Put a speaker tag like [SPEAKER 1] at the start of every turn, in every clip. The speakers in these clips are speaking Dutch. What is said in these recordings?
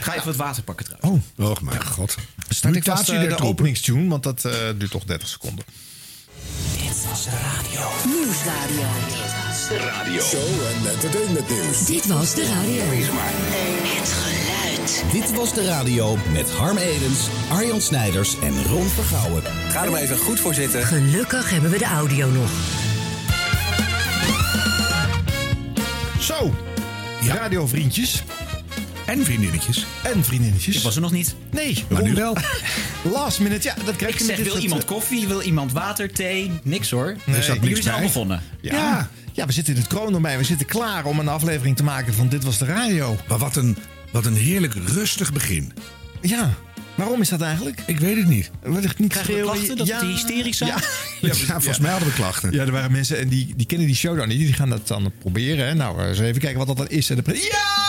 [SPEAKER 1] Ga even wat water pakken trouwens.
[SPEAKER 2] Oh, oh mijn god.
[SPEAKER 1] Start ik vast, eh, de
[SPEAKER 2] openingstune, want dat eh, duurt toch 30 seconden.
[SPEAKER 3] Dit was de radio. Nieuwsradio. Dit was de radio. Show en entertainment nieuws. Dit was de radio. Wees maar. Het geluid.
[SPEAKER 4] Dit was de radio met Harm Edens, Arjan Snijders en Ron Vergouwen. Ga er maar even goed voor zitten.
[SPEAKER 5] Gelukkig hebben we de audio nog.
[SPEAKER 2] Zo, radiovriendjes.
[SPEAKER 6] En vriendinnetjes.
[SPEAKER 2] En vriendinnetjes.
[SPEAKER 6] Ik was er nog niet.
[SPEAKER 2] Nee,
[SPEAKER 6] maar nu wel.
[SPEAKER 2] Last minute, ja, dat krijg
[SPEAKER 6] Ik
[SPEAKER 2] je
[SPEAKER 6] zeg,
[SPEAKER 2] met dit
[SPEAKER 6] wil
[SPEAKER 2] soort,
[SPEAKER 6] iemand
[SPEAKER 2] eh,
[SPEAKER 6] koffie? Wil iemand water, thee? Niks hoor.
[SPEAKER 2] Nee,
[SPEAKER 6] Dus dat- jullie zijn al
[SPEAKER 2] bij.
[SPEAKER 6] begonnen.
[SPEAKER 2] Ja. ja. we zitten in het kroondomein. We zitten klaar om een aflevering te maken van Dit Was De Radio.
[SPEAKER 6] Maar wat een, wat een heerlijk rustig begin.
[SPEAKER 2] Ja. Waarom is dat eigenlijk?
[SPEAKER 6] Ik weet het niet.
[SPEAKER 2] Wellicht niet
[SPEAKER 6] Krijgen we
[SPEAKER 2] schreeuwen.
[SPEAKER 6] klachten dat
[SPEAKER 2] Ja.
[SPEAKER 6] die hysterisch zijn?
[SPEAKER 2] Ja.
[SPEAKER 6] Ja,
[SPEAKER 2] volgens mij hadden we klachten. Ja, er waren mensen en die, die kennen die show dan niet. Die gaan dat dan proberen. Hè. Nou, eens even kijken wat dat dan is. En dan begin- ja,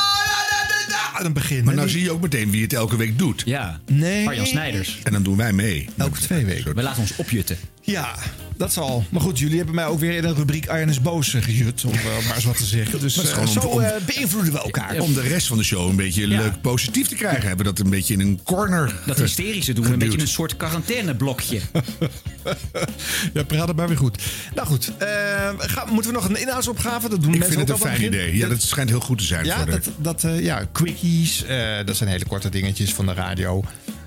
[SPEAKER 2] aan het begin.
[SPEAKER 6] Maar
[SPEAKER 2] hè,
[SPEAKER 6] nou
[SPEAKER 2] die-
[SPEAKER 6] zie je ook meteen wie het elke week doet. Ja.
[SPEAKER 2] Nee.
[SPEAKER 6] Arjan Snijders. En dan doen wij mee.
[SPEAKER 2] Elke twee weken.
[SPEAKER 6] We laten ons opjutten.
[SPEAKER 2] Ja, dat zal. Maar goed, jullie hebben mij ook weer in een rubriek Arjen is boos eh, gejut. Om eh, maar eens wat te zeggen. Dus
[SPEAKER 6] Maar het is
[SPEAKER 2] eh,
[SPEAKER 6] gewoon
[SPEAKER 2] zo
[SPEAKER 6] om- om-
[SPEAKER 2] eh, beïnvloeden we elkaar.
[SPEAKER 6] Om de rest van de show een beetje leuk positief te krijgen. Hebben we dat een beetje in een corner
[SPEAKER 7] Dat
[SPEAKER 6] ge-
[SPEAKER 7] hysterische doen we een
[SPEAKER 6] geduwd.
[SPEAKER 7] beetje een soort quarantaineblokje.
[SPEAKER 2] eh, Ja, praat het maar weer goed. Nou goed, eh, gaan- moeten we nog een inhoudsopgave? Dat doen
[SPEAKER 6] Ik
[SPEAKER 2] mensen
[SPEAKER 6] vind het een
[SPEAKER 2] ook al aan
[SPEAKER 6] fijn
[SPEAKER 2] begin.
[SPEAKER 6] idee. Ja, dat schijnt heel goed te zijn
[SPEAKER 2] Ja,
[SPEAKER 6] voor de...
[SPEAKER 2] dat, dat, eh, ja, quickies, eh, dat zijn hele korte dingetjes van de radio.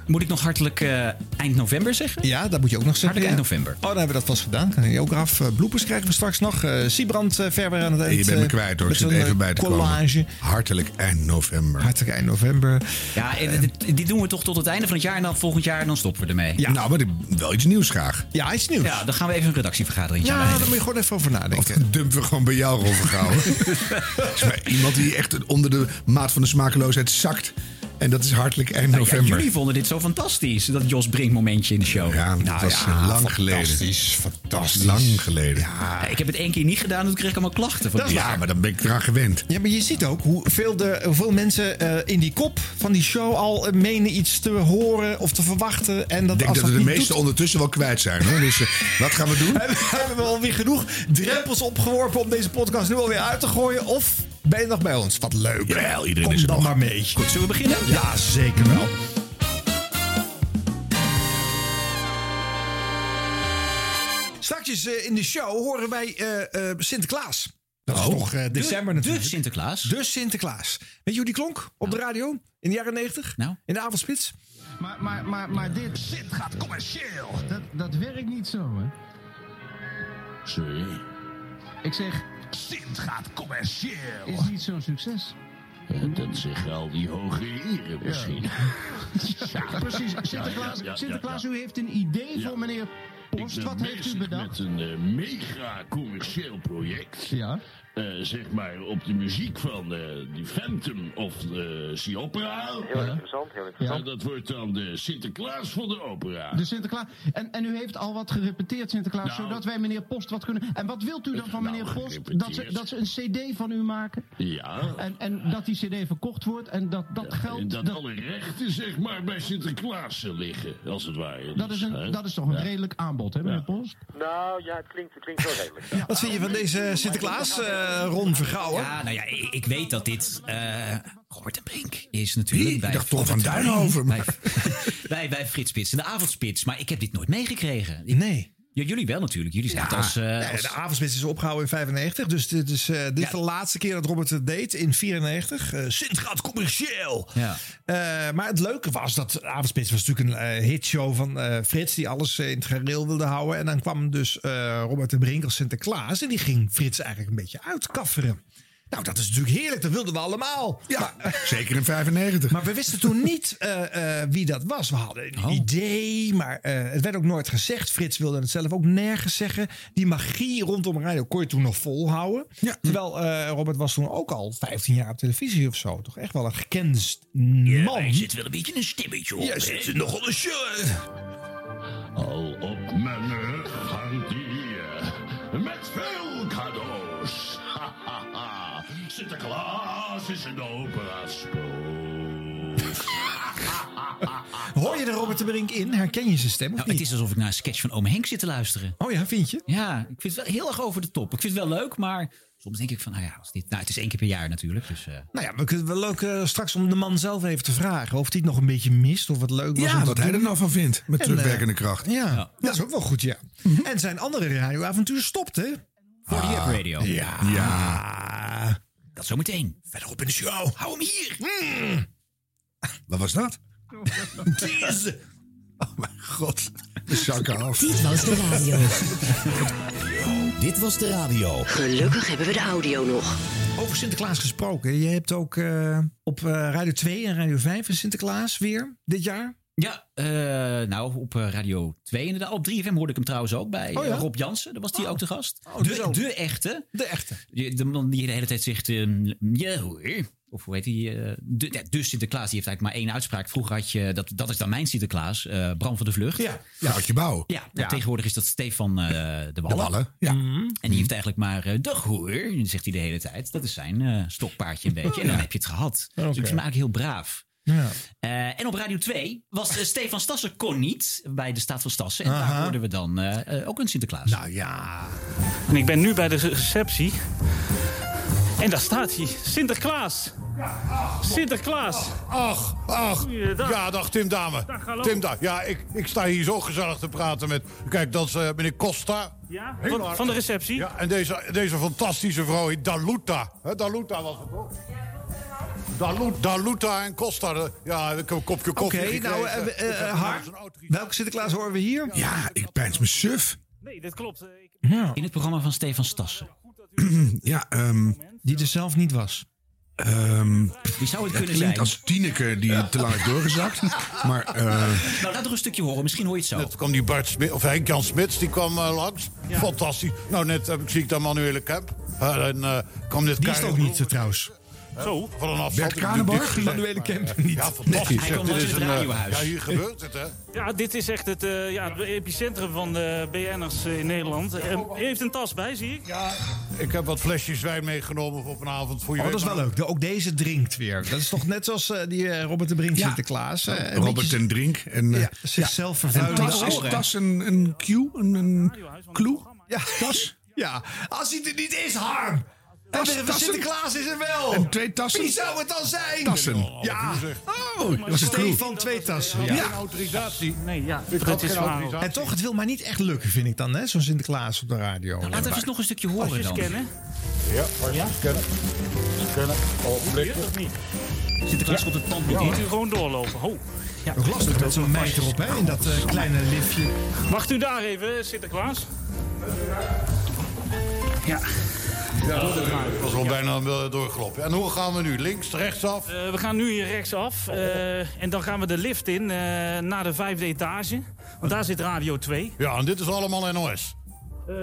[SPEAKER 7] Moet ik nog hartelijk eh, eind november zeggen? Ah,
[SPEAKER 2] Ja, dat moet je ook nog zeggen.
[SPEAKER 7] Hartelijk eind
[SPEAKER 2] ja.
[SPEAKER 7] november.
[SPEAKER 2] Oh, dan hebben we dat vast gedaan. Kan je ook af. Eh, bloepers krijgen we straks nog. Eh Siebrand eh, verder aan het eind.
[SPEAKER 6] je bent me
[SPEAKER 2] eh,
[SPEAKER 6] kwijt hoor. Ik
[SPEAKER 2] met
[SPEAKER 6] zit
[SPEAKER 2] zo'n,
[SPEAKER 6] even
[SPEAKER 2] eh,
[SPEAKER 6] bij te
[SPEAKER 2] collage.
[SPEAKER 6] komen. Hartelijk eind november.
[SPEAKER 2] Hartelijk eind november.
[SPEAKER 7] Ja,
[SPEAKER 2] Eh.
[SPEAKER 7] en dit- die doen we toch tot het einde van het jaar en dan volgend jaar dan stoppen we ermee.
[SPEAKER 6] Ja. Nou, maar dit- wel iets nieuws graag.
[SPEAKER 2] Ja, iets nieuws.
[SPEAKER 7] Ja, dan gaan we even een redactievergadering
[SPEAKER 2] Ja, daar
[SPEAKER 7] aanleiden.
[SPEAKER 2] moet je gewoon even over
[SPEAKER 6] Of
[SPEAKER 2] nadenken.
[SPEAKER 6] dumpen we gewoon bij jou overgehouden. is maar iemand die echt onder de maat van de smakeloosheid zakt. En dat is hartelijk eind
[SPEAKER 7] Nou ja,
[SPEAKER 6] november.
[SPEAKER 7] jullie vonden dit zo fantastisch, dat Jos Brink momentje in de show. Nou
[SPEAKER 6] Ja, dat was eh, lang geleden.
[SPEAKER 2] Fantastisch, fantastisch.
[SPEAKER 6] Lang geleden.
[SPEAKER 7] Ja, Ik heb het één keer niet gedaan, toen kreeg ik allemaal klachten. Van
[SPEAKER 2] Dat is
[SPEAKER 7] die-
[SPEAKER 6] Ja, maar dan ben ik eraan gewend.
[SPEAKER 2] Ja, maar je ziet ook hoeveel, de, hoeveel mensen eh, in die kop van die show al eh, menen iets te horen of te verwachten. En dat
[SPEAKER 6] Ik denk
[SPEAKER 2] als
[SPEAKER 6] dat we de
[SPEAKER 2] niet
[SPEAKER 6] meesten
[SPEAKER 2] doet,
[SPEAKER 6] ondertussen wel kwijt zijn. Hoor. Dus eh, wat gaan we doen?
[SPEAKER 2] hebben we hebben wel weer genoeg drempels opgeworpen om deze podcast nu alweer uit te gooien. Of ben je nog bij ons? Wat leuk.
[SPEAKER 6] Jawel, iedereen
[SPEAKER 2] Kom
[SPEAKER 6] is er
[SPEAKER 2] dan
[SPEAKER 6] nog.
[SPEAKER 2] maar mee.
[SPEAKER 7] Goed, zullen we beginnen?
[SPEAKER 2] Ja, zeker wel. Straks eh, in de show horen wij eh, eh, Sinterklaas. Dat is toch eh, december
[SPEAKER 7] de,
[SPEAKER 2] natuurlijk.
[SPEAKER 7] De Sinterklaas.
[SPEAKER 2] Dus Sinterklaas. Weet je hoe die klonk op de radio in de jaren 90?
[SPEAKER 7] Nou.
[SPEAKER 2] In de avondspits?
[SPEAKER 8] Maar, maar, maar, maar dit shit gaat commercieel. Dat, dat werkt niet zo, hè? Sorry. Ik zeg,
[SPEAKER 9] Sint gaat commercieel.
[SPEAKER 8] is niet zo'n succes.
[SPEAKER 9] Dat zeggen al die hoge heren misschien.
[SPEAKER 8] Ja, precies. Sinterklaas,
[SPEAKER 9] ja, ja,
[SPEAKER 8] Sinterklaas
[SPEAKER 9] ja.
[SPEAKER 8] u heeft een idee
[SPEAKER 9] Ja.
[SPEAKER 8] voor meneer Post.
[SPEAKER 9] Ik ben
[SPEAKER 8] Wat heeft u
[SPEAKER 9] bezig
[SPEAKER 8] bedacht?
[SPEAKER 9] Met een eh, mega commercieel project.
[SPEAKER 8] Ja.
[SPEAKER 9] Eh, zeg maar op de muziek van eh die Phantom of eh Siopera.
[SPEAKER 10] Heel interessant, heel interessant.
[SPEAKER 9] Ja, dat wordt dan de Sinterklaas van de opera.
[SPEAKER 8] De Sinterklaas. En, en u heeft al wat gerepeteerd, Sinterklaas,
[SPEAKER 9] Nou.
[SPEAKER 8] zodat wij meneer Post wat kunnen. En wat wilt u dan van
[SPEAKER 9] Nou,
[SPEAKER 8] meneer Post? Dat ze,
[SPEAKER 9] gerepeteerd.
[SPEAKER 8] dat ze een CD van u maken?
[SPEAKER 9] Ja.
[SPEAKER 8] En, en dat die CD verkocht wordt en dat dat
[SPEAKER 9] En
[SPEAKER 8] geld.
[SPEAKER 9] dat, alle rechten zeg maar bij Sinterklaas liggen, als het ware.
[SPEAKER 8] dat, is
[SPEAKER 9] hè?
[SPEAKER 8] een, dat is toch een
[SPEAKER 9] Ja.
[SPEAKER 8] redelijk aanbod, hè, meneer Post?
[SPEAKER 10] Nou ja, het klinkt, het klinkt wel redelijk. ja.
[SPEAKER 2] Wat vind je van deze Sinterklaas, eh, Ron Vergouwen?
[SPEAKER 7] Ja, nou ja, ik, ik weet dat dit. eh Robert en Brink is natuurlijk.
[SPEAKER 6] Wie?
[SPEAKER 7] bij
[SPEAKER 6] Ik dacht Tom van
[SPEAKER 7] Robert en
[SPEAKER 6] Duinhoven,
[SPEAKER 7] Brink. Bij, bij, bij Frits Spits in de avondspits. Maar ik heb dit nooit meegekregen. Ik-
[SPEAKER 2] Nee.
[SPEAKER 7] Ja, jullie wel natuurlijk. Jullie zijn het als. eh,
[SPEAKER 2] Ja,
[SPEAKER 7] als-
[SPEAKER 2] de avondspits is opgehouden in 95. Dus dit is, eh, dit is de laatste keer dat Robert het deed in 94. Eh Sint gaat commercieel.
[SPEAKER 7] Ja.
[SPEAKER 2] Eh, maar het leuke was dat de avondspits was natuurlijk een eh, hitshow van eh, Frits. Die alles eh, in het gareel wilde houden. En dan kwam dus eh, Robert de Brink als Sinterklaas. En die ging Frits eigenlijk een beetje uitkafferen. Nou, dat is natuurlijk heerlijk. Dat wilden we allemaal.
[SPEAKER 6] Ja, zeker in 95.
[SPEAKER 2] Maar we wisten toen niet eh, eh, wie dat was. We hadden
[SPEAKER 7] Oh.
[SPEAKER 2] een idee, maar eh, het werd ook nooit gezegd. Frits wilde het zelf ook nergens zeggen. Die magie rondom radio kon je toen nog volhouden. Terwijl eh, Robert was toen ook al 15 jaar op televisie of zo. Toch echt wel een gekend man.
[SPEAKER 7] Hij zit wel een beetje een stimmetje op.
[SPEAKER 2] Ja, zit er nogal een shirt.
[SPEAKER 9] Al op mijn rug hangt die eh, met veel cadeaus. Hahaha. Sinterklaas is een operaspook.
[SPEAKER 2] Hoor je er Robert de Brink in? Herken je zijn stem of
[SPEAKER 7] Nou,
[SPEAKER 2] niet?
[SPEAKER 7] het is alsof ik naar een sketch van Ome Henk zit te luisteren.
[SPEAKER 2] Oh ja, vind je?
[SPEAKER 7] Ja, ik vind het wel heel erg over de top. Ik vind het wel leuk, maar Soms denk ik van, nou ja, als dit, nou, het is één keer per jaar natuurlijk. Dus, eh,
[SPEAKER 2] Nou ja, we kunnen wel leuk eh, straks om de man zelf even te vragen. Of hij het nog een beetje mist. Of wat leuk was.
[SPEAKER 6] Ja, wat hij er nou van vindt.
[SPEAKER 2] eh,
[SPEAKER 6] Met terugwerkende kracht. Mhm.
[SPEAKER 2] Ja, dat is ook wel goed, ja. En zijn andere radioavontuur stopte.
[SPEAKER 7] Voor
[SPEAKER 2] die
[SPEAKER 6] Ah,
[SPEAKER 7] Up Radio.
[SPEAKER 2] Ja.
[SPEAKER 6] ja.
[SPEAKER 7] Dat zometeen.
[SPEAKER 2] Verderop in de show. Hou hem hier.
[SPEAKER 9] Hmm.
[SPEAKER 2] Mm.
[SPEAKER 6] Wat was dat?
[SPEAKER 2] Jezus.
[SPEAKER 6] Oh mijn god. De zakken af.
[SPEAKER 3] Dit was de radio.
[SPEAKER 11] Dit was de radio.
[SPEAKER 3] Gelukkig hebben we de audio nog.
[SPEAKER 2] Over Sinterklaas gesproken. Je hebt ook eh, op eh, Radio 2 en Radio 5 een Sinterklaas weer dit jaar.
[SPEAKER 7] Ja, eh, nou, op eh, Radio 2 inderdaad. Op 3FM hoorde ik hem trouwens ook bij
[SPEAKER 2] Oh ja?
[SPEAKER 7] eh, Rob Jansen. Daar was hij ook te gast.
[SPEAKER 2] Oh, dus
[SPEAKER 7] de,
[SPEAKER 2] ook.
[SPEAKER 7] de echte.
[SPEAKER 2] De echte.
[SPEAKER 7] Je- De man die de hele tijd zegt... ehm, ja, hoor. Of hoe heet hij? de, ja, de Sinterklaas, die heeft eigenlijk maar één uitspraak. Vroeger had je, dat, dat is dan mijn Sinterklaas, eh, Bram van de Vlucht. Ja,
[SPEAKER 6] Goudje Bouw.
[SPEAKER 7] ja, nou, tegenwoordig is dat Stefan eh, de Wallen.
[SPEAKER 6] Ballen. Ja.
[SPEAKER 7] En die heeft eigenlijk maar eh, dag hoor, zegt hij de hele tijd. Dat is zijn eh, stokpaardje een beetje. En dan heb je het gehad. Dus ik vind hem eigenlijk heel braaf. Eh, en op Radio 2 was eh, Stefan Stassen kon niet bij de staat van Stassen. En daar hoorden we dan eh, eh, ook een Sinterklaas.
[SPEAKER 2] Nou ja.
[SPEAKER 12] En ik ben nu bij de receptie. En daar staat hij. Sinterklaas. Sinterklaas.
[SPEAKER 13] Ach, ach.
[SPEAKER 12] Goeiedag.
[SPEAKER 13] Ja, dag Tim Dame.
[SPEAKER 12] Dag, hallo.
[SPEAKER 13] Tim Dame. Ja, ik, ik sta hier zo gezellig te praten met... Kijk, dat is eh, meneer Costa.
[SPEAKER 12] Ja,
[SPEAKER 13] Heel
[SPEAKER 12] van,
[SPEAKER 13] aardig.
[SPEAKER 12] van de receptie.
[SPEAKER 13] Ja, en deze, deze fantastische vrouw heet Daluta. Hè, Daluta was het toch? Dalu- Daluta en Costa. eh, Ja, ik heb een kopje
[SPEAKER 2] Oké,
[SPEAKER 13] koffie
[SPEAKER 2] nou,
[SPEAKER 13] gekregen.
[SPEAKER 2] eh, eh,
[SPEAKER 13] Ik heb
[SPEAKER 2] eh, Har,
[SPEAKER 13] nog zo'n oud-
[SPEAKER 2] welke Sinterklaas horen we hier?
[SPEAKER 6] Ja, ik pijns me suf.
[SPEAKER 12] Nee, dat klopt. Eh, ik-
[SPEAKER 7] In het programma van Stefan Stassen.
[SPEAKER 6] Ja, ehm
[SPEAKER 2] Die er zelf niet was.
[SPEAKER 6] ehm,
[SPEAKER 7] Wie zou het
[SPEAKER 6] het
[SPEAKER 7] kunnen
[SPEAKER 6] klinkt
[SPEAKER 7] zijn?
[SPEAKER 6] als Tineke die te lang heeft doorgezakt. Maar eh,
[SPEAKER 7] Nou, laat nog een stukje horen. Misschien hoor je het zo.
[SPEAKER 13] Net kwam die Bart Smit, of Henk Jan Smits, die kwam eh, langs. Fantastisch. Nou, net heb ik- zie ik daar Manuele Kemp. Eh, en eh, kwam net
[SPEAKER 2] Die is
[SPEAKER 13] Karin
[SPEAKER 2] er ook niet, eh, trouwens.
[SPEAKER 12] Zo.
[SPEAKER 13] Van een afstand.
[SPEAKER 6] Bert
[SPEAKER 13] Ik heb
[SPEAKER 6] Kranenburg?
[SPEAKER 13] dit gezegd,
[SPEAKER 2] Manuele
[SPEAKER 13] maar,
[SPEAKER 2] Kemp
[SPEAKER 13] eh,
[SPEAKER 2] niet.
[SPEAKER 13] Ja, fantastisch.
[SPEAKER 7] Hij kwam
[SPEAKER 13] Dit
[SPEAKER 7] langs
[SPEAKER 13] is
[SPEAKER 7] het
[SPEAKER 13] een, eh,
[SPEAKER 7] radiohuis.
[SPEAKER 13] Ja, hier gebeurt het, hè.
[SPEAKER 12] Ja, dit is echt het, eh, ja, het epicentrum van de BN'ers in Nederland. Eh, u heeft een tas bij, zie ik.
[SPEAKER 13] Ja, ik heb wat flesjes wijn meegenomen voor vanavond. Voor je
[SPEAKER 2] Oh, dat
[SPEAKER 13] weet
[SPEAKER 2] is wel
[SPEAKER 13] maar-
[SPEAKER 2] leuk. De- ook deze drinkt weer. Dat is toch net zoals eh, die eh, Robert de Brink Sinterklaas. eh, een
[SPEAKER 6] Robert
[SPEAKER 2] beetje-
[SPEAKER 6] ten Drink. En, eh,
[SPEAKER 2] ja, zichzelf
[SPEAKER 6] en
[SPEAKER 2] vervuilen.
[SPEAKER 6] tas, is tas een, een cue? Een, een clue?
[SPEAKER 2] Ja.
[SPEAKER 6] Tas?
[SPEAKER 2] Ja, als hij er niet is, Harm.
[SPEAKER 6] Tas-
[SPEAKER 2] en de
[SPEAKER 6] tassen?
[SPEAKER 2] Sinterklaas is er wel.
[SPEAKER 6] En twee tassen?
[SPEAKER 2] Wie zou het dan zijn?
[SPEAKER 6] Tassen.
[SPEAKER 2] Ja.
[SPEAKER 6] Oh, dat was een clue.
[SPEAKER 2] Stefan, twee tassen. Ja.
[SPEAKER 13] Geen autorisatie.
[SPEAKER 12] Nee, ja,
[SPEAKER 13] Ik had
[SPEAKER 12] het is
[SPEAKER 13] geen
[SPEAKER 12] verhaal.
[SPEAKER 13] autorisatie.
[SPEAKER 2] En toch, het wil maar niet echt lukken, vind ik dan, hè? Zo'n Sinterklaas op de radio.
[SPEAKER 7] Nou, laat even nog een stukje
[SPEAKER 12] Als je
[SPEAKER 7] horen
[SPEAKER 12] eens
[SPEAKER 7] dan.
[SPEAKER 12] kennen.
[SPEAKER 13] Ja, maar ja? scannen. Scannen. Ogenblik.
[SPEAKER 12] Of niet?
[SPEAKER 7] Sinterklaas op het tand moet
[SPEAKER 12] Moet
[SPEAKER 7] in.
[SPEAKER 12] u gewoon doorlopen. Ho. Ja.
[SPEAKER 2] Ook lastig met zo'n meid erop, hè? In dat eh, kleine liftje.
[SPEAKER 12] Wacht u daar even, Sinterklaas. Ja.
[SPEAKER 13] Ik was al bijna eh, doorgelopen. En hoe gaan we nu? Links, rechtsaf?
[SPEAKER 12] Eh, we gaan nu hier rechtsaf eh en dan gaan we de lift in eh, naar de vijfde etage. Want daar zit Radio 2.
[SPEAKER 13] Ja, en dit is allemaal NOS.
[SPEAKER 12] Eh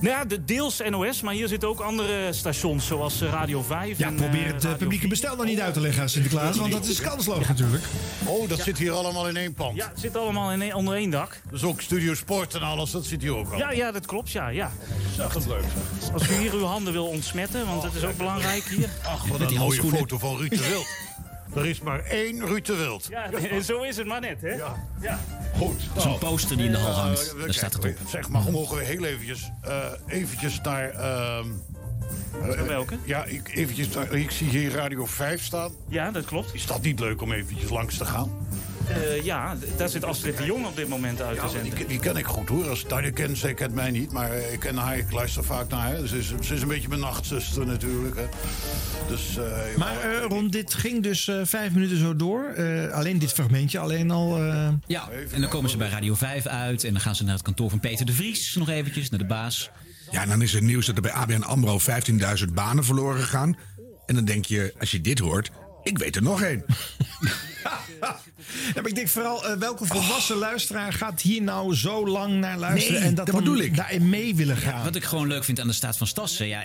[SPEAKER 12] nou ja, de deels NOS, maar hier zitten ook andere stations zoals eh, Radio 5.
[SPEAKER 2] Ja,
[SPEAKER 12] en,
[SPEAKER 2] probeer
[SPEAKER 12] eh,
[SPEAKER 2] het eh,
[SPEAKER 12] Radio
[SPEAKER 2] publieke
[SPEAKER 12] 4.
[SPEAKER 2] bestel dan niet uit te leggen aan Sinterklaas. Want dat is kansloos natuurlijk.
[SPEAKER 13] Oh, dat zit hier allemaal in één pand.
[SPEAKER 12] Ja, het zit allemaal in één, onder één dak.
[SPEAKER 13] Dus ook Studio Sport en alles, dat zit hier ook al.
[SPEAKER 12] Ja, ja, dat klopt, ja, ja.
[SPEAKER 13] dat is leuk.
[SPEAKER 12] Als u hier uw handen wil ontsmetten, want dat is ook belangrijk hier.
[SPEAKER 13] Ach, wat een mooie foto van Ruud de Wild. Er is maar één Ruud de Wild.
[SPEAKER 12] Ja, zo is het maar net, hè?
[SPEAKER 13] Ja.
[SPEAKER 12] ja.
[SPEAKER 13] Goed.
[SPEAKER 7] Zo'n poster die in de hal hangt.
[SPEAKER 13] Eh,
[SPEAKER 7] Daar staat het op.
[SPEAKER 13] Zeg maar, mogen we heel eventjes, eh, eventjes naar... ehm, eh,
[SPEAKER 12] welke?
[SPEAKER 13] Ja, ik, eventjes naar, ik zie hier Radio 5 staan.
[SPEAKER 12] Ja, dat klopt.
[SPEAKER 13] Is dat niet leuk om eventjes langs te gaan?
[SPEAKER 12] Eh, ja, d- daar zit Astrid de Jong op dit moment uit te
[SPEAKER 13] Ja,
[SPEAKER 12] zenden.
[SPEAKER 13] die, die ken ik goed hoor. Als Tijden kent, zij kent mij niet. Maar eh, ik ken haar, ik luister vaak naar haar. Ze is, ze is een beetje mijn nachtzuster natuurlijk. Hè. Dus, eh,
[SPEAKER 2] Maar eh Ron, dit ging dus eh, vijf minuten zo door. Eh, alleen dit fragmentje, alleen al... eh,
[SPEAKER 7] Ja, en dan komen ze bij Radio 5 uit. En dan gaan ze naar het kantoor van Peter de Vries nog eventjes, naar de baas.
[SPEAKER 6] Ja, en dan is het nieuws dat er bij ABN AMRO 15.000 banen verloren gaan. En dan denk je, als je dit hoort, ik weet er nog één.
[SPEAKER 2] Ja, maar ik denk vooral, eh, welke volwassen luisteraar gaat hier nou zo lang naar luisteren...
[SPEAKER 6] Oh. Nee,
[SPEAKER 2] en dat,
[SPEAKER 6] dat
[SPEAKER 2] dan
[SPEAKER 6] bedoel ik.
[SPEAKER 2] daarin mee willen gaan?
[SPEAKER 7] Wat ik gewoon leuk vind aan de staat van Stassen, ja,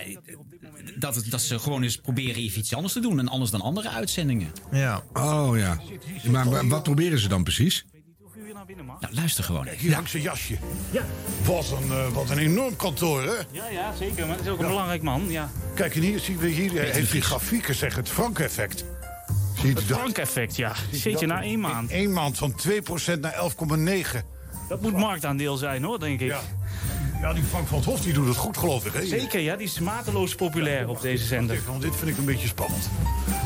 [SPEAKER 7] dat, het- dat ze gewoon eens proberen even iets anders te doen. En anders dan andere uitzendingen.
[SPEAKER 2] ja.
[SPEAKER 6] Oh ja. Maar wa- wat proberen ze dan precies?
[SPEAKER 12] Of u hier naar binnen mag.
[SPEAKER 7] Nou, luister gewoon.
[SPEAKER 13] hier hangt zijn jasje.
[SPEAKER 12] Ja,
[SPEAKER 13] Wat een, eh, wat een enorm kantoor, hè?
[SPEAKER 12] ja, ja zeker. Maar dat is ook een belangrijk man, ja.
[SPEAKER 13] Kijk, en hier zien we hier, eh, heeft die grafieken zeg het Frank-effect. Zie je dat?
[SPEAKER 12] Frank-effect, ja. Zit je nou na één maand.
[SPEAKER 13] Eén maand van 2% naar 11,9.
[SPEAKER 12] Dat moet marktaandeel zijn, hoor, denk ik.
[SPEAKER 13] Ja. Ja, die Frank van het Hof die doet het goed, geloof ik. Hè?
[SPEAKER 12] Zeker, ja, die is mateloos populair op deze zender.
[SPEAKER 13] Want dit vind ik een beetje spannend.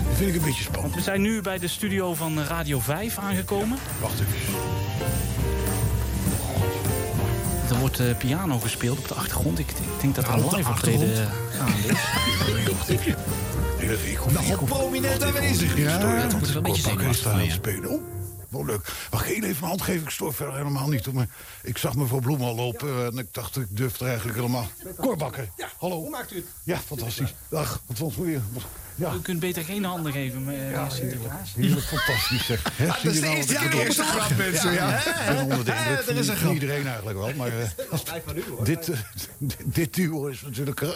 [SPEAKER 13] Dit vind ik een beetje spannend.
[SPEAKER 12] We zijn nu bij de studio van Radio 5 aangekomen.
[SPEAKER 13] Wacht even.
[SPEAKER 12] Er wordt eh, piano gespeeld op de achtergrond. Ik, ik denk dat er
[SPEAKER 13] Ja,
[SPEAKER 12] een
[SPEAKER 13] op de
[SPEAKER 12] live optreden
[SPEAKER 13] achtergrond.
[SPEAKER 12] gaande is.
[SPEAKER 13] Nogal prominent aanwezig.
[SPEAKER 12] Ja,
[SPEAKER 13] dat
[SPEAKER 12] dat is wel
[SPEAKER 13] moet ik een
[SPEAKER 12] een beetje
[SPEAKER 13] beetje
[SPEAKER 12] zenuwachtig
[SPEAKER 13] staan
[SPEAKER 12] van
[SPEAKER 13] en
[SPEAKER 12] je.
[SPEAKER 13] spelen. Oeh, wel leuk. Mag ik heel even mijn hand geven? Ik stoor verder helemaal niet. toe, Maar ik zag mevrouw Bloem al lopen eh, en ik dacht, ik durf er eigenlijk helemaal. Korbakker. Ja, hallo. Hoe maakt u het? Ja, fantastisch. Dag, wat was het weer? Wat- Ja.
[SPEAKER 12] U kunt beter geen handen geven, maar eh, Sinterklaas.
[SPEAKER 13] Heerlijk, fantastisch zeg. Hè,
[SPEAKER 12] Ja,
[SPEAKER 13] zie je nou wat ik-
[SPEAKER 12] op het
[SPEAKER 13] grap, mensen. Ja,
[SPEAKER 12] hè?
[SPEAKER 13] Ik ben onder de
[SPEAKER 12] Hè,
[SPEAKER 13] indruk
[SPEAKER 12] er is een
[SPEAKER 13] van
[SPEAKER 12] grap.
[SPEAKER 13] iedereen eigenlijk wel. Maar eh, dit, eh, dit- dit duo is natuurlijk... eh,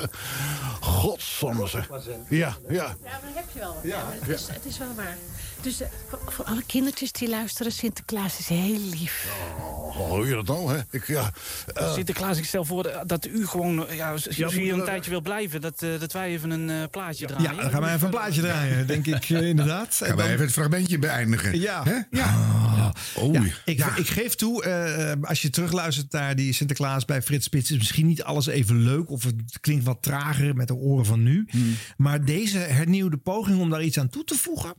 [SPEAKER 13] Godsamme zeg. Ja, ja.
[SPEAKER 14] Ja, maar heb je wel.
[SPEAKER 13] Ja.
[SPEAKER 14] Ja, maar het,
[SPEAKER 13] Ja.
[SPEAKER 14] Is, het is wel waar. Dus eh, voor, voor alle kindertjes die luisteren, Sinterklaas is heel lief.
[SPEAKER 13] Oh, hoor je dat nou, hè? Ik, ja, eh,
[SPEAKER 12] Sinterklaas, ik stel voor eh, dat u gewoon, eh, ja, als als
[SPEAKER 13] Ja,
[SPEAKER 12] u hier
[SPEAKER 13] maar,
[SPEAKER 12] een
[SPEAKER 13] eh,
[SPEAKER 12] tijdje wil blijven, dat, eh, dat wij even een eh, plaatje draaien.
[SPEAKER 2] Ja, dan gaan wij even een plaatje draaien, denk ik eh, inderdaad.
[SPEAKER 6] Gaan wij even het fragmentje beëindigen?
[SPEAKER 2] Ja.
[SPEAKER 6] Hè?
[SPEAKER 2] ja. Ja, ik, ik geef toe, eh, als je terugluistert naar die Sinterklaas bij Frits Spits... is misschien niet alles even leuk of het klinkt wat trager met de oren van nu.
[SPEAKER 6] Hmm.
[SPEAKER 2] Maar deze hernieuwde poging om daar iets aan toe te voegen...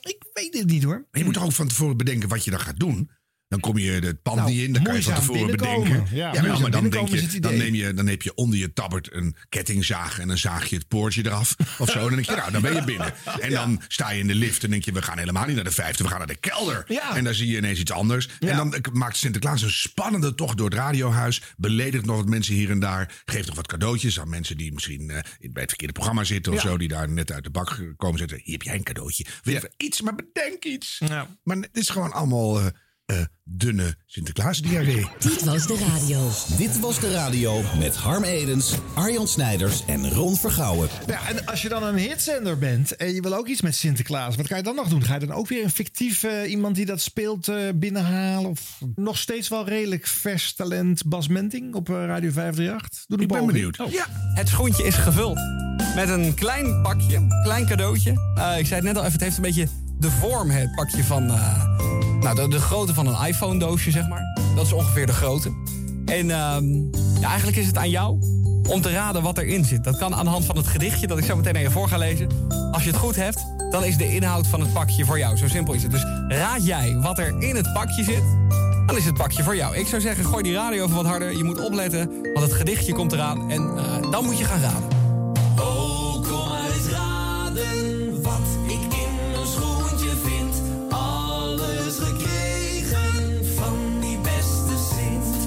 [SPEAKER 2] ik weet het niet hoor.
[SPEAKER 6] Maar je moet toch ook van tevoren bedenken wat je dan gaat doen. Dan kom je het pand
[SPEAKER 2] Nou,
[SPEAKER 6] niet in, dan kan je van
[SPEAKER 2] moeizaam
[SPEAKER 6] tevoren
[SPEAKER 2] binnenkomen.
[SPEAKER 6] bedenken.
[SPEAKER 2] Ja,
[SPEAKER 6] Ja,
[SPEAKER 2] moeizaam
[SPEAKER 6] maar dan, denk
[SPEAKER 2] binnenkomen is
[SPEAKER 6] je,
[SPEAKER 2] het
[SPEAKER 6] dan,
[SPEAKER 2] idee.
[SPEAKER 6] neem je, dan heb je onder je tabbert een kettingzaag en dan zaag je het poortje eraf of zo. En dan denk je, nou, dan ben je binnen. En dan sta je in de lift en denk je, we gaan helemaal niet naar de vijfde, we gaan naar de kelder.
[SPEAKER 2] Ja.
[SPEAKER 6] En dan zie je ineens iets anders. En dan eh, maakt Sinterklaas een spannende tocht door het radiohuis. Beledigt nog wat mensen hier en daar. Geeft nog wat cadeautjes aan mensen die misschien eh, bij het verkeerde programma zitten of
[SPEAKER 2] Ja.
[SPEAKER 6] zo. Die daar net uit de bak komen zitten. Hier heb jij een cadeautje. Wil je even iets, maar bedenk iets. Maar het is gewoon allemaal eh, eh, dunne Sinterklaas-diarree.
[SPEAKER 15] Dit was de radio. Dit was de radio met Harm Edens, Arjan Snijders en Ron Vergouwen.
[SPEAKER 2] Ja, en als je dan een hitzender bent en je wil ook iets met Sinterklaas... wat ga je dan nog doen? Ga je dan ook weer een fictief eh, iemand die dat speelt eh, binnenhalen? Of nog steeds wel redelijk vers talent Bas Menting op eh, Radio 538? Doe de poging. Oh.
[SPEAKER 16] Ja, het schoentje is gevuld. Met een klein pakje, klein cadeautje. Eh, ik zei het net al even, het heeft een beetje de vorm, het pakje van... eh, nou, de, de grootte van een iPhone-doosje, zeg maar. Dat is ongeveer de grootte. En ehm, ja, eigenlijk is het aan jou om te raden wat erin zit. Dat kan aan de hand van het gedichtje dat ik zo meteen aan je voor ga lezen. Als je het goed hebt, dan is de inhoud van het pakje voor jou. Zo simpel is het. Dus raad jij wat er in het pakje zit... Dan is het pakje voor jou. Ik zou zeggen, gooi die radio even wat harder. Je moet opletten, want het gedichtje komt eraan. En eh, dan moet je gaan raden.
[SPEAKER 3] Oh, kom maar eens raden wat ik in mijn schoentje vind. Alles gekregen van die beste Sint.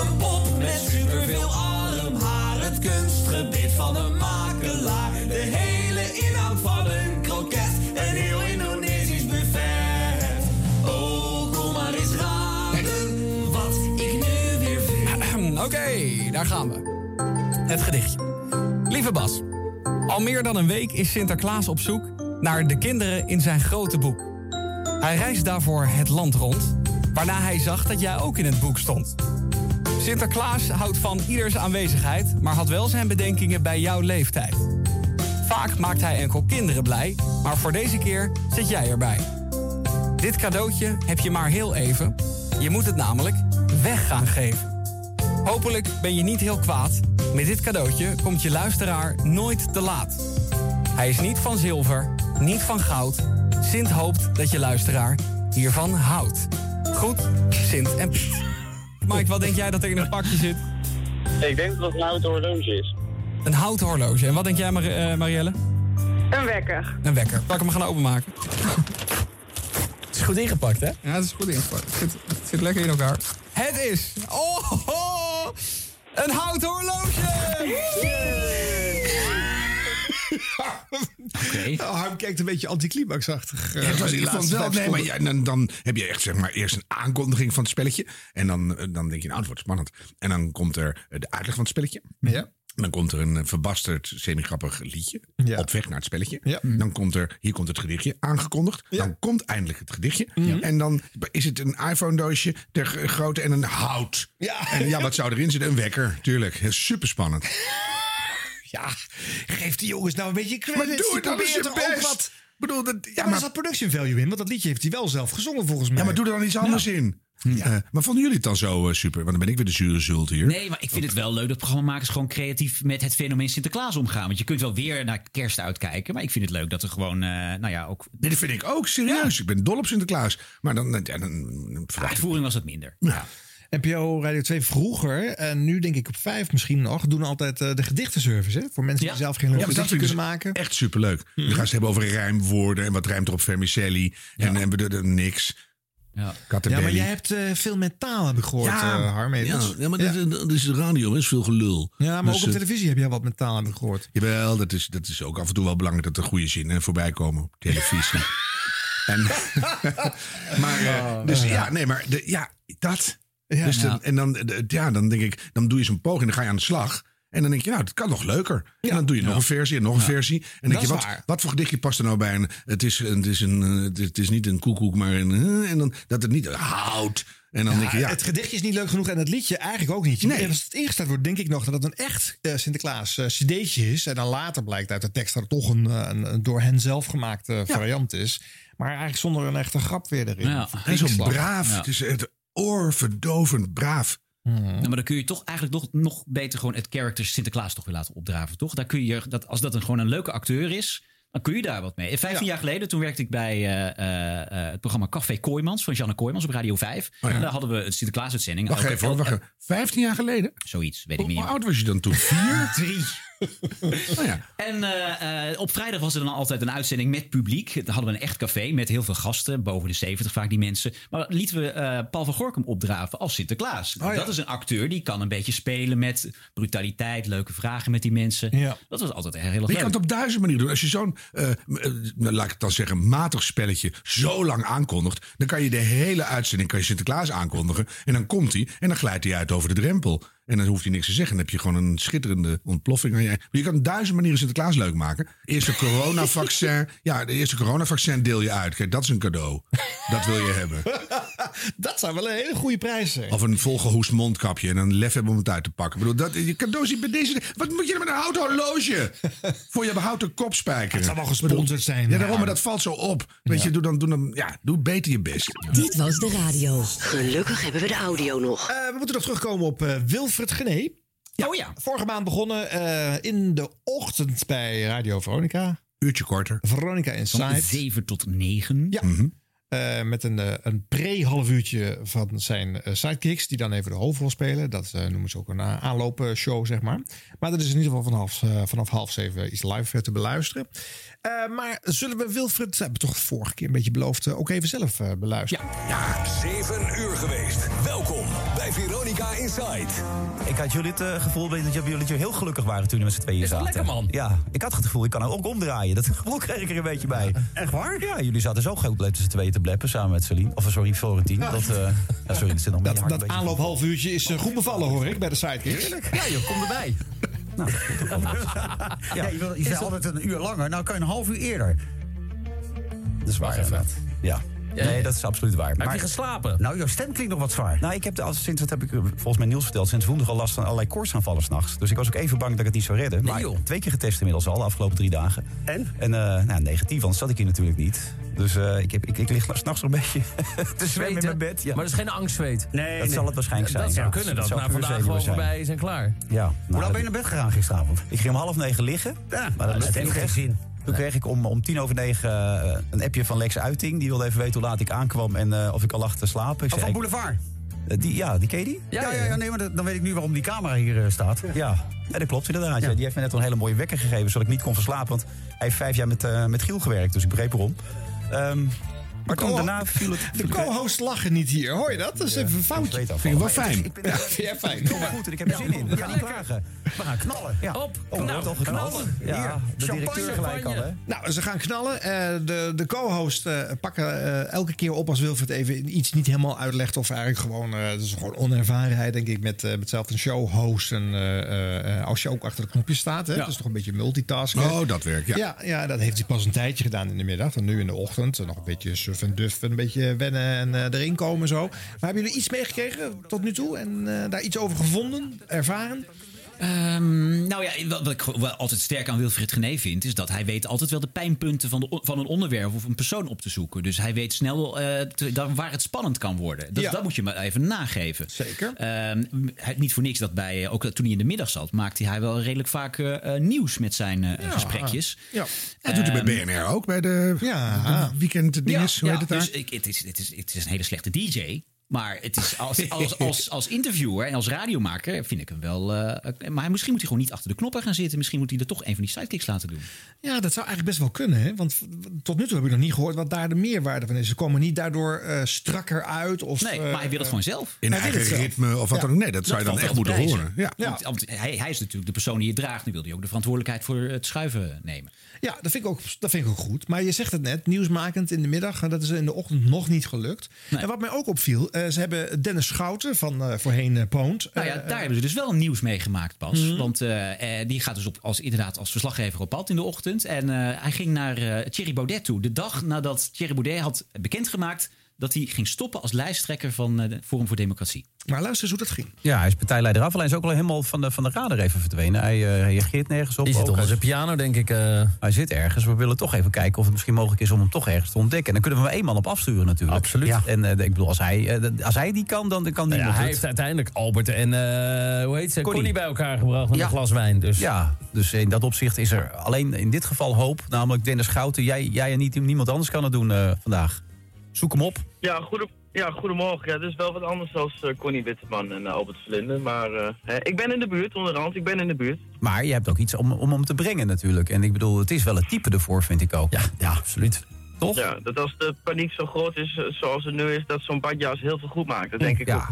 [SPEAKER 3] Een pop met superveel armhaar, het kunstgebit van een makelaar. De hele inhoud van een kroket, een heel Indonesisch buffet. Oh, kom maar eens raden wat ik nu weer vind.
[SPEAKER 16] Oké, daar gaan we. Het gedichtje. Lieve Bas, al meer dan een week is Sinterklaas op zoek naar de kinderen in zijn grote boek. Hij reist daarvoor het land rond, waarna hij zag dat jij ook in het boek stond. Sinterklaas houdt van ieders aanwezigheid, maar had wel zijn bedenkingen bij jouw leeftijd. Vaak maakt hij enkel kinderen blij, maar voor deze keer zit jij erbij. Dit cadeautje heb je maar heel even. Je moet het namelijk weg gaan geven. Hopelijk ben je niet heel kwaad. Met dit cadeautje komt je luisteraar nooit te laat. Hij is niet van zilver, niet van goud. Sint hoopt dat je luisteraar hiervan houdt. Goed, Sint en Piet. Mike, wat denk jij dat er in het pakje zit?
[SPEAKER 17] Ik denk dat het een houten horloge is.
[SPEAKER 16] Een houten horloge. En wat denk jij, Mar- eh, Marielle?
[SPEAKER 8] Een wekker.
[SPEAKER 16] Een wekker. Zal ik hem gaan openmaken? Het is goed ingepakt, hè? Ja, het is goed ingepakt. Het zit, het zit lekker in elkaar. Het is... Oh, ho, een houten horloge!
[SPEAKER 2] Nou, Harm kijkt een beetje anticlimaxachtig.
[SPEAKER 6] Oh,
[SPEAKER 2] eh,
[SPEAKER 6] Ja, het was
[SPEAKER 2] die
[SPEAKER 6] in ieder geval
[SPEAKER 2] laatste
[SPEAKER 6] wel.
[SPEAKER 2] vijf
[SPEAKER 6] Nee, maar
[SPEAKER 2] seconden.
[SPEAKER 6] ja, dan, dan heb je echt zeg maar eerst een aankondiging van het spelletje. En dan, eh, dan denk je, nou, het wordt spannend. En dan komt er eh, de uitleg van het spelletje.
[SPEAKER 2] Ja.
[SPEAKER 6] En Dan komt er een eh, verbasterd, semi-grappig liedje. Op weg naar het spelletje. Mm-hmm. Dan komt er, hier komt het gedichtje aangekondigd. Dan komt eindelijk het gedichtje.
[SPEAKER 2] Mm-hmm.
[SPEAKER 6] En dan is het een iPhone-doosje ter g- grootte en een hout. En ja, wat zou erin zitten? Een wekker, tuurlijk. Super spannend.
[SPEAKER 2] Ja, geef die jongens nou een beetje credits.
[SPEAKER 6] Maar doe het
[SPEAKER 2] Die
[SPEAKER 6] dan eens je
[SPEAKER 2] proberen toch ook
[SPEAKER 6] best.
[SPEAKER 2] wat-
[SPEAKER 6] Bedoel, dat,
[SPEAKER 2] ja, maar er zat production value in, want dat liedje heeft hij wel zelf gezongen volgens mij.
[SPEAKER 6] Ja, maar doe er dan iets anders in. Eh, maar vonden jullie het dan zo eh, super? Want dan ben ik weer de zure zult hier.
[SPEAKER 7] Nee, maar ik vind het wel leuk dat programmamakers gewoon creatief met het fenomeen Sinterklaas omgaan. Want je kunt wel weer naar kerst uitkijken. Maar ik vind het leuk dat er gewoon, eh, nou ja, ook...
[SPEAKER 6] Dit vind ik ook, serieus. Ik ben dol op Sinterklaas. Maar dan... ja, dan,
[SPEAKER 7] De uitvoering was het minder.
[SPEAKER 2] NPO Radio 2 vroeger, en nu denk ik op vijf misschien nog, doen altijd eh, de gedichtenservice. Hè? Voor mensen die zelf geen leuk
[SPEAKER 6] maar
[SPEAKER 2] gedichtje
[SPEAKER 6] vind ik
[SPEAKER 2] kunnen
[SPEAKER 6] dus
[SPEAKER 2] maken.
[SPEAKER 6] Echt superleuk. Dan gaan ze het hebben over rijmwoorden en wat rijmt er op vermicelli. En, en we doen er niks.
[SPEAKER 7] Ja.
[SPEAKER 2] Ja, maar jij hebt eh, veel met taal, heb ik gehoord,
[SPEAKER 6] Ja,
[SPEAKER 2] eh, Harm. Edens.
[SPEAKER 6] ja, ja, maar dat- dat- dat is de radio, hè, is veel gelul.
[SPEAKER 2] Ja, maar
[SPEAKER 6] Dus,
[SPEAKER 2] ook op
[SPEAKER 6] eh,
[SPEAKER 2] televisie heb jij wat met taal, heb ik gehoord.
[SPEAKER 6] Jawel, dat is, dat is ook af en toe wel belangrijk dat er goede zinnen voorbij komen op televisie. en, maar, eh, dus ja, nee, maar de, ja, dat.
[SPEAKER 2] Oh, Ja.
[SPEAKER 6] dus dan,
[SPEAKER 2] Ja.
[SPEAKER 6] En dan, de- ja, dan denk ik, dan doe je zo'n poging, dan ga je aan de slag. En dan denk je, nou, dat kan nog leuker. En dan doe je nog een versie en nog een versie. En dan
[SPEAKER 2] Dat
[SPEAKER 6] denk je,
[SPEAKER 2] is
[SPEAKER 6] wat,
[SPEAKER 2] waar.
[SPEAKER 6] wat voor gedichtje past er nou bij? Een, het, is, een- het, is een, eh, het, is, het is niet een koekoek, maar een... eh, En dan, dat het niet houdt. En dan denk je, ja.
[SPEAKER 2] Het gedichtje is niet leuk genoeg en het liedje eigenlijk ook niet. Nee. Als het ingestart wordt, denk ik nog dat het een echt eh, Sinterklaas eh, cd'tje is. En dan later blijkt uit de tekst dat het toch een, eh, een, een door hen zelf gemaakte eh, variant is. Maar eigenlijk zonder een echte grap weer erin.
[SPEAKER 6] Hij is zo braaf.
[SPEAKER 7] Ja.
[SPEAKER 6] Het is het oorverdovend braaf.
[SPEAKER 7] Nou, maar dan kun je toch eigenlijk nog, nog beter gewoon het karakter Sinterklaas toch weer laten opdraven, toch? Daar kun je, dat, als dat een, gewoon een leuke acteur is, dan kun je daar wat mee. En 15 jaar geleden, toen werkte ik bij eh, eh, eh, het programma Café Kooijmans van Janne Kooijmans op Radio 5.
[SPEAKER 6] Oh ja.
[SPEAKER 7] En daar hadden we een Sinterklaas-uitzending.
[SPEAKER 6] Wacht
[SPEAKER 7] Elke-
[SPEAKER 6] even, hoor, wacht
[SPEAKER 7] el-
[SPEAKER 6] even. 15 jaar geleden?
[SPEAKER 7] Zoiets, weet ik niet.
[SPEAKER 6] Hoe oud was je dan toen? Vier?
[SPEAKER 7] Drie.
[SPEAKER 6] Nou ja.
[SPEAKER 7] En eh, eh, op vrijdag was er dan altijd een uitzending met publiek. Dan hadden we een echt café met heel veel gasten. Boven de 70 vaak die mensen. Maar lieten we eh, Paul van Gorkum opdraven als Sinterklaas.
[SPEAKER 6] Oh,
[SPEAKER 7] Dat is een acteur die kan een beetje spelen met brutaliteit. Leuke vragen met die mensen. Dat was altijd heel erg
[SPEAKER 6] Maar je kan
[SPEAKER 7] leuk.
[SPEAKER 6] het op duizend manieren doen. Als je zo'n, eh, eh, nou, laat ik het dan zeggen, matig spelletje zo lang aankondigt. dan kan je de hele uitzending kan je Sinterklaas aankondigen. En dan komt hij en dan glijdt hij uit over de drempel. En dan hoeft hij niks te zeggen. Dan heb je gewoon een schitterende ontploffing aan je. Maar je kan op duizend manieren Sinterklaas leuk maken. Eerste coronavaccin. ja, de eerste coronavaccin deel je uit. Kijk, dat is een cadeau. Dat wil je hebben.
[SPEAKER 2] Dat zijn wel een hele goede prijzen.
[SPEAKER 6] Of een volgehoest mondkapje en een lef hebben om het uit te pakken. Ik bedoel, dat, je cadeaus bij deze. Wat moet je dan met een houten horloge? Voor je houten kopspijker. Het
[SPEAKER 2] zal wel gesponsord zijn,
[SPEAKER 6] Ja,
[SPEAKER 2] maar-
[SPEAKER 6] daarom, maar dat valt zo op. Weet je, doe dan, doe dan ja, doe beter je best.
[SPEAKER 18] Dit was de radio. Gelukkig hebben we de audio nog.
[SPEAKER 2] Eh, we moeten nog terugkomen op eh, Wilfred Gené.
[SPEAKER 7] Oh ja.
[SPEAKER 2] Vorige maand begonnen eh, in de ochtend bij Radio Veronica.
[SPEAKER 6] Uurtje korter.
[SPEAKER 2] Veronica
[SPEAKER 7] Van
[SPEAKER 2] Inside.
[SPEAKER 7] 7 tot 9.
[SPEAKER 2] Ja. Eh, met een, eh, een pre-half uurtje van zijn eh, sidekicks, die dan even de hoofdrol spelen. Dat eh, noemen ze ook een eh, aanloopshow, zeg maar. Maar dat is in ieder geval vanaf, eh, vanaf half zeven iets live eh, te beluisteren. Eh, maar zullen we Wilfred, we hebben toch vorige keer een beetje beloofd, eh, ook even zelf eh, beluisteren?
[SPEAKER 13] Ja, 7 uur geweest. Welkom bij Veronica Inside.
[SPEAKER 19] Ik had jullie het eh, gevoel dat jullie- jullie heel gelukkig waren toen we met z'n tweeën zaten.
[SPEAKER 16] lekker, man?
[SPEAKER 19] Ja, ik had het gevoel, ik kan er ook omdraaien. Dat gevoel kreeg ik er een beetje bij. Echt waar? Ja, jullie zaten zo goed met z'n tweeën te bleppen samen met Celine. Of sorry, Florentien. Dat, eh, ja, sorry, dat zit nog
[SPEAKER 2] Dat, dat aanloop half uurtje is eh, goed bevallen, hoor ik, bij de sidekicks.
[SPEAKER 19] Ja joh, kom erbij. Ja, je, wil, je zei altijd een uur langer. Nou kan je een half uur eerder. Dat is waar, inderdaad. Ja. Nee, dat is absoluut waar.
[SPEAKER 16] je
[SPEAKER 19] geslapen? Nou, jouw stem klinkt nog wat zwaar. Nou, ik heb de, al- sinds, wat heb ik eh, volgens mij Niels verteld, sinds woensdag al last van allerlei koortsaanvallen s'nachts. Dus ik was ook even bang dat ik het niet zou redden. Maar twee keer getest inmiddels al, de afgelopen drie dagen. En? En eh, nou, negatief, anders zat ik hier natuurlijk niet. Dus eh, ik, heb, ik, ik lig s'nachts nog een beetje te zwemmen in mijn bed. Ja.
[SPEAKER 8] Maar dat is geen angstzweet. Nee,
[SPEAKER 19] Dat zal het waarschijnlijk
[SPEAKER 8] Dat
[SPEAKER 19] zijn,
[SPEAKER 8] zou
[SPEAKER 19] ja.
[SPEAKER 8] kunnen.
[SPEAKER 19] Dat
[SPEAKER 8] Dat,
[SPEAKER 19] zou
[SPEAKER 8] na
[SPEAKER 19] puur
[SPEAKER 8] vandaag gewoon
[SPEAKER 19] zenuwen zijn.
[SPEAKER 8] voorbij is en klaar.
[SPEAKER 19] Ja.
[SPEAKER 8] Hoe laat ben je
[SPEAKER 19] naar bed gegaan gisteravond? Ik ging om half negen liggen. maar dat, lukte
[SPEAKER 8] heeft
[SPEAKER 19] niet
[SPEAKER 8] geen
[SPEAKER 19] echt.
[SPEAKER 8] zin.
[SPEAKER 19] Toen kreeg ik om, om tien over negen eh, een appje van Lex Uiting. Die wilde even weten hoe laat ik aankwam en eh, of ik al lag te slapen. Ik
[SPEAKER 8] Oh, van
[SPEAKER 19] Boulevard? die, ja, die ken je die?
[SPEAKER 8] Ja, ja, ja.
[SPEAKER 19] nee, maar dat- dan weet ik nu waarom die camera hier eh, staat. Ja, ja, dat klopt inderdaad. Ja. Die heeft me net een hele mooie wekker gegeven, zodat ik niet kon verslapen. Want hij heeft vijf jaar met, eh, met Giel gewerkt, dus ik begreep waarom. Ehm, maar toen
[SPEAKER 2] co-
[SPEAKER 19] daarna viel het...
[SPEAKER 2] De co-hosts lachen niet hier, hoor je dat? Dat is even een foutje.
[SPEAKER 19] Vind
[SPEAKER 2] ik wel fijn.
[SPEAKER 19] Oh, dus Ik ben
[SPEAKER 2] vind jij fijn.
[SPEAKER 19] Ik voel me goed en ik heb er zin in. We gaan niet klagen. We gaan knallen. Ja. Op. Oh, er wordt al geknald. Ja, de directeur gelijk al, hè?
[SPEAKER 2] Nou, ze gaan knallen. Eh, de de co-host eh, pakken eh, elke keer op als Wilfred even iets niet helemaal uitlegt. Of eigenlijk gewoon, eh dat is gewoon onervarenheid, denk ik, met, eh, met zelf een show hosten. eh, eh, als je ook achter de knopjes staat. Hè?
[SPEAKER 6] Ja.
[SPEAKER 2] Dat is toch een beetje multitasken.
[SPEAKER 6] Oh, dat werkt, ja.
[SPEAKER 2] ja. Ja, dat heeft hij pas een tijdje gedaan in de middag. En nu in de ochtend. eh, Nog een beetje suf en duf. en Een beetje wennen en eh, erin komen en zo. Maar hebben jullie iets meegekregen tot nu toe? En eh, daar iets over gevonden? Ervaren?
[SPEAKER 7] Ehm, nou ja, wat, wat ik gewoon wel altijd sterk aan Wilfried Gené vind... is dat hij weet altijd wel de pijnpunten van, de, on- van een onderwerp of een persoon op te zoeken. Dus hij weet snel eh, te- daar waar het spannend kan worden. Dat, dat moet je maar even nageven. Zeker. niet voor niks dat bij... eh, Ook toen hij in de middag zat, maakte hij wel redelijk vaak eh, eh, nieuws met zijn eh, gesprekjes.
[SPEAKER 6] Ja. Dat doet hij bij
[SPEAKER 7] Ehm,
[SPEAKER 6] BNR ook, bij de, de weekenddinges.
[SPEAKER 7] ja,
[SPEAKER 6] hoe
[SPEAKER 7] ja,
[SPEAKER 6] heet het daar?
[SPEAKER 7] dus ik, het, is, het, is, het is een hele slechte DJ. Maar het is als, als, als, als interviewer en als radiomaker vind ik hem wel. eh, maar misschien moet hij gewoon niet achter de knoppen gaan zitten. Misschien moet hij er toch een van die sidekicks laten doen.
[SPEAKER 2] Ja, dat zou eigenlijk best wel kunnen. Hè? Want v- tot nu toe heb ik nog niet gehoord wat daar de meerwaarde van is. Ze komen niet daardoor eh, strakker uit. Of, eh,
[SPEAKER 7] Nee, maar hij wil het gewoon zelf.
[SPEAKER 2] In Ja.
[SPEAKER 7] Ja. Want, want hij, hij is natuurlijk de persoon die het draagt. Nu wil hij ook de verantwoordelijkheid voor het schuiven nemen.
[SPEAKER 2] Ja, dat vind, ik ook, dat vind ik ook goed. Maar je zegt het net, nieuwsmakend in de middag. en Dat is in de ochtend nog niet gelukt. En wat mij ook opviel, eh, ze hebben Dennis Schouten van eh, voorheen eh, Poont.
[SPEAKER 7] Nou ja,
[SPEAKER 2] eh,
[SPEAKER 7] daar hebben ze dus wel nieuws mee gemaakt, Bas.
[SPEAKER 2] Mhm.
[SPEAKER 7] Want eh, eh, die gaat dus op, als, inderdaad als verslaggever op pad in de ochtend. En eh, hij ging naar eh, Thierry Baudet toe. De dag nadat Thierry Baudet had bekendgemaakt... dat hij ging stoppen als lijsttrekker van eh, de Forum voor Democratie.
[SPEAKER 2] Maar luister eens hoe dat ging.
[SPEAKER 19] Ja, hij is partijleider af. Alleen is ook al helemaal van de, van de radar even verdwenen. Hij eh, reageert nergens op.
[SPEAKER 8] Die zit
[SPEAKER 19] ook.
[SPEAKER 8] onder
[SPEAKER 19] Hij-
[SPEAKER 8] zijn piano, denk ik. eh.
[SPEAKER 19] Hij zit ergens. We willen toch even kijken of het misschien mogelijk is om hem toch ergens te ontdekken. En dan kunnen we hem één man op afsturen natuurlijk. Absoluut. En eh, ik bedoel, als hij, eh, als hij die kan, dan, dan kan die
[SPEAKER 8] Nou ja, hij heeft uiteindelijk Albert en eh, hoe heet ze? Connie. bij elkaar gebracht met een glas wijn. Dus.
[SPEAKER 19] Ja, dus in dat opzicht is er alleen in dit geval hoop. Namelijk Dennis Schouten, jij, jij en niet, niemand anders kan het doen eh, vandaag. Zoek hem op.
[SPEAKER 20] Ja, goede, ja goedemorgen. Ja, dit is wel wat anders dan eh, Connie Witteman en eh, Albert Vlinder. Maar eh, hè, ik ben in de buurt, onderhand. Ik ben in de buurt.
[SPEAKER 19] Maar je hebt ook iets om, om hem te brengen natuurlijk. En ik bedoel, het is wel het type ervoor, vind ik ook. Ja, ja absoluut. Toch?
[SPEAKER 20] Ja, dat als de paniek zo groot is eh, zoals het nu is, dat zo'n badjas heel veel goed maakt. Dat denk ik ook.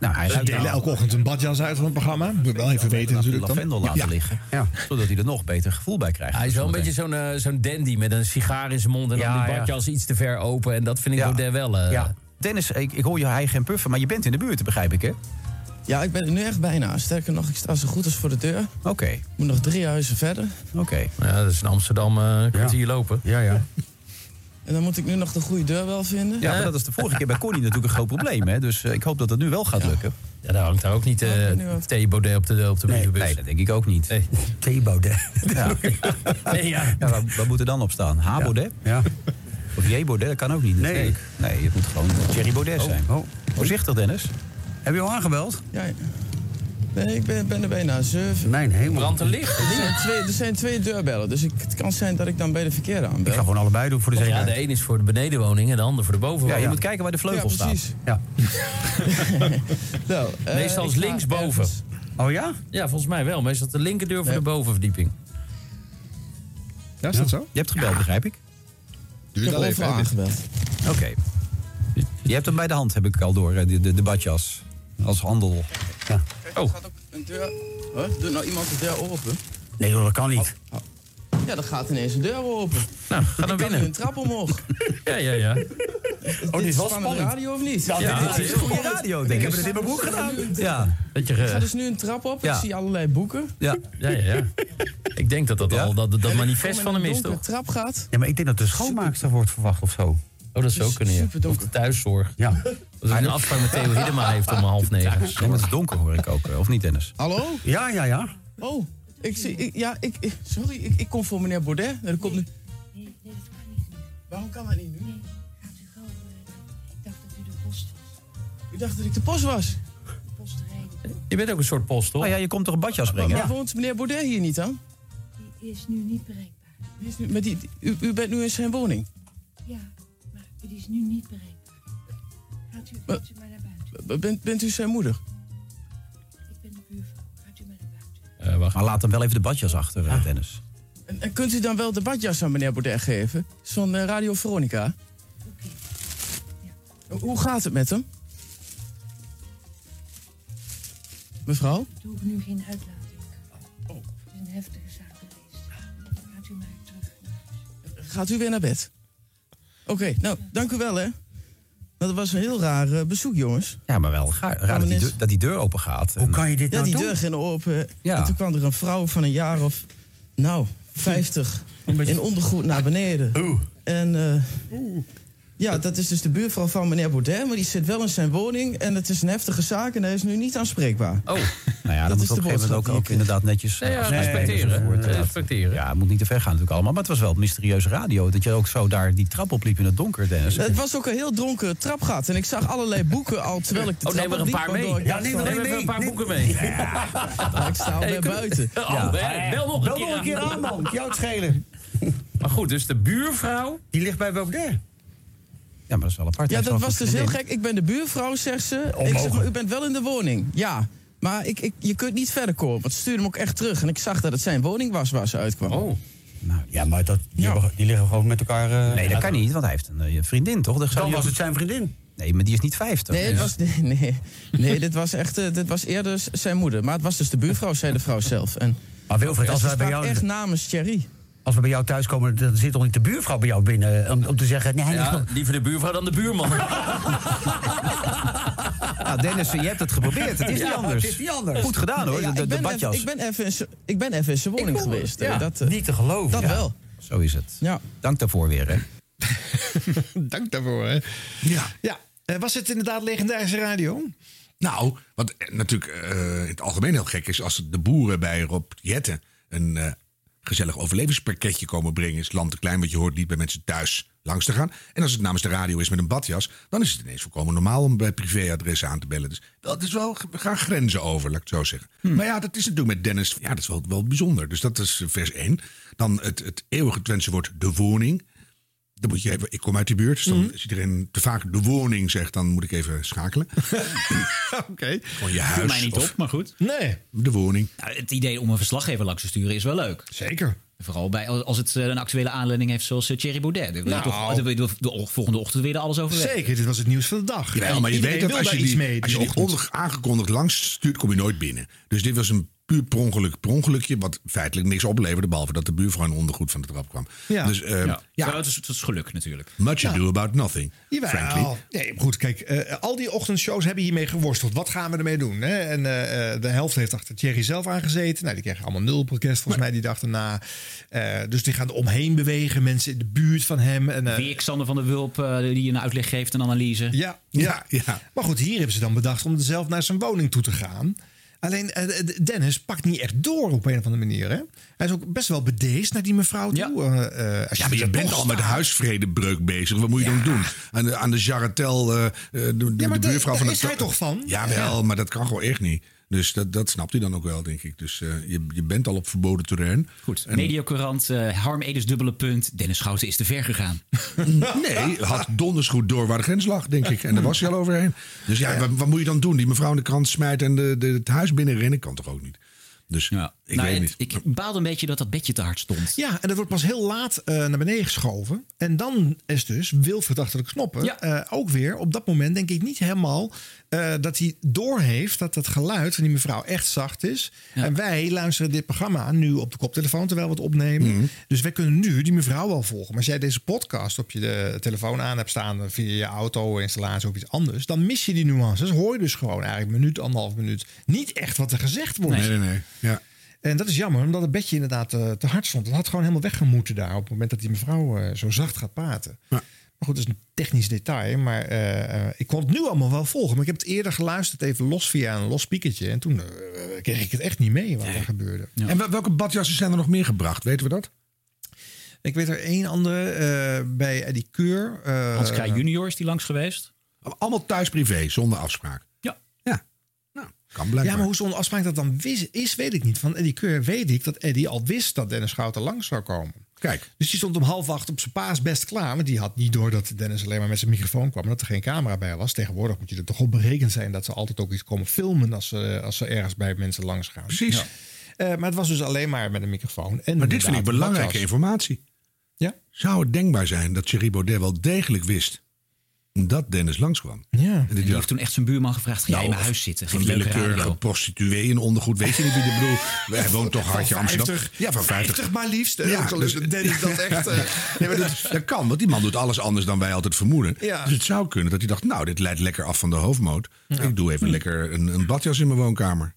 [SPEAKER 19] Nou, hij
[SPEAKER 2] Ze delen elke ochtend een badjas uit van het programma. Moet je wel even weten natuurlijk dan.
[SPEAKER 19] Lavendel laten
[SPEAKER 2] Ja.
[SPEAKER 19] liggen. Zodat hij er nog beter gevoel bij krijgt.
[SPEAKER 8] Hij is wel een beetje zo'n eh, zo'n dandy met een sigaar in zijn mond en dan
[SPEAKER 19] Ja,
[SPEAKER 8] die
[SPEAKER 19] ja.
[SPEAKER 8] badjas iets te ver open. En dat vind ik Baudet wel. eh,
[SPEAKER 19] Ja. Dennis, ik, ik hoor je hijgen en puffen, maar je bent in de buurt, begrijp ik, hè?
[SPEAKER 21] Ja, ik ben er nu echt bijna. Sterker nog, ik sta zo goed als voor de deur.
[SPEAKER 19] Oké. Ik
[SPEAKER 21] moet nog drie huizen verder.
[SPEAKER 19] Oké.
[SPEAKER 8] Ja, dat is in Amsterdam eh kwartier lopen. Ja, ja.
[SPEAKER 21] En dan moet ik nu nog de goede deur wel vinden.
[SPEAKER 19] Ja, maar dat is de vorige keer bij Connie natuurlijk een groot probleem, hè? Dus eh, ik hoop dat dat nu wel gaat lukken.
[SPEAKER 8] Ja, daar hangt daar ook niet eh Thee Baudet op de, op de
[SPEAKER 19] Nee,
[SPEAKER 8] brievenbus.
[SPEAKER 19] nee, dat denk ik ook niet. Nee. T-Baudet. Ja.
[SPEAKER 8] Nee, ja.
[SPEAKER 19] Ja, waar, waar moet er dan op staan? H-Baudet? Ja. Of J-Baudet, dat kan ook niet.
[SPEAKER 21] Nee.
[SPEAKER 19] natuurlijk. Nee, het moet gewoon Thierry Baudet
[SPEAKER 8] Oh.
[SPEAKER 19] zijn. Voorzichtig, Dennis. Heb je al aangebeld?
[SPEAKER 21] Ja, ja. Nee, ik ben, ben er bijna. Zeven.
[SPEAKER 19] Mijn hemel.
[SPEAKER 8] Brandt er licht.
[SPEAKER 21] Er zijn twee, er zijn twee deurbellen, dus ik, het kan zijn dat ik dan bij de verkeerde aanbel.
[SPEAKER 19] Ik ga gewoon allebei doen voor de
[SPEAKER 8] Oh, Ja,
[SPEAKER 19] zekerheid.
[SPEAKER 8] de een is voor de benedenwoning en de ander voor de bovenwoning.
[SPEAKER 19] Ja, je moet kijken waar de vleugel
[SPEAKER 21] Ja, precies.
[SPEAKER 19] staat. Ja.
[SPEAKER 21] Nou, eh,
[SPEAKER 8] Meestal is
[SPEAKER 21] ik ga
[SPEAKER 8] linksboven.
[SPEAKER 19] Oh ja?
[SPEAKER 8] Ja, volgens mij wel. Meestal de linkerdeur voor de bovenverdieping.
[SPEAKER 2] Ja, is dat zo?
[SPEAKER 19] Je hebt gebeld, begrijp ik.
[SPEAKER 21] Ik heb overal aangebeld.
[SPEAKER 19] Oké. Je hebt hem bij de hand, heb ik al door, hè, de, de, de badjas. Als handel. Ja.
[SPEAKER 21] Oh. Gaat ook een deur... Huh? Doet nou iemand de deur open?
[SPEAKER 19] Nee hoor, dat kan niet.
[SPEAKER 21] Ja, dan gaat ineens een deur open.
[SPEAKER 8] Nou, ga dan
[SPEAKER 21] binnen. een trap
[SPEAKER 19] Oh,
[SPEAKER 21] omhoog.
[SPEAKER 8] Ja, ja, ja.
[SPEAKER 21] Oh, dit is wel spannend. radio of niet? Ja,
[SPEAKER 19] dit is goede radio, denk ik. Ik heb het in mijn boek gedaan. Ja.
[SPEAKER 8] Dat je,
[SPEAKER 21] dus Ik ga
[SPEAKER 8] eh,
[SPEAKER 21] dus nu een trap op,
[SPEAKER 8] Ja.
[SPEAKER 21] ik zie allerlei boeken.
[SPEAKER 19] Ja.
[SPEAKER 8] Ja, ja, ja. Ik denk dat dat al dat, dat manifest van hem is, toch?
[SPEAKER 21] trap gaat.
[SPEAKER 19] Ja, maar ik denk dat de schoonmaakster wordt verwacht of zo.
[SPEAKER 8] Oh, dat zou kunnen, ja. Of de thuiszorg. Ja. Dat is een afspraak met Theo Hiddema heeft om half negen.
[SPEAKER 19] Ja, maar het is donker hoor ik ook, eh, of niet Dennis?
[SPEAKER 21] Hallo?
[SPEAKER 19] Ja, ja, ja.
[SPEAKER 21] Oh, ik zie... Ik, ja, ik, ik- sorry, ik, ik kom voor meneer Baudet. Nee, dat komt nu... Waarom kan dat niet nu?
[SPEAKER 9] eh,
[SPEAKER 21] U dacht dat ik de post was.
[SPEAKER 8] Je bent ook een soort post, toch?
[SPEAKER 19] Oh ja, je komt toch een badjas
[SPEAKER 21] Maar waarom woont meneer Baudet hier niet dan?
[SPEAKER 9] Die is nu niet bereikbaar.
[SPEAKER 21] Die is nu, met die, u, u bent nu in zijn woning.
[SPEAKER 9] Ja, maar die is nu niet bereikbaar. Gaat u,
[SPEAKER 21] Maar-
[SPEAKER 9] gaat u maar naar buiten.
[SPEAKER 21] B- Bent, bent u zijn moeder?
[SPEAKER 9] Ik ben de buurvrouw. Gaat u maar naar buiten.
[SPEAKER 8] Eh,
[SPEAKER 19] Maar laat hem wel even de badjas achter, eh, Dennis.
[SPEAKER 21] En, en kunt u dan wel de badjas aan meneer Baudet geven? Zo'n eh, Radio Veronica? Hoe- Hoe gaat het met hem? Mevrouw?
[SPEAKER 9] Ik doe nu geen uitlating.
[SPEAKER 22] Oh,
[SPEAKER 9] Het is een heftige zaak geweest. Gaat u maar terug.
[SPEAKER 21] Gaat u weer naar bed? Oké, nou, dank u wel, hè. Nou, dat was een heel raar eh, bezoek, jongens.
[SPEAKER 19] Ja, maar wel raar, raar dat, dus- die deur, dat die deur open gaat. Hoe kan je dit nou
[SPEAKER 21] ja, die deur ging open.
[SPEAKER 19] Ehm, Ja.
[SPEAKER 21] En toen kwam er een vrouw van een jaar of, nou, 50.
[SPEAKER 19] Een beetje-
[SPEAKER 21] In ondergoed naar beneden. En eh, Ja, dat is dus de buurvrouw van meneer Baudet, maar die zit wel in zijn woning. En het is een heftige zaak en hij is nu niet aanspreekbaar.
[SPEAKER 19] Oh. Nou ja, dat,
[SPEAKER 21] Dat
[SPEAKER 19] moet
[SPEAKER 21] is
[SPEAKER 19] op een
[SPEAKER 21] de
[SPEAKER 19] gegeven moment ook,
[SPEAKER 21] boodschap
[SPEAKER 19] ook inderdaad netjes
[SPEAKER 21] Nee, ja,
[SPEAKER 19] eh, afgesproken
[SPEAKER 21] respecteren.
[SPEAKER 19] worden,
[SPEAKER 21] Ja,
[SPEAKER 19] inderdaad. Ja, het moet niet te ver gaan natuurlijk allemaal. Maar het was wel mysterieuze radio. Dat je ook zo daar die trap opliep in het donker, Dennis.
[SPEAKER 21] Het was ook een heel dronken trapgat en ik zag allerlei boeken al terwijl ik de
[SPEAKER 19] Oh, neem
[SPEAKER 21] trap
[SPEAKER 19] er een
[SPEAKER 21] opliep,
[SPEAKER 19] paar
[SPEAKER 21] waardoor
[SPEAKER 19] mee.
[SPEAKER 21] ik
[SPEAKER 19] Ja,
[SPEAKER 21] dacht
[SPEAKER 19] neem
[SPEAKER 21] van-
[SPEAKER 19] er even een paar boeken mee.
[SPEAKER 21] Ja. Maar ik sta al
[SPEAKER 8] Hey,
[SPEAKER 21] bij
[SPEAKER 8] kom-
[SPEAKER 21] buiten.
[SPEAKER 8] Oh, hè, bel nog een keer aan.
[SPEAKER 19] Jouw het schelen.
[SPEAKER 8] Maar goed, dus de buurvrouw...
[SPEAKER 19] Die ligt bij Baudet. Ja, maar dat is wel apart.
[SPEAKER 21] Ja,
[SPEAKER 19] Hij is
[SPEAKER 21] dat
[SPEAKER 19] wel
[SPEAKER 21] was
[SPEAKER 19] goed
[SPEAKER 21] dus heel
[SPEAKER 19] vriendin.
[SPEAKER 21] gek. Ik ben de buurvrouw, zegt ze. Ik zeg,
[SPEAKER 19] Onmogelijk.
[SPEAKER 21] maar, u bent wel in de woning. Ja, maar ik, ik, je kunt niet verder komen. Want ze stuurde hem ook echt terug. En ik zag dat het zijn woning was waar ze uitkwam. Oh.
[SPEAKER 19] Nou, Ja, maar dat, die, hebben- die liggen gewoon met elkaar... eh, nee, dat
[SPEAKER 21] uit-
[SPEAKER 19] kan niet, want hij heeft een eh, vriendin, toch?
[SPEAKER 21] Dan was het
[SPEAKER 19] zijn vriendin. Nee, maar die is niet Dus- 50.
[SPEAKER 21] Nee, het was, nee, nee, nee dit was echt, eh, dit was eerder z- zijn moeder. Maar het was dus de buurvrouw, zei de vrouw zelf. En,
[SPEAKER 23] Maar Wilfred,
[SPEAKER 21] Ja,
[SPEAKER 23] als
[SPEAKER 21] ze
[SPEAKER 23] wij bij
[SPEAKER 21] sprak
[SPEAKER 23] jou-
[SPEAKER 21] echt namens Thierry.
[SPEAKER 23] Als we bij jou thuis komen, dan zit toch niet de buurvrouw bij jou binnen
[SPEAKER 19] eh,
[SPEAKER 23] om, om te zeggen... Nee, hij ligt
[SPEAKER 8] Ja,
[SPEAKER 23] nog-
[SPEAKER 8] liever de buurvrouw dan de buurman.
[SPEAKER 19] Nou, Dennis, je hebt het geprobeerd. Het is
[SPEAKER 21] Ja,
[SPEAKER 19] niet anders.
[SPEAKER 21] het is niet anders.
[SPEAKER 19] Goed gedaan, hoor.
[SPEAKER 21] Ja,
[SPEAKER 19] de, de,
[SPEAKER 21] ik
[SPEAKER 19] de
[SPEAKER 21] ben
[SPEAKER 19] badjas.
[SPEAKER 21] even- Ik ben even in z'n- ik ben even in zijn woning geweest. eh,
[SPEAKER 19] Ja,
[SPEAKER 21] dat, eh,
[SPEAKER 19] niet te geloven.
[SPEAKER 21] Dat
[SPEAKER 19] Ja.
[SPEAKER 21] wel.
[SPEAKER 19] Zo is het.
[SPEAKER 21] Ja.
[SPEAKER 19] Dank daarvoor weer, hè.
[SPEAKER 2] Dank daarvoor, hè. Ja. ja. Eh, was het inderdaad legendarische radio?
[SPEAKER 6] Nou, wat eh, natuurlijk eh, in het algemeen heel gek is... als de boeren bij Rob Jetten een eh, gezellig overlevingspakketje komen brengen... is het land te klein, want je hoort niet bij mensen thuis langs te gaan. En als het namens de radio is met een badjas... dan is het ineens volkomen normaal om bij privéadressen aan te bellen. Dus dat is wel, we gaan grenzen over, laat ik het zo zeggen.
[SPEAKER 2] Hmm.
[SPEAKER 6] Maar ja, dat is natuurlijk met Dennis... ja, dat is wel, wel bijzonder. Dus dat is eh, vers 1. Dan het, het eeuwige Twentse woord de woning... Dan moet je even, ik kom uit die buurt, dus dan,
[SPEAKER 2] Mhm.
[SPEAKER 6] als iedereen te vaak de woning zegt, dan moet ik even schakelen.
[SPEAKER 2] Oké.
[SPEAKER 6] Gewoon je huis.
[SPEAKER 7] mij niet
[SPEAKER 6] of-
[SPEAKER 7] op, maar goed.
[SPEAKER 2] Nee.
[SPEAKER 6] De woning.
[SPEAKER 7] Nou, het idee om een verslaggever langs te sturen is wel leuk.
[SPEAKER 2] Zeker.
[SPEAKER 7] Vooral bij, als het eh, een actuele aanleiding heeft zoals eh, Thierry Baudet. Dan wil je
[SPEAKER 2] Nou.
[SPEAKER 7] toch- dan wil je de, de volgende ochtend weer er alles over weten.
[SPEAKER 2] Zeker, dit was het nieuws van de dag.
[SPEAKER 6] Jawel, maar je
[SPEAKER 2] Iedereen
[SPEAKER 6] weet dat
[SPEAKER 2] wil
[SPEAKER 6] als je
[SPEAKER 2] daar
[SPEAKER 6] die,
[SPEAKER 2] iets mee.
[SPEAKER 6] als je
[SPEAKER 2] die
[SPEAKER 6] die
[SPEAKER 2] ochtend.
[SPEAKER 6] onder aangekondigd langs stuurt, kom je nooit binnen. Dus dit was een puur per ongeluk, per ongelukje, wat feitelijk niks opleverde, behalve dat de buurvrouw in ondergoed van de trap kwam.
[SPEAKER 2] Ja.
[SPEAKER 6] Dus eh,
[SPEAKER 7] Ja. Maar Nou, het, is, het is geluk natuurlijk.
[SPEAKER 6] much ado about nothing,
[SPEAKER 2] Jawel.
[SPEAKER 6] frankly.
[SPEAKER 2] Nee, maar goed, kijk, eh, al die ochtendshows hebben hiermee geworsteld. Wat gaan we ermee doen? Hè? En eh, eh, de helft heeft achter Thierry zelf aangezeten. Nou, die kregen allemaal nul podcast volgens mij die dag erna. Eh, dus die gaan er omheen bewegen, mensen in de buurt van hem. En, eh,
[SPEAKER 7] Weer Xander van der Wulp eh, die een uitleg geeft, een analyse.
[SPEAKER 2] Ja, ja. Maar goed, hier hebben ze dan bedacht om zelf naar zijn woning toe te gaan. Alleen eh, eh, Dennis pakt niet echt door op een of andere manier. Hè? Hij is ook best wel bedeesd naar die mevrouw toe. Eh, eh, als
[SPEAKER 6] Ja, maar je
[SPEAKER 2] er
[SPEAKER 6] bent
[SPEAKER 2] toch
[SPEAKER 6] al met
[SPEAKER 2] staat.
[SPEAKER 6] huisvredebreuk bezig. Wat moet je dan doen? Aan de, aan de Jarretel, eh, eh, de, de- de
[SPEAKER 2] maar daar-
[SPEAKER 6] buurvrouw van
[SPEAKER 2] daar
[SPEAKER 6] de...
[SPEAKER 2] is hij toch van?
[SPEAKER 6] Jawel,
[SPEAKER 2] Ja.
[SPEAKER 6] maar dat kan gewoon echt niet. Dus dat, dat snapt hij dan ook wel, denk ik. Dus eh, je, je bent al op verboden terrein. Goed,
[SPEAKER 7] Mediacorant, eh, Harm Edens dubbele punt. Dennis Schouten is te ver gegaan.
[SPEAKER 6] Nee, had donders goed door waar de grens lag, denk ik. En daar was hij al overheen. Dus ja, Wat, wat moet je dan doen? Die mevrouw in de krant smijten en de, de, het huis binnenrennen? Kan toch ook niet? Dus ik
[SPEAKER 7] Nou,
[SPEAKER 6] weet
[SPEAKER 7] het-
[SPEAKER 6] niet.
[SPEAKER 7] Ik baalde een beetje dat dat bedje te hard stond.
[SPEAKER 2] Ja, en dat wordt pas heel laat eh, naar beneden geschoven. En dan is dus Wilfred achter de knoppen eh, ook weer op dat moment denk ik niet helemaal eh, dat hij doorheeft dat dat geluid van die mevrouw echt zacht is. En wij luisteren dit programma nu op de koptelefoon terwijl we het opnemen.
[SPEAKER 6] Mhm.
[SPEAKER 2] Dus wij kunnen nu die mevrouw wel volgen. Maar als jij deze podcast op je eh, telefoon aan hebt staan eh, via je auto, installatie of iets anders, dan mis je die nuances. Hoor je dus gewoon eigenlijk een minuut, anderhalf minuut niet echt wat er gezegd wordt.
[SPEAKER 6] Nee, nee, nee. Ja.
[SPEAKER 2] En dat is jammer, omdat het bedje inderdaad eh, te hard stond. Het had gewoon helemaal weggemoeten daar op het moment dat die mevrouw eh, zo zacht gaat praten. Maar goed, dat is een technisch detail. Maar eh, eh, ik kon het nu allemaal wel volgen. Maar ik heb het eerder geluisterd, even los via een los spiekertje. En toen eh, kreeg ik het echt niet mee wat er gebeurde.
[SPEAKER 6] En wel- welke badjassen zijn er nog meer gebracht? Weten we dat?
[SPEAKER 2] Ik weet er één andere eh, bij Eddie Keur. eh,
[SPEAKER 7] Hans Kraaij junior is die langs geweest.
[SPEAKER 6] Allemaal thuis privé, zonder afspraak.
[SPEAKER 7] Ja.
[SPEAKER 6] Ja. Nou, Kan blijkbaar.
[SPEAKER 2] Ja, maar hoe zo'n afspraak dat dan wis- is, weet ik niet. Van Eddie Keur weet ik dat Eddie al wist dat Dennis Schouten langs zou komen.
[SPEAKER 6] Kijk.
[SPEAKER 2] Dus die stond om half acht op zijn paas best klaar. Want die had niet door dat Dennis alleen maar met zijn microfoon kwam. En dat er geen camera bij was. Tegenwoordig moet je er toch op berekend zijn dat ze altijd ook iets komen filmen. als ze, als ze ergens bij mensen langs gaan.
[SPEAKER 6] Precies.
[SPEAKER 2] Ja. Eh, maar het was dus alleen maar met een microfoon. En
[SPEAKER 6] Maar dit vind ik
[SPEAKER 2] inderdaad,
[SPEAKER 6] belangrijke
[SPEAKER 2] badjas.
[SPEAKER 6] informatie.
[SPEAKER 2] Ja?
[SPEAKER 6] Zou het denkbaar zijn dat Thierry Baudet wel degelijk wist dat Dennis langskwam?
[SPEAKER 2] Ja.
[SPEAKER 6] En die heeft
[SPEAKER 7] toen echt zijn buurman gevraagd: ga jij in mijn huis zitten? Geef
[SPEAKER 6] Nou, Van
[SPEAKER 7] je leuke
[SPEAKER 6] willekeurige
[SPEAKER 7] radio.
[SPEAKER 6] prostituee in ondergoed. Weet je niet wie de bedoel? Hij woont toch hardje
[SPEAKER 2] Van
[SPEAKER 6] Amsterdam?
[SPEAKER 2] 50.
[SPEAKER 6] Ja, van 50.
[SPEAKER 2] 50 maar liefst. hè.
[SPEAKER 6] Ja, dus-
[SPEAKER 2] Ook al is het Dennis dat echt... eh,
[SPEAKER 6] Nee, maar dat, dat kan, want die man doet alles anders dan wij altijd vermoeden.
[SPEAKER 2] Ja.
[SPEAKER 6] Dus het
[SPEAKER 2] Hm.
[SPEAKER 6] zou kunnen dat hij dacht, nou, dit leidt lekker af van de hoofdmoot. Ik doe even lekker een, een badjas in mijn woonkamer.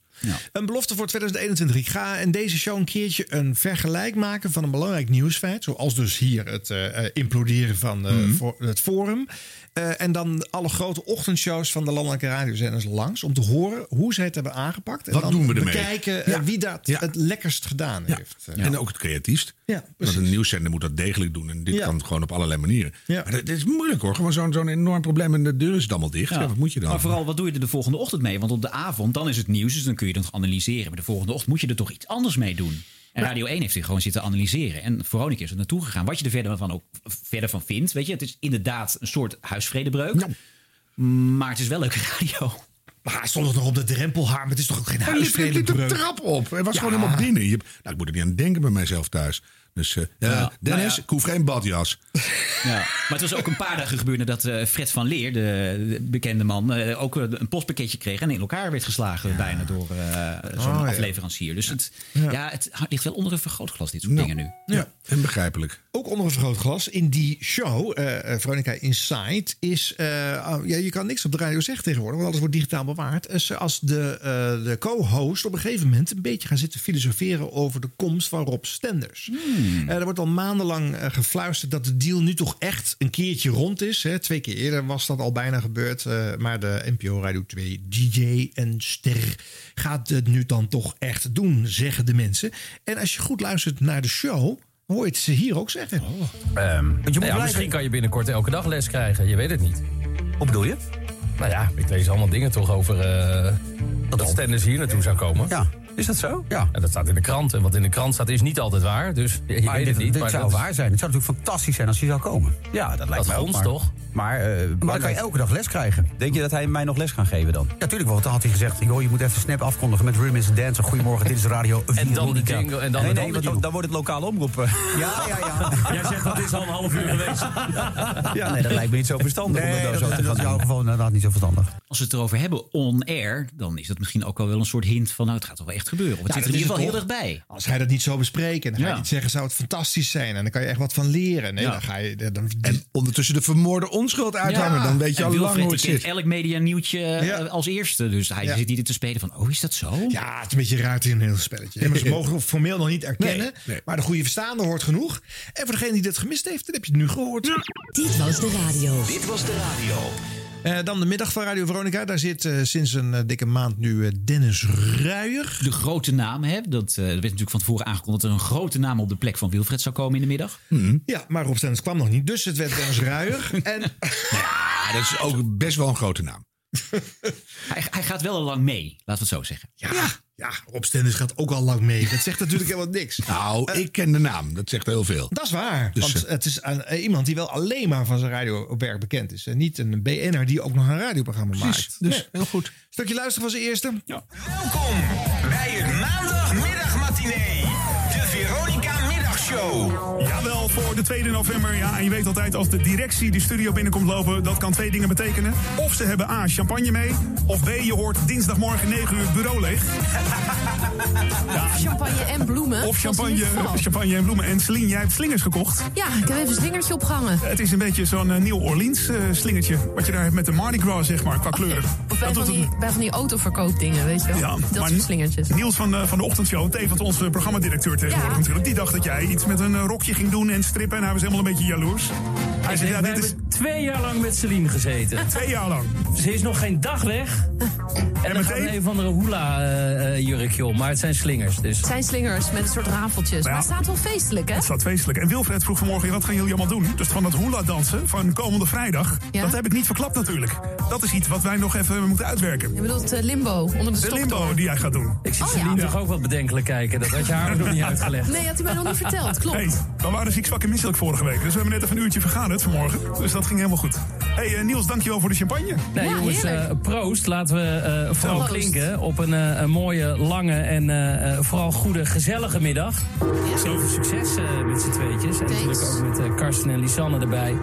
[SPEAKER 2] Een belofte voor 2021. Ik ga in deze show een keertje een vergelijk maken van een belangrijk nieuwsfeit. Zoals dus hier het eh, eh, imploderen van eh,
[SPEAKER 24] Mhm.
[SPEAKER 2] voor het forum. Eh, en dan alle grote ochtendshows van de landelijke radiozenders langs. Om te horen hoe zij het hebben aangepakt. En
[SPEAKER 6] Wat
[SPEAKER 2] dan
[SPEAKER 6] doen we ermee?
[SPEAKER 2] bekijken eh,
[SPEAKER 6] Ja.
[SPEAKER 2] wie dat het lekkerst gedaan heeft. Eh,
[SPEAKER 6] En ook het creatiefst.
[SPEAKER 2] Ja,
[SPEAKER 6] Want een nieuwszender moet dat degelijk doen. En dit
[SPEAKER 2] Ja.
[SPEAKER 6] kan gewoon op allerlei manieren. Maar dat, dat is moeilijk hoor. Gewoon zo'n zo'n enorm probleem en de deur is dan al dicht. Ja, wat moet je dan?
[SPEAKER 7] Maar vooral, wat doe je er de volgende ochtend mee? Want op de avond, dan is het nieuws, dus dan kun je dat analyseren. Maar de volgende ochtend moet je er toch iets anders mee doen. En Radio 1 heeft zich gewoon zitten analyseren. En Veronica is er naartoe gegaan. Wat je er verder van, ook, verder van vindt, weet je. Het is inderdaad een soort huisvredebreuk. Maar het is wel leuke radio.
[SPEAKER 2] Maar hij stond nog op de drempel, haar. Maar het is toch ook
[SPEAKER 7] Nou,
[SPEAKER 2] geen
[SPEAKER 6] Hij liep, liep de
[SPEAKER 2] huisvredebreuk?
[SPEAKER 6] trap op. Hij was
[SPEAKER 2] Ja.
[SPEAKER 6] gewoon helemaal binnen. Je, nou, ik moet er niet aan denken bij mijzelf thuis. Dus eh, eh,
[SPEAKER 7] Ja.
[SPEAKER 6] Dennis,
[SPEAKER 7] Nou ja.
[SPEAKER 6] ik hoef geen badjas.
[SPEAKER 7] Ja. Maar het was ook een paar dagen gebeurd dat eh, Fred van Leer, de, de bekende man, eh, ook eh, een postpakketje kreeg en in elkaar werd geslagen bijna door eh, zo'n
[SPEAKER 6] Oh, ja.
[SPEAKER 7] afleverancier. Dus Het,
[SPEAKER 6] Ja.
[SPEAKER 7] ja. het ligt wel onder een vergrootglas, dit soort dingen nu.
[SPEAKER 6] Ja. En begrijpelijk.
[SPEAKER 2] Ook onder een vergroot glas in die show, eh eh, Veronica Inside, is. eh, ah, ja, je kan niks op de radio zeggen tegenwoordig, want alles wordt digitaal bewaard. Dus als de, eh, de co-host op een gegeven moment een beetje gaan zitten filosoferen over de komst van Rob Stenders. Eh, er wordt al maandenlang eh, gefluisterd dat de deal nu toch echt een keertje rond is. Hè. Twee keer eerder was dat al bijna gebeurd. eh, maar de NPO Radio 2 DJ en ster gaat het nu dan toch echt doen, zeggen de mensen. En als je goed luistert naar de show, hoor je het ze hier ook zeggen.
[SPEAKER 7] Oh.
[SPEAKER 8] Ehm, nou ja, Misschien kan je binnenkort elke dag les krijgen. Je weet het niet.
[SPEAKER 19] Wat bedoel je?
[SPEAKER 8] Nou ja, ik lees allemaal dingen toch over eh, dat Stennis hier naartoe zou komen. Ja. Is dat zo? Ja. Dat staat in de krant. En wat in de krant staat is niet altijd waar. Dus je, je
[SPEAKER 19] Maar
[SPEAKER 8] weet
[SPEAKER 19] dit,
[SPEAKER 8] het niet.
[SPEAKER 19] dit
[SPEAKER 8] maar
[SPEAKER 19] zou
[SPEAKER 8] dat is-
[SPEAKER 19] waar zijn. Het zou natuurlijk fantastisch zijn als hij zou komen.
[SPEAKER 8] Ja, dat lijkt
[SPEAKER 19] mij
[SPEAKER 8] mij
[SPEAKER 19] ook,
[SPEAKER 8] ons
[SPEAKER 19] maar-
[SPEAKER 8] toch?
[SPEAKER 19] Maar, eh, maar dan kan je
[SPEAKER 8] belangrijk-
[SPEAKER 19] elke dag les krijgen.
[SPEAKER 8] Denk je dat hij mij nog les gaat geven dan?
[SPEAKER 19] Ja, tuurlijk wel. Want dan had hij gezegd, joh, je moet even snap afkondigen met Rhythm is Dance. en Goedemorgen, dit is Radio
[SPEAKER 8] En dan de
[SPEAKER 19] Veronica.
[SPEAKER 8] jingle en dan
[SPEAKER 19] nee,
[SPEAKER 8] het
[SPEAKER 19] nee,
[SPEAKER 8] andere
[SPEAKER 19] want dan, dan wordt het lokale omroep. eh.
[SPEAKER 8] Ja, ja, ja. Jij zegt dat is al een half uur geweest.
[SPEAKER 19] Ja, nee, dat lijkt me niet zo verstandig om
[SPEAKER 8] Nee,
[SPEAKER 19] dat, nou
[SPEAKER 8] dat-
[SPEAKER 19] zo te
[SPEAKER 8] dat
[SPEAKER 19] gaan
[SPEAKER 8] is in jouw Nou,
[SPEAKER 19] geval inderdaad niet zo verstandig.
[SPEAKER 7] Als we het erover hebben on-air, dan is dat misschien ook al wel een soort hint van... nou, het gaat toch wel echt gebeuren. Of het
[SPEAKER 2] Ja,
[SPEAKER 7] zit er
[SPEAKER 2] dat
[SPEAKER 7] in
[SPEAKER 2] is
[SPEAKER 7] ieder geval heel
[SPEAKER 2] het
[SPEAKER 7] erg bij.
[SPEAKER 2] Als hij dat niet zou bespreken en hij
[SPEAKER 7] Ja.
[SPEAKER 2] niet zeggen, zou het fantastisch zijn. En dan kan je echt wat van leren. Nee,
[SPEAKER 7] Ja.
[SPEAKER 2] dan ga je, eh, dan,
[SPEAKER 6] en ondertussen de vermoorde onschuld uithangen. Dan weet je
[SPEAKER 7] En
[SPEAKER 6] al lang
[SPEAKER 7] Wilfred,
[SPEAKER 6] hoe het
[SPEAKER 7] die kent
[SPEAKER 6] zit.
[SPEAKER 7] elk media nieuwtje
[SPEAKER 2] Ja.
[SPEAKER 7] als eerste. Dus hij
[SPEAKER 2] Ja.
[SPEAKER 7] zit hier te spelen van, oh, is dat zo?
[SPEAKER 2] Ja, het is een beetje raar in een heel spelletje. Ja, maar ze mogen formeel nog niet erkennen. Maar de goede verstaande hoort genoeg. En voor degene die dit gemist heeft, dan heb je het nu gehoord.
[SPEAKER 25] Dit was de radio. Dit
[SPEAKER 2] was de radio. Eh, dan de middag van Radio Veronica. Daar zit eh, sinds een eh, dikke maand nu eh, Dennis Ruijer.
[SPEAKER 7] De grote naam, hè? Dat, eh, er werd natuurlijk van tevoren aangekondigd... dat er een grote naam op de plek van Wilfred zou komen in de middag.
[SPEAKER 2] Ja, maar Rob Stenders kwam nog niet. Dus het werd Dennis Ruijer. En
[SPEAKER 7] Ah,
[SPEAKER 6] Ja, dat is ook best wel een grote naam.
[SPEAKER 7] Hij, hij gaat wel al lang mee, laten we het zo zeggen.
[SPEAKER 2] Ja, ja. Rob Stenders gaat ook al lang mee. Dat zegt natuurlijk helemaal niks.
[SPEAKER 6] Nou,
[SPEAKER 7] eh,
[SPEAKER 6] ik ken de naam. Dat zegt heel veel.
[SPEAKER 2] Dat is waar.
[SPEAKER 6] Dus,
[SPEAKER 2] want
[SPEAKER 6] eh,
[SPEAKER 2] het is aan- eh, iemand die wel alleen maar van zijn radiowerk bekend is. En niet een BN'er die ook nog een radioprogramma maakt. Dus
[SPEAKER 6] heel goed.
[SPEAKER 2] Stukje luisteren was de eerste.
[SPEAKER 25] Welkom bij het maandagmiddagmatinee. De Veronica Middagshow.
[SPEAKER 26] Jawel, voor de 2 november. Ja, en je weet altijd als de directie de studio binnenkomt lopen, dat kan twee dingen betekenen. Of ze hebben A, champagne mee. Of B, je hoort dinsdagmorgen 9 uur het bureau leeg.
[SPEAKER 27] Of champagne en bloemen.
[SPEAKER 26] Of
[SPEAKER 27] Dat is in
[SPEAKER 26] champagne,
[SPEAKER 27] ieder geval.
[SPEAKER 26] champagne en bloemen. En Celine, jij hebt slingers gekocht.
[SPEAKER 27] Ja, ik heb even een slingertje opgehangen.
[SPEAKER 26] Het is een beetje zo'n eh, New Orleans eh, slingertje. Wat je daar hebt met de Mardi Gras, zeg maar, qua kleur.
[SPEAKER 27] Of bij
[SPEAKER 26] Dat
[SPEAKER 27] van,
[SPEAKER 26] doet
[SPEAKER 27] die, bij van die autoverkoopdingen, weet je wel.
[SPEAKER 26] Ja,
[SPEAKER 27] dat
[SPEAKER 26] maar
[SPEAKER 27] soort slingertjes.
[SPEAKER 26] Niels van de, van de Ochtendshow, tevens onze programmadirecteur tegenwoordig
[SPEAKER 27] Ja.
[SPEAKER 26] natuurlijk. Die dacht dat jij iets met een eh, rokje ging doen en strippen. En hij was helemaal een beetje jaloers. Hij zegt, ja, dit is...
[SPEAKER 8] Twee jaar lang met Celine gezeten.
[SPEAKER 26] Twee jaar lang.
[SPEAKER 8] Ze is nog geen dag weg. En dan gaat een of andere hula-jurkje om. Maar het zijn slingers. Dus.
[SPEAKER 27] Het zijn slingers met een soort rafeltjes. Maar het staat wel feestelijk, hè?
[SPEAKER 26] Het staat feestelijk. En Wilfred vroeg vanmorgen, wat gaan jullie allemaal doen? Dus van dat hula-dansen van komende vrijdag, dat heb ik niet verklapt natuurlijk. Dat is iets wat wij nog even moeten uitwerken.
[SPEAKER 27] Je bedoelt eh, limbo, onder de,
[SPEAKER 26] De limbo die jij gaat doen.
[SPEAKER 8] Ik zie
[SPEAKER 27] Oh,
[SPEAKER 8] Celine
[SPEAKER 27] ja.
[SPEAKER 8] toch ook wat bedenkelijk kijken. Dat had je haar nog niet uitgelegd.
[SPEAKER 27] Nee, had hij mij nog niet verteld, klopt.
[SPEAKER 26] Hey, we waren ziek, zwak en misselijk vorige week. Dus we hebben net even een uurtje vergaderd vanmorgen. Dus dat ging helemaal goed. hey, eh, Niels, dankjewel voor de champagne.
[SPEAKER 8] Nee, jongens, eh, proost. Laten we eh, vooral
[SPEAKER 26] Proost.
[SPEAKER 8] klinken op een, eh, een mooie, lange en eh, eh, vooral goede, gezellige middag. Zoveel succes eh, met z'n tweetjes. En natuurlijk ook met eh, Karsten en Lisanne erbij.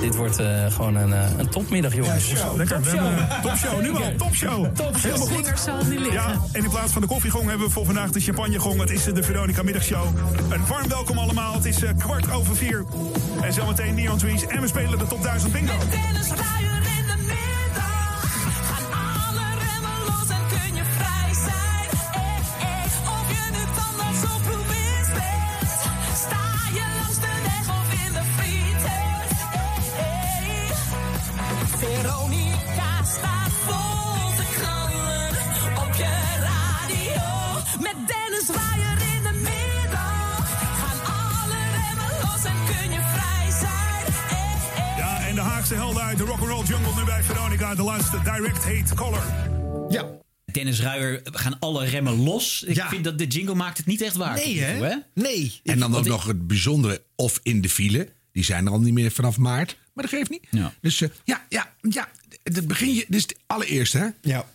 [SPEAKER 8] Dit wordt eh, gewoon een, eh, een topmiddag, jongens.
[SPEAKER 26] Lekker, we hebben een topshow. Nu al, topshow.
[SPEAKER 8] Topshow.
[SPEAKER 26] Helemaal
[SPEAKER 8] Slingers zal het niet
[SPEAKER 26] goed.
[SPEAKER 8] liggen.
[SPEAKER 26] Ja, en in plaats van de koffiegong hebben we voor vandaag de champagnegong. Het is eh, de Veronica Middagshow. Een warm welkom allemaal. Het is eh, kwart over vier. En zometeen Neon Trees. En we spelen de top 1000 bingo.
[SPEAKER 25] Dennis Ruijer in de middag. Gaan alle remmen los en kun je vrij zijn.
[SPEAKER 3] Eh, Eh, Veronica staat vol te knallen op je radio. Met Dennis Waaier in de middag gaan alle remmen los en kun je vrij zijn.
[SPEAKER 26] Ja, en de Haagse helden uit de rock'n'roll jungle nu bij Veronica. De laatste Direct Hate Color.
[SPEAKER 2] Ja.
[SPEAKER 7] Dennis Ruijer, we gaan alle remmen los. Ik vind dat de jingle maakt het niet echt waar.
[SPEAKER 6] Nee,
[SPEAKER 7] tot nu
[SPEAKER 6] hè?
[SPEAKER 7] toe,
[SPEAKER 2] Nee.
[SPEAKER 6] En dan ook
[SPEAKER 7] Want ik-
[SPEAKER 6] nog het bijzondere, of in de file. Die zijn er al niet meer vanaf maart. Maar dat geeft niet.
[SPEAKER 7] Ja.
[SPEAKER 6] Dus eh, ja, ja, ja. Het begin je, dit is het allereerste, hè?
[SPEAKER 2] Ja.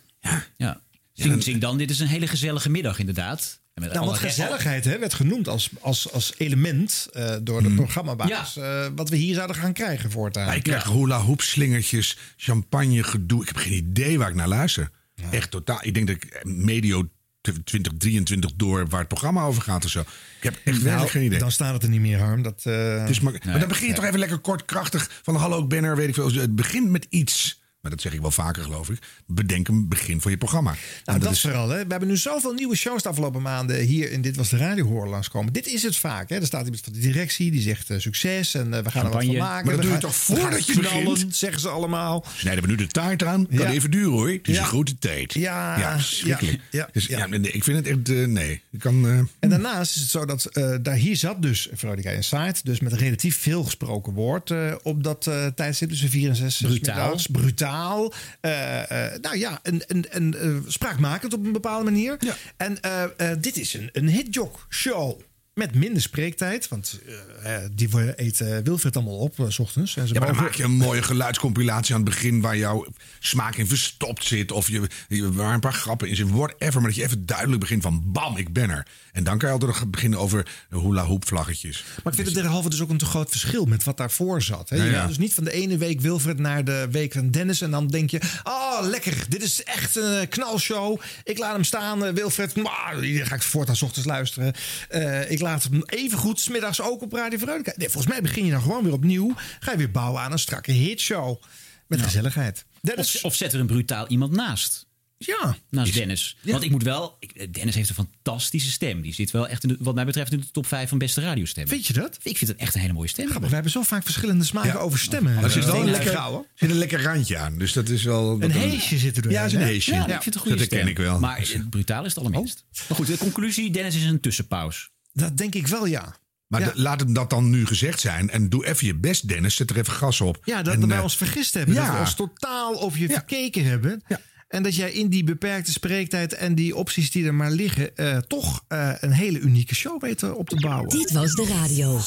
[SPEAKER 7] Ja. Zing, zing dan, dit is een hele gezellige middag inderdaad. En met
[SPEAKER 2] Nou,
[SPEAKER 7] alle
[SPEAKER 2] wat
[SPEAKER 7] remmen-
[SPEAKER 2] gezelligheid hè, werd genoemd als, als, als element eh, door
[SPEAKER 6] Mm.
[SPEAKER 2] de programmabaas. eh, wat we hier zouden gaan krijgen voortaan.
[SPEAKER 6] Ja, ik krijg hula hoop slingertjes, champagne gedoe. Ik heb geen idee waar ik naar luister. Echt totaal. Ik denk dat ik eh, medio 2023 door heb waar het programma over gaat of zo. Ik heb echt
[SPEAKER 2] Nou,
[SPEAKER 6] werkelijk geen idee.
[SPEAKER 2] Dan staat het er niet meer, Harm. Dat, eh,
[SPEAKER 6] Het is maar, maar dan begin je
[SPEAKER 2] Nee.
[SPEAKER 6] toch even lekker kort, krachtig. Van hallo, ik ben er, weet ik veel. Het begint met iets. Maar dat zeg ik wel vaker, geloof ik. Bedenk een begin voor je programma.
[SPEAKER 2] Nou, dat, vooral. Hè. We hebben nu zoveel nieuwe shows de afgelopen maanden hier in Dit Was de Radio horen langskomen. Dit is het vaak. Hè. Er staat iemand van de directie, die zegt eh, succes en eh, we gaan er wat
[SPEAKER 6] Campagne.
[SPEAKER 2] van maken.
[SPEAKER 6] Maar dat doe je
[SPEAKER 2] We gaan-
[SPEAKER 6] toch
[SPEAKER 2] we gaan
[SPEAKER 6] voordat je
[SPEAKER 2] knallen,
[SPEAKER 6] begint?
[SPEAKER 2] zeggen ze allemaal.
[SPEAKER 6] Snijden we nu de taart aan? Kan
[SPEAKER 2] Ja.
[SPEAKER 6] even duren hoor. Het is
[SPEAKER 2] Ja.
[SPEAKER 6] een grote tijd.
[SPEAKER 2] Ja,
[SPEAKER 6] ja schrikkelijk.
[SPEAKER 2] ja, ja,
[SPEAKER 6] dus, ja. nee, ik vind het echt, eh, nee. Ik kan, eh,
[SPEAKER 2] En daarnaast is het zo dat eh, daar hier zat dus Veronica Insight. Dus met relatief veel gesproken woord eh, op dat eh, tijdstip tussen 4 en 6
[SPEAKER 7] Brutaal.
[SPEAKER 2] Brutaal. Eh, eh, nou ja, en, en, en, eh, spraakmakend op een bepaalde manier. En eh, eh, dit is een, een hitjock show. Met minder spreektijd, want eh, eh, die we- eet eh, Wilfred allemaal op, eh, s ochtends. En ze
[SPEAKER 6] Ja, maar dan
[SPEAKER 2] mogen-
[SPEAKER 6] maak je een mooie geluidscompilatie aan het begin waar jouw smaak in verstopt zit. Of je, je, waar een paar grappen in zitten. Whatever. Maar dat je even duidelijk begint van bam, ik ben er. En dan kan je altijd nog beginnen over hula hoop vlaggetjes.
[SPEAKER 2] Maar ik vind het derhalve dus ook een te groot verschil met wat daarvoor zat. Hè? Je
[SPEAKER 6] Ja, ja.
[SPEAKER 2] gaat dus niet van de ene week Wilfred naar de week van Dennis. En dan denk je, oh lekker, dit is echt een eh, knalshow. Ik laat hem staan, eh, Wilfred. Maar hier ga ik voortaan 's ochtends luisteren. Eh, ik laat hem evengoed smiddags ook op Radio Veronica. Nee, volgens mij begin je dan gewoon weer opnieuw. Ga je weer bouwen aan een strakke hitshow. Met gezelligheid.
[SPEAKER 7] Of, of zet er een brutaal iemand naast.
[SPEAKER 2] Ja.
[SPEAKER 7] Naast Dennis. Want ik moet wel... ik- Dennis heeft een fantastische stem. Die zit wel echt, in de- wat mij betreft, in de top 5 van beste radiostemmen.
[SPEAKER 2] Vind je dat?
[SPEAKER 7] Ik vind het echt een hele mooie stem.
[SPEAKER 2] We hebben zo vaak verschillende smaken over stemmen.
[SPEAKER 6] Maar er zit
[SPEAKER 2] eh,
[SPEAKER 6] wel een
[SPEAKER 2] en
[SPEAKER 6] lekker,
[SPEAKER 2] vrouwen.
[SPEAKER 6] zit een lekker randje aan. Dus dat is wel...
[SPEAKER 2] Een
[SPEAKER 6] dat-
[SPEAKER 2] heesje zit er doorheen.
[SPEAKER 6] Ja, is een heesje.
[SPEAKER 7] Ja, ik vind het een goede
[SPEAKER 6] dat
[SPEAKER 7] stem.
[SPEAKER 6] ken ik wel. Oh.
[SPEAKER 7] Maar eh, brutaal is het allerminst. Maar goed, de conclusie. Dennis is een tussenpauze.
[SPEAKER 2] Dat denk ik wel, ja.
[SPEAKER 6] Maar
[SPEAKER 2] Ja.
[SPEAKER 6] d- laat hem dat dan nu gezegd zijn. En doe even je best, Dennis. Zet er even gas op.
[SPEAKER 2] Ja, dat
[SPEAKER 6] En,
[SPEAKER 2] wij
[SPEAKER 6] eh,
[SPEAKER 2] ons vergist hebben. Dat
[SPEAKER 6] ja.
[SPEAKER 2] we ons totaal over je verkeken hebben. En dat jij in die beperkte spreektijd en die opties die er maar liggen... eh, toch eh, een hele unieke show weet eh, op te bouwen.
[SPEAKER 18] Dit was de radio.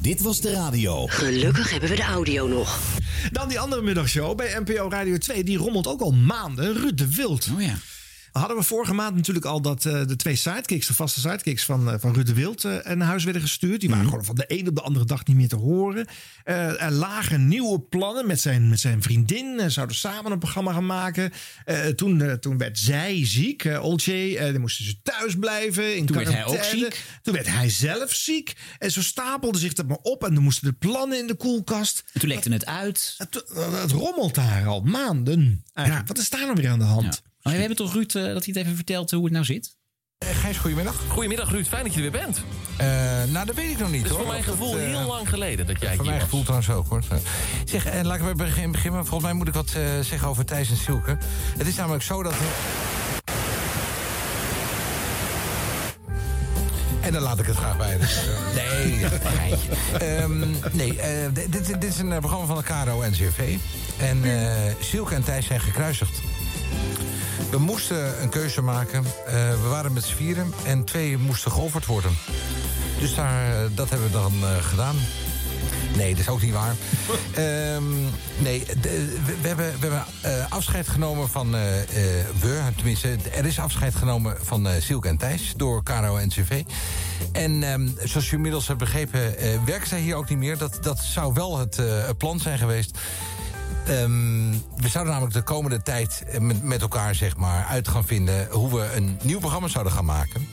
[SPEAKER 13] Dit was de radio.
[SPEAKER 18] Gelukkig hebben we de audio nog.
[SPEAKER 2] Dan die andere middagshow bij NPO Radio 2. Die rommelt ook al maanden. Ruud de Wild.
[SPEAKER 7] Oh ja.
[SPEAKER 2] Hadden we vorige maand natuurlijk al dat eh, de twee sidekicks, de vaste sidekicks van, eh, van Ruud de Wild, eh, naar huis werden gestuurd. Die waren
[SPEAKER 7] Mhm.
[SPEAKER 2] gewoon van de ene op de andere dag niet meer te horen. Eh, er lagen nieuwe plannen met zijn, met zijn vriendin. Eh, zouden samen een programma gaan maken. Eh, toen, eh, toen werd zij ziek, eh Olcay. Eh, dan moesten ze thuis blijven. In
[SPEAKER 7] Toen werd hij ook
[SPEAKER 2] quarantaine.
[SPEAKER 7] ziek.
[SPEAKER 2] Toen werd hij zelf ziek. En zo stapelde zich dat maar op. En dan moesten de plannen in de koelkast.
[SPEAKER 7] En toen lekte het uit. Ah,
[SPEAKER 2] Het, het rommelt daar al maanden. Eigenlijk. Wat is daar nou weer aan de hand?
[SPEAKER 7] Maar we hebben toch Ruud eh, dat hij het even vertelt hoe het nou zit?
[SPEAKER 24] Eh, Gijs, goedemiddag. Goedemiddag Ruud, fijn dat je er weer bent. nou, dat weet ik nog niet Het is hoor. voor mijn Of dat, gevoel eh, heel lang geleden dat jij Voor hier mij was. gevoel trouwens ook hoor. Zeg, eh, laat ik bij begin beginnen. Volgens mij moet ik wat eh, zeggen over Thijs en Silke. Het is namelijk zo dat... En dan laat ik het graag bij. Dus, eh, nee, dat is een geintje. Ehm, nee eh, dit, dit- dit is een eh, programma van de KRO-NCRV. En eh Silke en Thijs zijn gekruisigd. We moesten een keuze maken. Eh, we waren met z'n vieren en twee moesten geofferd worden. Dus daar, eh, dat hebben we dan eh, gedaan. Nee, dat is ook niet waar. Ehm, nee, de- we, we hebben, we hebben eh, afscheid genomen van... eh eh, we, tenminste, er is afscheid genomen van eh Silke en Thijs door Caro en CV. En ehm, zoals je inmiddels hebt begrepen, eh werken zij hier ook niet meer. Dat, dat zou wel het eh, plan zijn geweest. Ehm, we zouden namelijk de komende tijd eh, met, met elkaar zeg maar, uit gaan vinden hoe we een nieuw programma zouden gaan maken.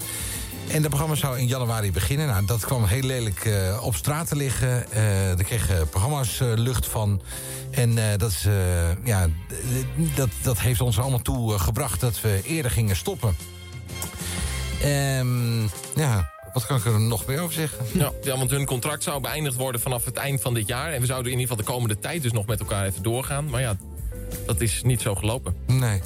[SPEAKER 24] En dat programma zou in januari beginnen. Nou, dat kwam heel lelijk eh, op straat te liggen. Eh er kregen programma's eh, lucht van. En eh, dat, is, eh, ja, d- d- dat, dat heeft ons er allemaal toe eh, gebracht dat we eerder gingen stoppen. Ehm, ja, Wat kan ik er nog meer over zeggen?
[SPEAKER 28] Ja, ja, want hun contract zou beëindigd worden vanaf het eind van dit jaar. En we zouden in ieder geval de komende tijd dus nog met elkaar even doorgaan. Maar ja, dat is niet zo gelopen.
[SPEAKER 24] Nee.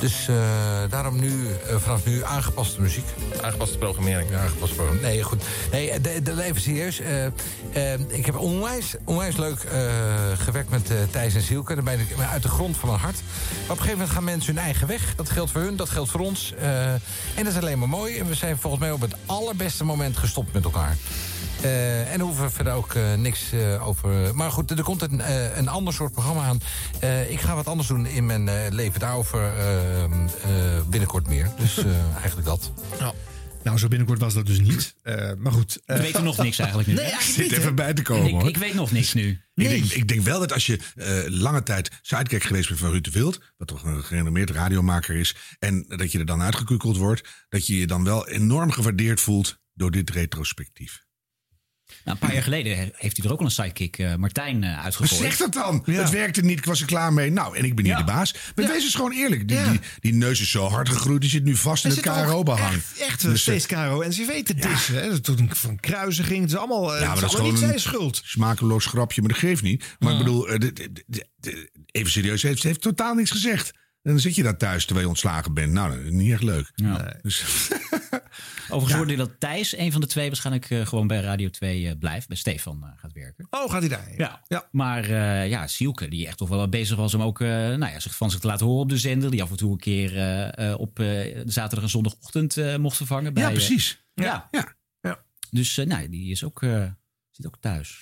[SPEAKER 24] Dus eh, daarom nu, eh, vanaf nu, aangepaste muziek.
[SPEAKER 28] Aangepaste programmering.
[SPEAKER 24] aangepaste programmering. Nee, goed. Nee, eh, de, de, even serieus. eh, eh, ik heb onwijs, onwijs leuk eh, gewerkt met eh, Thijs en Zielke. Daar ben ik uit de grond van mijn hart. Maar op een gegeven moment gaan mensen hun eigen weg. Dat geldt voor hun, dat geldt voor ons. eh, en dat is alleen maar mooi. En we zijn volgens mij op het allerbeste moment gestopt met elkaar. Eh, en hoeven we verder ook eh, niks eh, over. Maar goed, er komt een, eh, een ander soort programma aan. Eh, ik ga wat anders doen in mijn eh, leven daarover eh, eh, binnenkort meer. Dus eh, eigenlijk dat.
[SPEAKER 2] Nou, zo binnenkort was dat dus niet. Eh, maar goed.
[SPEAKER 7] We weten nog niks eigenlijk nu.
[SPEAKER 2] Nee,
[SPEAKER 7] hè?
[SPEAKER 2] eigenlijk
[SPEAKER 6] Zit even bij te komen,
[SPEAKER 7] Ik,
[SPEAKER 6] hoor.
[SPEAKER 7] ik weet nog niks nu.
[SPEAKER 6] Ik, denk, ik denk wel dat als je eh, lange tijd sidekick geweest bent van Ruud de Wild... wat toch een gerenommeerd radiomaker is... en dat je er dan uitgekukeld wordt... dat je je dan wel enorm gewaardeerd voelt door dit retrospectief.
[SPEAKER 7] Nou, een paar jaar geleden he- heeft hij er ook al een sidekick, eh, Martijn, eh
[SPEAKER 6] Wat
[SPEAKER 7] uitgegooid.
[SPEAKER 6] zegt dat dan? Het werkte niet, ik was er klaar mee. Nou, en ik ben hier de baas. Maar wees eens gewoon eerlijk. Die, die, die neus is zo hard gegroeid, die zit nu vast in
[SPEAKER 2] Er
[SPEAKER 6] het
[SPEAKER 2] zit ook
[SPEAKER 6] KRO-behang.
[SPEAKER 2] Echt, echt
[SPEAKER 6] Dus, eh,
[SPEAKER 2] steeds KRO-NCV te dissen. Hè? Toen van Kruisen ging, het is allemaal, eh,
[SPEAKER 6] Ja, maar
[SPEAKER 2] het
[SPEAKER 6] dat
[SPEAKER 2] is
[SPEAKER 6] is
[SPEAKER 2] allemaal
[SPEAKER 6] gewoon
[SPEAKER 2] niet zijn
[SPEAKER 6] een
[SPEAKER 2] schuld. Ah.
[SPEAKER 6] smakeloos grapje, maar dat geeft niet. Maar ik bedoel, eh, dit- dit- dit- dit- even serieus, ze heeft, ze heeft totaal niks gezegd. En dan zit je daar thuis terwijl je ontslagen bent. Nou, dat is niet echt leuk. Dus,
[SPEAKER 7] Overigens hoorde je dat Thijs, een van de twee, waarschijnlijk eh, gewoon bij Radio 2 eh, blijft. Bij Stefan eh, gaat werken.
[SPEAKER 2] Oh, gaat hij daarheen?
[SPEAKER 7] Ja. Maar eh, ja, Sielke, die echt toch wel bezig was om ook eh, nou ja, zich van zich te laten horen op de zender. Die af en toe een keer eh, eh, op eh, zaterdag en zondagochtend eh, mocht vervangen. Bij,
[SPEAKER 2] Ja,
[SPEAKER 7] eh,
[SPEAKER 2] precies.
[SPEAKER 7] ja. Dus eh, nou, die is ook, eh, zit ook thuis.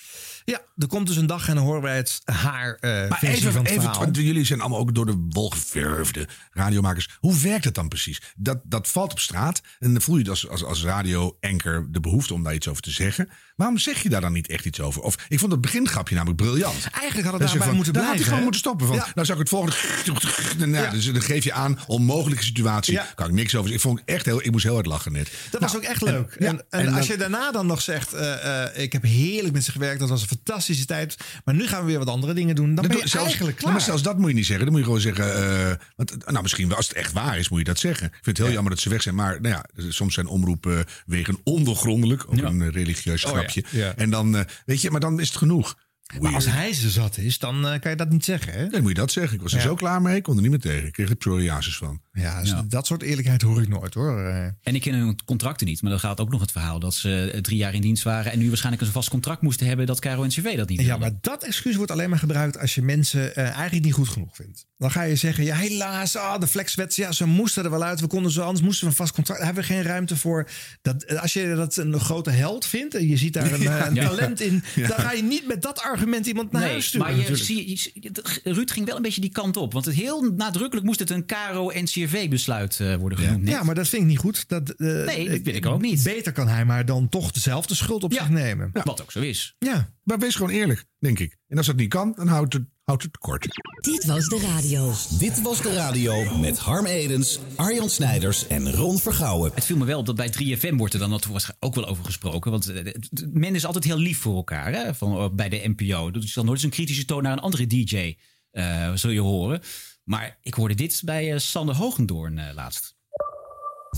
[SPEAKER 2] Ja, er komt dus een dag en dan horen wij het haar eh
[SPEAKER 6] maar
[SPEAKER 2] versie van
[SPEAKER 6] even,
[SPEAKER 2] het
[SPEAKER 6] even
[SPEAKER 2] verhaal.
[SPEAKER 6] want jullie zijn allemaal ook door de wol geverfde radiomakers. Hoe werkt het dan precies? Dat, dat valt op straat en dan voel je als, als, als radio-anker de behoefte om daar iets over te zeggen. Waarom zeg je daar dan niet echt iets over? Of ik vond het begingrapje namelijk briljant.
[SPEAKER 2] Eigenlijk
[SPEAKER 6] Dan
[SPEAKER 2] had
[SPEAKER 6] zeg je
[SPEAKER 2] het daarbij
[SPEAKER 6] van,
[SPEAKER 2] moeten
[SPEAKER 6] dan
[SPEAKER 2] blijven.
[SPEAKER 6] had hij gewoon
[SPEAKER 2] hè?
[SPEAKER 6] moeten stoppen. Van,
[SPEAKER 2] Ja.
[SPEAKER 6] Nou zou ik het volgende... Nou, dus dan geef je aan onmogelijke situatie.
[SPEAKER 2] Ja.
[SPEAKER 6] Kan ik niks over. Ik, vond het echt heel, ik moest heel hard lachen net. Nou,
[SPEAKER 2] Dat was ook echt
[SPEAKER 6] en-
[SPEAKER 2] leuk.
[SPEAKER 6] ja,
[SPEAKER 2] en en,
[SPEAKER 6] en eh,
[SPEAKER 2] als
[SPEAKER 6] dan-
[SPEAKER 2] je daarna dan nog zegt, eh, eh, ik heb heerlijk met ze gewerkt, dat was een fantastische tijd. Maar nu gaan we weer wat andere dingen doen. Dan
[SPEAKER 6] Dat
[SPEAKER 2] ben
[SPEAKER 6] doe-
[SPEAKER 2] je
[SPEAKER 6] zelfs- nou,
[SPEAKER 2] eigenlijk klaar.
[SPEAKER 6] Maar zelfs dat moet je niet zeggen. Dan moet je gewoon zeggen. eh, want, nou, misschien wel, als het echt waar is, moet je dat zeggen. Ik vind het heel jammer dat ze weg zijn. Maar nou ja, soms zijn omroepen wegen ondoorgrondelijk. Ook een eh, religieus
[SPEAKER 2] Oh ja,
[SPEAKER 6] grapje.
[SPEAKER 2] ja.
[SPEAKER 6] En dan, eh, weet je, maar dan is het genoeg.
[SPEAKER 2] Maar als hij ze zat is, dan eh, kan je dat niet zeggen. Hè?
[SPEAKER 6] Dan moet je dat zeggen. Ik was er
[SPEAKER 2] Ja.
[SPEAKER 6] zo klaar mee. Ik kon er niet meer tegen. Ik kreeg er psoriasis van.
[SPEAKER 2] Ja, dus dat soort eerlijkheid hoor ik nooit hoor. Eh,
[SPEAKER 7] En ik ken hun contracten niet, maar dan gaat ook nog het verhaal dat ze eh, drie jaar in dienst waren en nu waarschijnlijk een vast contract moesten hebben dat Caro en CV dat niet
[SPEAKER 2] Ja, maar dat excuus wordt alleen maar gebruikt als je mensen eh, eigenlijk niet goed genoeg vindt. Dan ga je zeggen, ja helaas, ah, de flexwets, ja ze moesten er wel uit. We konden ze, anders moesten we een vast contract, daar hebben we geen ruimte voor. Dat, eh, als je dat een grote held vindt en je ziet daar een,
[SPEAKER 7] Ja.
[SPEAKER 2] eh, een
[SPEAKER 7] Ja.
[SPEAKER 2] talent in,
[SPEAKER 7] Ja.
[SPEAKER 2] dan ga je niet met dat argument iemand naar huis sturen.
[SPEAKER 7] Maar je,
[SPEAKER 2] natuurlijk.
[SPEAKER 7] zie, je- je- Ruud ging wel een beetje die kant op. Want het heel nadrukkelijk moest het een KRO-NCRV-besluit eh, worden genoemd.
[SPEAKER 2] ja, maar dat vind ik niet goed. Dat, eh,
[SPEAKER 7] Nee, dat vind ik ook niet.
[SPEAKER 2] Beter kan hij maar dan toch dezelfde schuld op zich nemen.
[SPEAKER 7] Wat ook zo is.
[SPEAKER 2] Ja.
[SPEAKER 6] Maar wees gewoon eerlijk, denk ik. En als dat niet kan, dan houdt het, houdt het kort.
[SPEAKER 13] Dit was de radio. Dit was de radio met Harm Edens, Arjan Snijders en Ron Vergouwen.
[SPEAKER 7] Het viel me wel op dat bij 3FM wordt er dan dat wordt ook wel over gesproken. Want eh, het- het- men is altijd heel lief voor elkaar hè, van, eh, bij de NPO. Dat is dan nooit eens een kritische toon naar een andere DJ, eh, zul je horen. Maar ik hoorde dit bij eh, Sander Hogendoorn eh, laatst.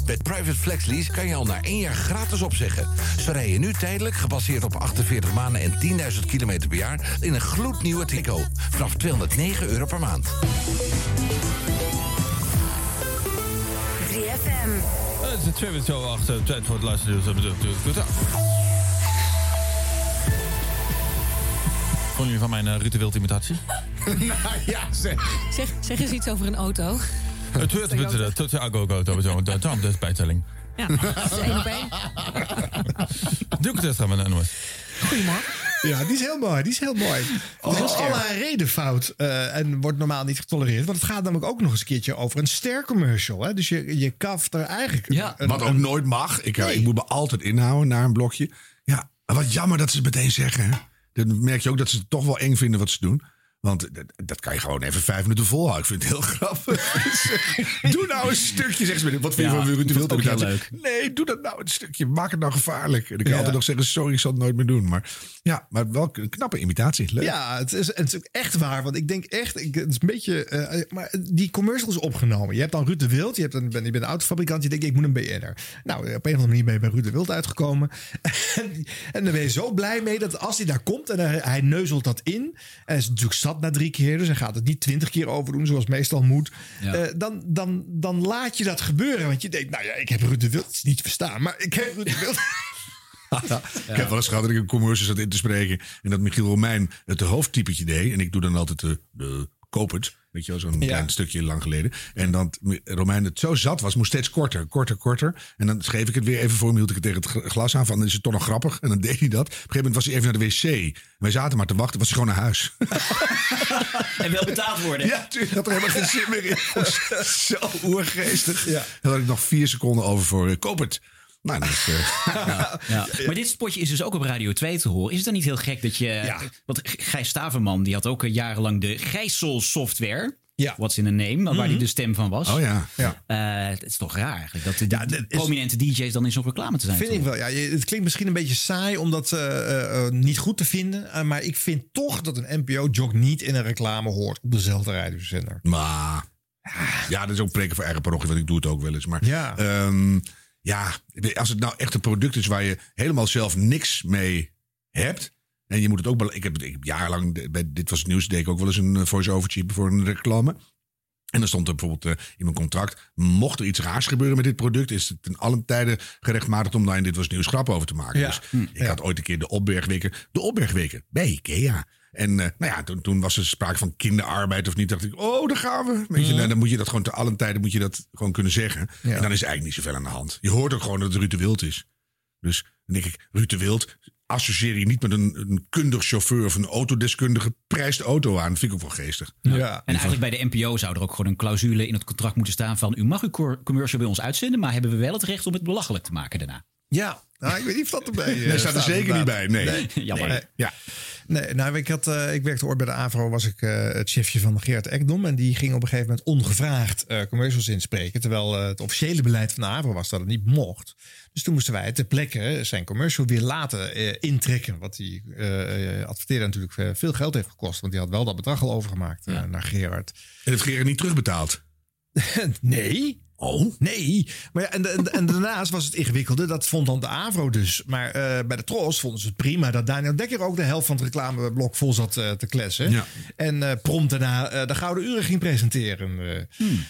[SPEAKER 24] Met Private Flex Lease kan je al na één jaar gratis opzeggen. Ze rijden nu tijdelijk, gebaseerd op 48 maanden en 10.000 kilometer per jaar... in een gloednieuwe Tico. Vanaf 209 euro per maand.
[SPEAKER 25] 3FM.
[SPEAKER 29] Het is twee minuten over acht. eh, Tijd voor het laatste nieuws. Dat betreft natuurlijk goed af. Vonden jullie van mijn eh, Ruud de Wild imitatie?
[SPEAKER 25] nou ja, zeg.
[SPEAKER 27] Zeg, zeg eens iets over een auto.
[SPEAKER 29] Het wordt beter eh, tot de agogo. Daarom de bijtelling.
[SPEAKER 27] Ja, dat is één op één.
[SPEAKER 29] Doe ik het met een NOS.
[SPEAKER 2] Ja, die is heel mooi. Die is heel mooi.
[SPEAKER 7] Oh,
[SPEAKER 2] Er is alle reden fout eh, en wordt normaal niet getolereerd. Want het gaat namelijk ook nog eens een keertje over een stercommercial. Hè? Dus je, je kaft er eigenlijk... een-
[SPEAKER 6] Wat ook
[SPEAKER 2] een-
[SPEAKER 6] nooit mag. Ik,
[SPEAKER 2] Nee.
[SPEAKER 6] ik moet me altijd inhouden naar een blokje. Ja, wat jammer dat ze het meteen zeggen. hè. Dan merk je ook dat ze het toch wel eng vinden wat ze doen. Want d- dat kan je gewoon even vijf minuten volhouden. Ik vind het heel grappig. Dus, doe nou een stukje, zegt ze. Wat vind je
[SPEAKER 29] Ja,
[SPEAKER 6] van
[SPEAKER 29] dat
[SPEAKER 6] ritueel
[SPEAKER 29] ook heel
[SPEAKER 6] leuk. Nee, doe dat nou een stukje. Maak het nou gevaarlijk. En dan kan je altijd nog zeggen, sorry, ik zal het nooit meer doen. Maar ja, maar wel een knappe imitatie. Leuk.
[SPEAKER 2] Ja, het is, het is ook echt waar. Want ik denk echt, ik, het is een beetje. eh, maar die commercial is opgenomen. Je hebt dan Ruud de Wild, je, hebt een, ben- je bent een autofabrikant, je denkt, ik moet een BN'er. Nou, op een of andere manier ben je bij Ruud de Wild uitgekomen. en, en daar ben je zo blij mee dat als hij daar komt en hij, hij neuzelt dat in. En is natuurlijk zat na drie keer, dus hij gaat het niet twintig keer overdoen, zoals meestal moet.
[SPEAKER 3] Ja.
[SPEAKER 2] eh, dan, dan, dan laat je dat gebeuren. Want je denkt, nou ja, ik heb Ruud de Wild het is niet te verstaan, maar ik heb Ruud de Wild.
[SPEAKER 6] Ik heb wel eens gehad dat ik een commercial zat in te spreken. En dat Michiel Romein het hoofdtypetje deed. En ik doe dan altijd de, de kopert. Weet je wel, zo'n klein stukje lang geleden. En dat Romein het zo zat was, moest steeds korter, korter, korter. En dan schreef ik het weer even voor hem, hield ik het tegen het gl- glas aan van, is het toch nog grappig? En dan deed hij dat. Op een gegeven moment was hij even naar de wc. En wij zaten maar te wachten, was hij gewoon naar huis.
[SPEAKER 7] En wel betaald worden.
[SPEAKER 6] Ja, tuurlijk. Dat er helemaal geen zin meer in. Zo oergeestig. Ja. Dan had ik nog vier seconden over voor eh, kopert. Nou, dat is... eh,
[SPEAKER 7] Ja. Maar dit spotje is dus ook op Radio 2 te horen. Is het dan niet heel gek dat je... Want G- Gijs Staverman die had ook eh, jarenlang de Gijssel software.
[SPEAKER 2] Ja.
[SPEAKER 7] What's in a name, waar
[SPEAKER 2] Mhm.
[SPEAKER 7] hij de stem van was.
[SPEAKER 2] Oh ja,
[SPEAKER 7] Eh, het is toch raar eigenlijk dat de prominente DJ's dan in zo'n reclame te zijn.
[SPEAKER 2] Vind ik wel. Ja, je- het klinkt misschien een beetje saai om dat eh, eh, eh, niet goed te vinden. eh, maar ik vind toch dat een NPO-jog niet in een reclame hoort op dezelfde radiozender.
[SPEAKER 6] Maar.
[SPEAKER 29] Ah.
[SPEAKER 6] Ja, dat is ook preken voor eigen parochie, want ik doe het ook wel eens. Maar ja. ja, als het nou echt een product is waar je helemaal zelf niks mee hebt. En je moet het ook. bela- Ik heb, ik heb jarenlang. de- Bij dit was het nieuws. deed ik ook wel eens een eh, voice-overtje voor een reclame. En dan stond er bijvoorbeeld eh, in mijn contract. Mocht er iets raars gebeuren met dit product. is het ten allen tijde gerechtmatigd om daar in dit was het nieuws grap over te maken.
[SPEAKER 29] Ja.
[SPEAKER 6] Dus
[SPEAKER 29] Hm.
[SPEAKER 6] ik had ooit een keer de opbergweken. De opbergweken bij Ikea. En eh, nou ja, toen, toen was er sprake van kinderarbeid of niet. dacht ik, oh, daar gaan we. Weet je,
[SPEAKER 2] Mhm. Mm.
[SPEAKER 6] nou, dan moet je dat gewoon te allen tijden moet je dat gewoon kunnen zeggen. En dan is er eigenlijk niet zoveel aan de hand. Je hoort ook gewoon dat het Ruud de Wild is. Dus dan denk ik, Ruud de Wild associeer je niet met een, een kundig chauffeur of een autodeskundige. Prijst de auto aan. Dat vind ik ook wel geestig.
[SPEAKER 7] En eigenlijk bij de NPO zou er ook gewoon een clausule in het contract moeten staan van... u mag uw cor- commercial bij ons uitzenden, maar hebben we wel het recht om het belachelijk te maken daarna.
[SPEAKER 2] Ja, nou, ik weet niet of dat erbij eh,
[SPEAKER 6] Nee, staat er zeker
[SPEAKER 2] inderdaad.
[SPEAKER 6] niet bij, nee. Jammer.
[SPEAKER 2] Nee.
[SPEAKER 6] Ja.
[SPEAKER 2] Nee, nou, ik, had, eh, ik werkte ooit bij de AVRO, was ik eh, het chefje van Geert Ekdom. En die ging op een gegeven moment ongevraagd eh, commercials inspreken. Terwijl eh, het officiële beleid van de AVRO was dat het niet mocht. Dus toen moesten wij ter plekke zijn commercial weer laten eh, intrekken. Wat die eh adverteerder natuurlijk eh, veel geld heeft gekost. Want die had wel dat bedrag al overgemaakt eh, naar Gerard.
[SPEAKER 6] En heeft Gerard niet terugbetaald?
[SPEAKER 2] nee. Oh? Nee. Maar ja, en, da- en, en daarnaast was het ingewikkelde. Dat vond dan de AVRO dus. Maar eh, bij de Tros vonden ze het prima dat Daniel Dekker ook de helft van het reclameblok vol zat eh, te kletsen.
[SPEAKER 6] Ja.
[SPEAKER 2] En eh, prompt daarna eh, de Gouden Uren ging presenteren. Eh,
[SPEAKER 6] Hmm.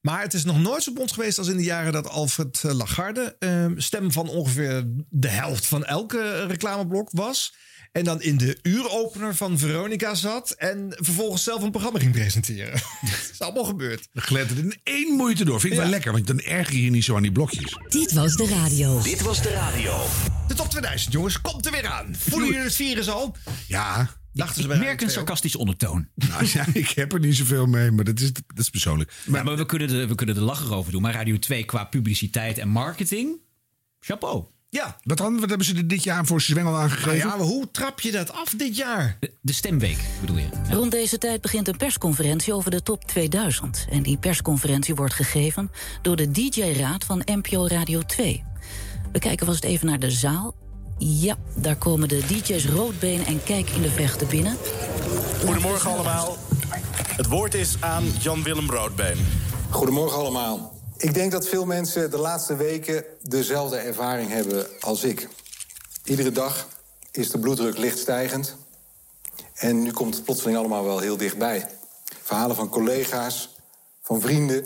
[SPEAKER 2] Maar het is nog nooit zo bond geweest als in de jaren dat Alfred eh, Lagarde eh, stem van ongeveer de helft van elke eh, reclameblok was. En dan in de uuropener van Veronica zat. En vervolgens zelf een programma ging presenteren. Het is allemaal gebeurd.
[SPEAKER 6] Glijdt het in één moeite door. Vind ik wel lekker, want dan erger je je niet zo aan die blokjes.
[SPEAKER 2] Dit was de radio.
[SPEAKER 6] Dit was de radio.
[SPEAKER 2] De top 2000, jongens, komt er weer aan. Voelen jullie het virus al?
[SPEAKER 6] Ja.
[SPEAKER 2] Dachten ze bij
[SPEAKER 7] Ik
[SPEAKER 2] Radio
[SPEAKER 7] merk een
[SPEAKER 2] 2 ook.
[SPEAKER 7] sarcastische ondertoon.
[SPEAKER 6] Nou ja, ik heb er niet zoveel mee, maar dat is, dat is persoonlijk.
[SPEAKER 7] Maar, maar we, kunnen er, we kunnen er lachen over doen. Maar Radio 2 qua publiciteit en marketing, chapeau.
[SPEAKER 2] Ja.
[SPEAKER 6] Wat, dan, wat hebben ze er dit jaar voor zwengel aangegeven?
[SPEAKER 2] ja, maar hoe trap je dat af dit jaar?
[SPEAKER 7] De, de stemweek bedoel je.
[SPEAKER 30] Rond deze tijd begint een persconferentie over de top 2000. En die persconferentie wordt gegeven door de DJ-raad van NPO Radio 2. We kijken vast even naar de zaal. Ja, daar komen de DJ's Roodbeen en Kijk in de Vechten binnen.
[SPEAKER 31] Goedemorgen allemaal. Het woord is aan Jan-Willem Roodbeen.
[SPEAKER 32] Goedemorgen allemaal. Ik denk dat veel mensen de laatste weken dezelfde ervaring hebben als ik. Iedere dag is de bloeddruk licht stijgend. En nu komt het plotseling allemaal wel heel dichtbij. Verhalen van collega's, van vrienden,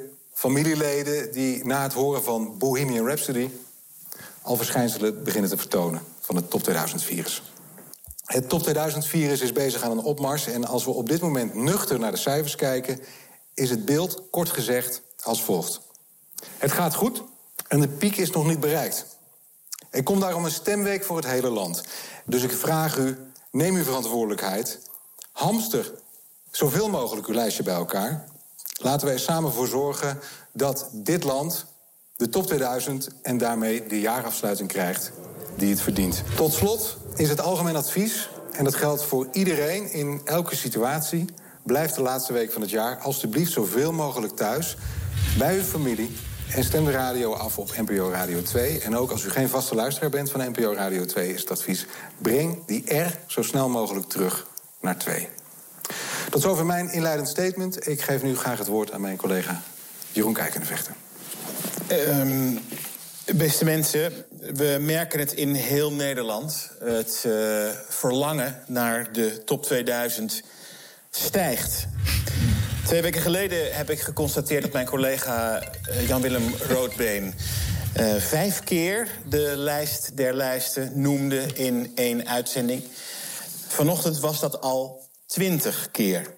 [SPEAKER 32] familieleden... die na het horen van Bohemian Rhapsody... al verschijnselen beginnen te vertonen van het top 2000-virus. Het top 2000-virus is bezig aan een opmars... en als we op dit moment nuchter naar de cijfers kijken is het beeld kort gezegd als volgt. Het gaat goed en de piek is nog niet bereikt. Er komt daarom een stemweek voor het hele land. Dus ik vraag u, neem uw verantwoordelijkheid. Hamster zoveel mogelijk uw lijstje bij elkaar. Laten wij er samen voor zorgen dat dit land de top 2000 en daarmee de jaarafsluiting krijgt die het verdient. Tot slot is het algemeen advies en dat geldt voor iedereen in elke situatie. Blijf de laatste week van het jaar alstublieft zoveel mogelijk thuis bij uw familie. En stem de radio af op NPO Radio 2. En ook als u geen vaste luisteraar bent van NPO Radio 2, is het advies: breng die R zo snel mogelijk terug naar 2. Tot zover mijn inleidend statement. Ik geef nu graag het woord aan mijn collega Jeroen Kijkenvechter.
[SPEAKER 31] Ehm, beste mensen, we merken het in heel Nederland. Het eh, verlangen naar de top 2000 stijgt. Twee weken geleden heb ik geconstateerd dat mijn collega eh, Jan-Willem Roodbeen... eh, vijf keer de lijst der lijsten noemde in één uitzending. Vanochtend was dat al twintig keer.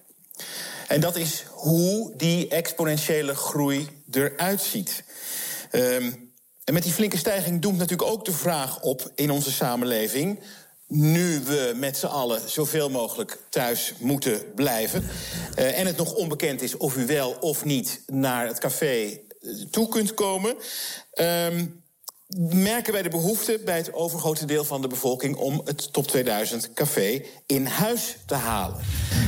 [SPEAKER 31] En dat is hoe die exponentiële groei eruit ziet. Ehm, en met die flinke stijging doemt natuurlijk ook de vraag op in onze samenleving. Nu we met z'n allen zoveel mogelijk thuis moeten blijven. eh, en het nog onbekend is of u wel of niet naar het café eh, toe kunt komen. ehm, merken wij de behoefte bij het overgrote deel van de bevolking om het Top 2000 café in huis te halen.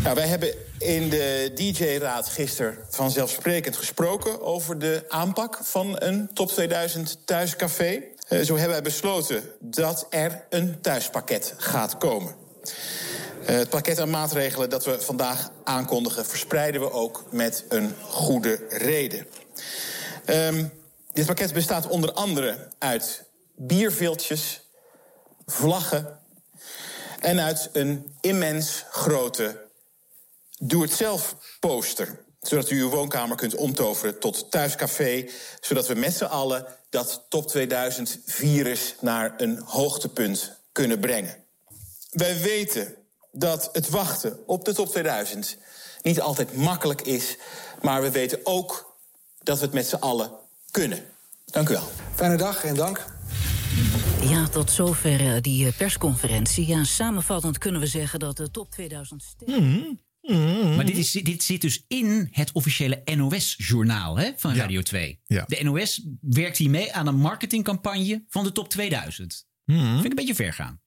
[SPEAKER 31] Nou, wij hebben in de DJ-raad gisteren vanzelfsprekend gesproken over de aanpak van een Top 2000 thuiscafé. Eh, zo hebben wij besloten dat er een thuispakket gaat komen. Eh, Het pakket aan maatregelen dat we vandaag aankondigen verspreiden we ook met een goede reden. Ehm, dit pakket bestaat onder andere uit bierviltjes, vlaggen en uit een immens grote doe-het-zelf poster. Zodat u uw woonkamer kunt omtoveren tot thuiscafé. Zodat we met z'n allen dat top 2000 virus naar een hoogtepunt kunnen brengen. Wij weten dat het wachten op de top 2000 niet altijd makkelijk is. Maar we weten ook dat we het met z'n allen kunnen. Dank u wel.
[SPEAKER 32] Fijne dag en dank.
[SPEAKER 30] Ja, tot zover eh, die eh, persconferentie. Ja, samenvattend kunnen we zeggen dat de top 2000... sterk-
[SPEAKER 2] Mm-hmm.
[SPEAKER 7] Maar dit, is, dit zit dus in het officiële NOS-journaal hè, van Radio 2. De NOS werkt hier mee aan een marketingcampagne van de top 2000. Vind ik een beetje ver gaan.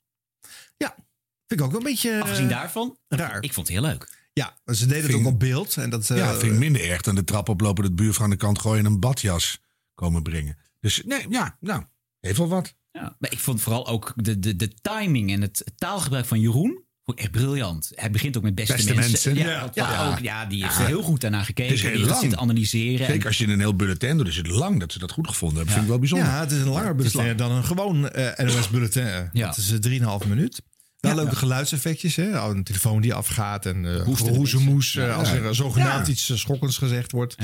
[SPEAKER 2] Mm-hmm. Vind ik ook wel een beetje... eh,
[SPEAKER 7] Afgezien daarvan,
[SPEAKER 2] raar.
[SPEAKER 7] ik vond het heel leuk.
[SPEAKER 2] Ja, ze deden het ook op beeld. En dat, eh,
[SPEAKER 6] ja, vind ik minder erg dan de trap oplopen... dat buurvrouw aan de kant gooien en een badjas komen brengen. Dus nee, ja, nou, heeft wel wat.
[SPEAKER 7] Ja, maar ik vond vooral ook de, de, de timing en het taalgebruik van Jeroen vond ik echt briljant. Hij begint ook met beste,
[SPEAKER 6] Beste mensen.
[SPEAKER 7] Ja,
[SPEAKER 6] Ja.
[SPEAKER 7] dat was
[SPEAKER 6] Ja.
[SPEAKER 7] Ook, ja, die heeft
[SPEAKER 6] Ja.
[SPEAKER 7] heel goed daarna gekeken.
[SPEAKER 6] Het is heel
[SPEAKER 7] die heeft
[SPEAKER 6] lang.
[SPEAKER 7] het zitten analyseren.
[SPEAKER 6] Zeker als je een heel bulletin doet, is het lang dat ze dat goed gevonden hebben. Vind ik wel bijzonder.
[SPEAKER 2] Ja, het is een langer
[SPEAKER 6] Het is
[SPEAKER 2] bulletin
[SPEAKER 6] lang.
[SPEAKER 2] dan een gewoon eh NOS-bulletin.
[SPEAKER 6] Ja.
[SPEAKER 2] Dat is eh, 3,5 minuut. Wel leuke geluidseffectjes, hè? Oh, Een telefoon die afgaat en eh hoezemoes eh,
[SPEAKER 6] Ja.
[SPEAKER 2] als er eh, zogenaamd
[SPEAKER 6] Ja.
[SPEAKER 2] iets eh, schokkends gezegd wordt.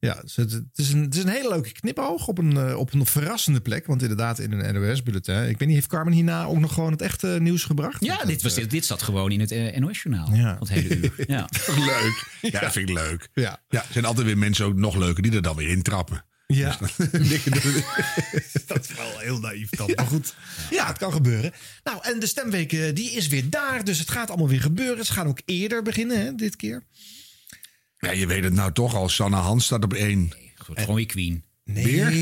[SPEAKER 2] Ja. dus het, het is een, het is een hele leuke knipoog op een, eh, op een verrassende plek. Want inderdaad, in een NOS-bulletin. Ik weet niet, heeft Carmen hierna ook nog gewoon het echte nieuws gebracht?
[SPEAKER 7] Ja, dit, was, dit, dit zat gewoon in het eh, NOS-journaal.
[SPEAKER 2] Ja.
[SPEAKER 7] Van het hele uur. Ja.
[SPEAKER 6] leuk. Ja, dat vind ik leuk.
[SPEAKER 2] Ja.
[SPEAKER 6] ja, er zijn altijd weer mensen ook nog leuker die er dan weer Dus intrappen.
[SPEAKER 2] Ja. dat is wel heel naïef dan. Maar goed, ja, het kan gebeuren. Nou, en de stemweek eh, die is weer daar. Dus het gaat allemaal weer gebeuren. Ze gaan ook eerder beginnen, hè, dit keer.
[SPEAKER 6] Ja, je weet het nou toch al. Sanne Hans staat op één.
[SPEAKER 7] Gewoon je queen.
[SPEAKER 2] Nee,
[SPEAKER 6] Weer?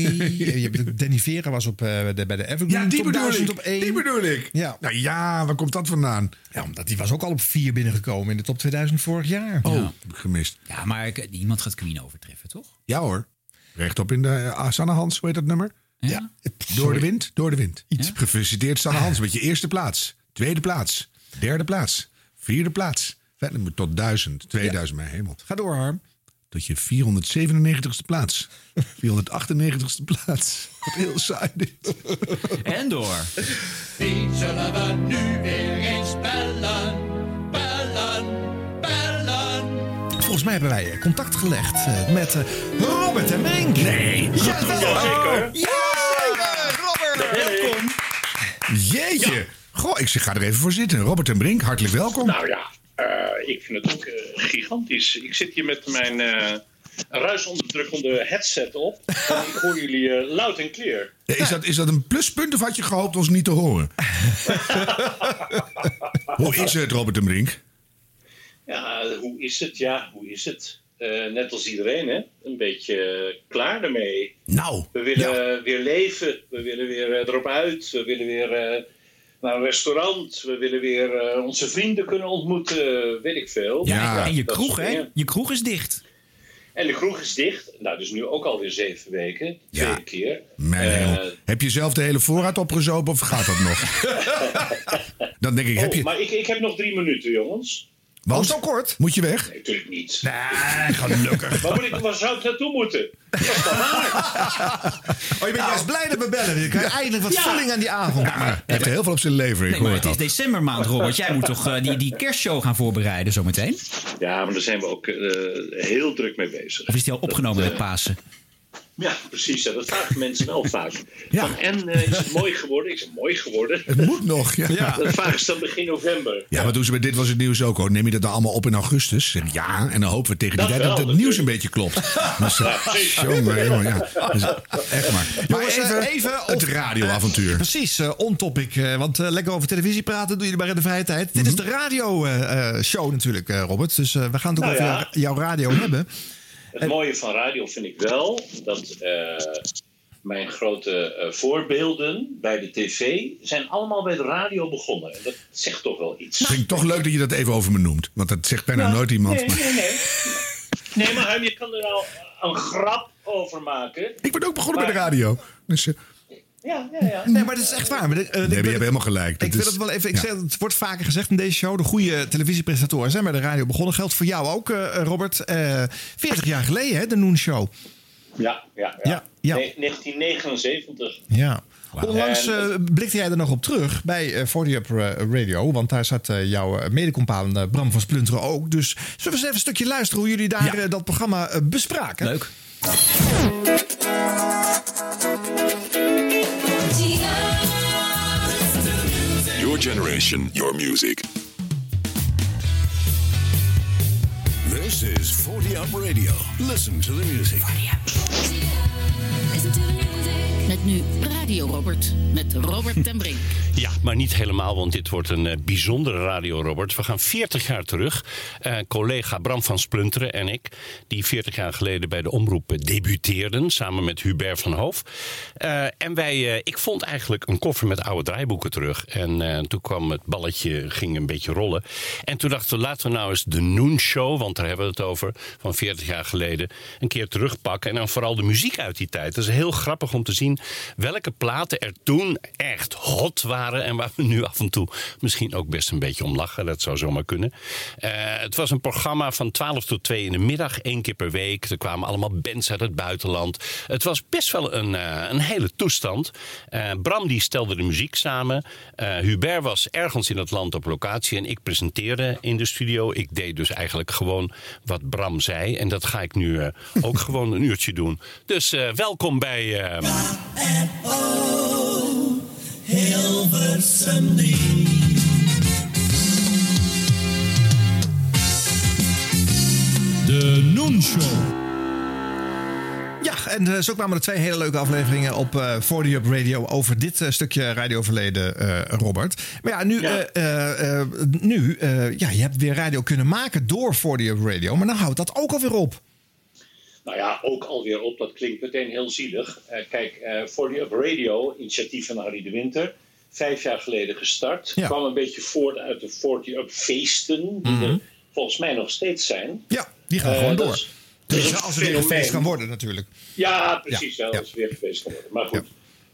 [SPEAKER 2] je hebt het- Danny Vera was op, eh, de, bij de Evergreen.
[SPEAKER 6] Ja, die
[SPEAKER 2] Top
[SPEAKER 6] bedoel
[SPEAKER 2] 1000
[SPEAKER 6] ik.
[SPEAKER 2] Op één.
[SPEAKER 6] Die bedoel ik.
[SPEAKER 2] Ja.
[SPEAKER 6] Nou ja, waar komt dat vandaan?
[SPEAKER 2] Ja, omdat die was ook al op vier binnengekomen in de top 2000 vorig jaar.
[SPEAKER 6] Oh, heb ik gemist.
[SPEAKER 7] Ja, maar ik- niemand gaat Queen overtreffen, toch?
[SPEAKER 6] Ja hoor. Rechtop in de eh, Sanne Hans, hoe heet dat nummer?
[SPEAKER 7] Ja.
[SPEAKER 6] Door de wind, door de wind. Gefeliciteerd Sanne Hans met je eerste plaats. Tweede plaats. Derde plaats. Vierde plaats. Verder moet tot 1000, 2000, mijn hemel.
[SPEAKER 2] Ga door, Harm.
[SPEAKER 6] Tot je 497ste plaats. 498ste plaats. Wat heel saai dit.
[SPEAKER 7] En door.
[SPEAKER 3] Wie zullen we nu weer eens bellen? Bellen, bellen.
[SPEAKER 2] Volgens mij hebben wij eh, contact gelegd eh, met eh, Robert en Henk. Nee. Jawel.
[SPEAKER 6] Jazeker.
[SPEAKER 2] Ja, zeker. Robert, welkom.
[SPEAKER 6] Jeetje. Goh, ik zeg, ga er even voor zitten. Robert en Brink, hartelijk welkom.
[SPEAKER 22] Nou ja, eh, ik vind het ook eh, gigantisch. Ik zit hier met mijn eh, ruisonderdrukkende headset op. En ik hoor jullie eh, luid en clear.
[SPEAKER 6] Eh, Is, dat, is dat een pluspunt of had je gehoopt ons niet te horen? Hoe is het, Robert en Brink?
[SPEAKER 22] Ja, hoe is het? Ja, hoe is het? Eh, net als iedereen, hè? Een beetje eh, klaar ermee.
[SPEAKER 6] Nou.
[SPEAKER 22] We willen eh, weer leven. We willen weer eh, erop uit. We willen weer eh, naar een restaurant. We willen weer eh, onze vrienden kunnen ontmoeten, weet ik veel.
[SPEAKER 7] Ja, en je
[SPEAKER 22] dat
[SPEAKER 7] kroeg,
[SPEAKER 22] soort
[SPEAKER 7] hè?
[SPEAKER 22] dingen.
[SPEAKER 7] Je kroeg is dicht.
[SPEAKER 22] En de kroeg is dicht. Nou, dus nu ook alweer zeven weken.
[SPEAKER 6] Ja.
[SPEAKER 22] Twee keer.
[SPEAKER 6] Mijn
[SPEAKER 22] Eh,
[SPEAKER 6] hemel. Heb je zelf de hele voorraad opgezopen of gaat dat nog? Dan denk ik, heb
[SPEAKER 22] oh,
[SPEAKER 6] je...
[SPEAKER 22] Maar ik, ik heb nog drie minuten, jongens.
[SPEAKER 6] Want,
[SPEAKER 22] zo
[SPEAKER 6] kort? Moet je weg?
[SPEAKER 22] Nee, natuurlijk niet.
[SPEAKER 6] Nee, gelukkig.
[SPEAKER 22] Waar, moet ik, waar zou ik naartoe moeten? Ah.
[SPEAKER 2] Oh, je bent juist blij dat we bellen. Je krijgt eindelijk wat
[SPEAKER 7] Ja.
[SPEAKER 2] vulling aan die avond.
[SPEAKER 6] Hij Ah, heeft heel veel op zijn leven, ik
[SPEAKER 7] Nee,
[SPEAKER 6] hoor
[SPEAKER 7] maar
[SPEAKER 6] het
[SPEAKER 7] het is
[SPEAKER 6] al.
[SPEAKER 7] decembermaand, Robert. Jij moet toch eh, die, die kerstshow gaan voorbereiden zometeen?
[SPEAKER 22] Ja, maar daar zijn we ook eh, heel druk mee bezig.
[SPEAKER 7] Of is die al opgenomen
[SPEAKER 22] Dat,
[SPEAKER 7] met Pasen?
[SPEAKER 22] Ja, precies. ja, Dat vragen mensen wel vaak. Van, en eh, is het mooi geworden? Is het mooi geworden?
[SPEAKER 6] Het moet nog, ja.
[SPEAKER 22] Dat vragen ze dan begin november.
[SPEAKER 6] Ja, maar doen ze bij Dit Was Het Nieuws ook hoor. Neem je dat dan allemaal op in augustus? Zeg, Ja, en dan hopen we tegen die
[SPEAKER 22] Dat
[SPEAKER 6] tijd dat
[SPEAKER 22] wel,
[SPEAKER 6] het nieuws een beetje klopt. Maar zo, jongen, jongen, ja. Dat is Echt maar. Maar
[SPEAKER 2] Jongens,
[SPEAKER 6] even,
[SPEAKER 2] eh, even
[SPEAKER 6] het
[SPEAKER 2] op-
[SPEAKER 6] radioavontuur.
[SPEAKER 2] Precies, eh on topic. eh, want eh, lekker over televisie praten doen jullie maar in de vrije tijd. Dit is de radioshow natuurlijk, eh, Robert. Dus eh, we gaan het ook
[SPEAKER 22] Nou
[SPEAKER 2] over
[SPEAKER 22] ja.
[SPEAKER 2] jou- jouw radio hebben.
[SPEAKER 22] Het mooie van radio vind ik wel dat eh, mijn grote eh, voorbeelden bij de tv zijn allemaal bij de radio begonnen. En dat zegt toch wel iets.
[SPEAKER 6] Vind ik toch leuk dat je dat even over me noemt. Want dat zegt bijna
[SPEAKER 2] Nou,
[SPEAKER 6] nooit iemand.
[SPEAKER 22] Nee,
[SPEAKER 6] maar-
[SPEAKER 22] nee, nee. Nee, maar Huim, je kan er al een grap over maken.
[SPEAKER 6] Ik ben ook begonnen bij de radio. Dus, eh,
[SPEAKER 22] Ja, ja, ja.
[SPEAKER 2] Nee, maar dat is echt waar. Maar, eh, ik
[SPEAKER 6] nee, maar je
[SPEAKER 2] wil-
[SPEAKER 6] hebt helemaal gelijk.
[SPEAKER 2] Ik wil het wel even. Ik zeg, het wordt vaker gezegd in deze show. De goede televisiepresentatoren zijn bij de radio begonnen. Geldt voor jou ook, eh, Robert. Eh 40 jaar geleden, hè, de Noon Show.
[SPEAKER 22] Ja, ja, ja.
[SPEAKER 2] Ja, ja.
[SPEAKER 22] Nee, 1979.
[SPEAKER 2] Ja. Onlangs
[SPEAKER 22] En-
[SPEAKER 2] eh, blikte jij er nog op terug bij eh 40 Up eh, Radio. Want daar zat eh, jouw eh, medecompaan eh, Bram van Splunteren ook. Dus zullen we eens even een stukje luisteren hoe jullie daar eh, dat programma eh, bespraken?
[SPEAKER 7] Leuk.
[SPEAKER 16] Your generation, your music. This is 40 Up Radio. Listen to the music.
[SPEAKER 30] Met nu Radio Robert. Met Robert ten Brink.
[SPEAKER 20] Ja, maar niet helemaal, want dit wordt een eh, bijzondere radio, Robert. We gaan 40 jaar terug. Eh, collega Bram van Splunteren en ik, die 40 jaar geleden bij de omroep eh, debuteerden, samen met Hubert van Hoof. Eh, en wij, eh, ik vond eigenlijk een koffer met oude draaiboeken terug. En eh, toen kwam het balletje, ging een beetje rollen. En toen dachten we, laten we nou eens de Noon Show, want daar hebben we het over, van 40 jaar geleden, een keer terugpakken. En dan vooral de muziek uit die tijd. Dat is heel grappig om te zien welke platen er toen echt hot waren. En waar we nu af en toe misschien ook best een beetje om lachen. Dat zou zomaar kunnen. Eh, het was een programma van 12 tot 2 in de middag, één keer per week. Er kwamen allemaal bands uit het buitenland. Het was best wel een, eh, een hele toestand. Eh, Bram die stelde de muziek samen. Eh, Hubert was ergens in het land op locatie en ik presenteerde in de studio. Ik deed dus eigenlijk gewoon wat Bram zei. En dat ga ik nu eh, ook gewoon een uurtje doen. Dus eh, welkom bij. eh,
[SPEAKER 3] Hilversum 3.
[SPEAKER 2] De Noon Show. Ja, en eh, zo kwamen er twee hele leuke afleveringen op eh 40 Up Radio over dit eh, stukje radioverleden, eh, Robert. Maar ja, nu, eh, eh, eh, nu eh, ja, je hebt weer radio kunnen maken door 40 Up Radio, maar dan houdt dat ook alweer op.
[SPEAKER 22] Nou ja, ook alweer op, dat klinkt meteen heel zielig. Eh, kijk, eh, voor die Up Radio, initiatief van Harry de Winter, vijf jaar geleden gestart. kwam een beetje voort uit de 40 Up feesten, die er volgens mij nog steeds zijn.
[SPEAKER 2] Mhm. Ja, die gaan
[SPEAKER 22] Eh,
[SPEAKER 2] gewoon
[SPEAKER 22] dat
[SPEAKER 2] door.
[SPEAKER 22] is- dat is
[SPEAKER 2] dus
[SPEAKER 22] een
[SPEAKER 2] als er weer
[SPEAKER 22] fenomeen.
[SPEAKER 2] gefeest kan worden natuurlijk.
[SPEAKER 22] Ja, precies. Ja, dat is weer gefeest kan worden. Maar goed,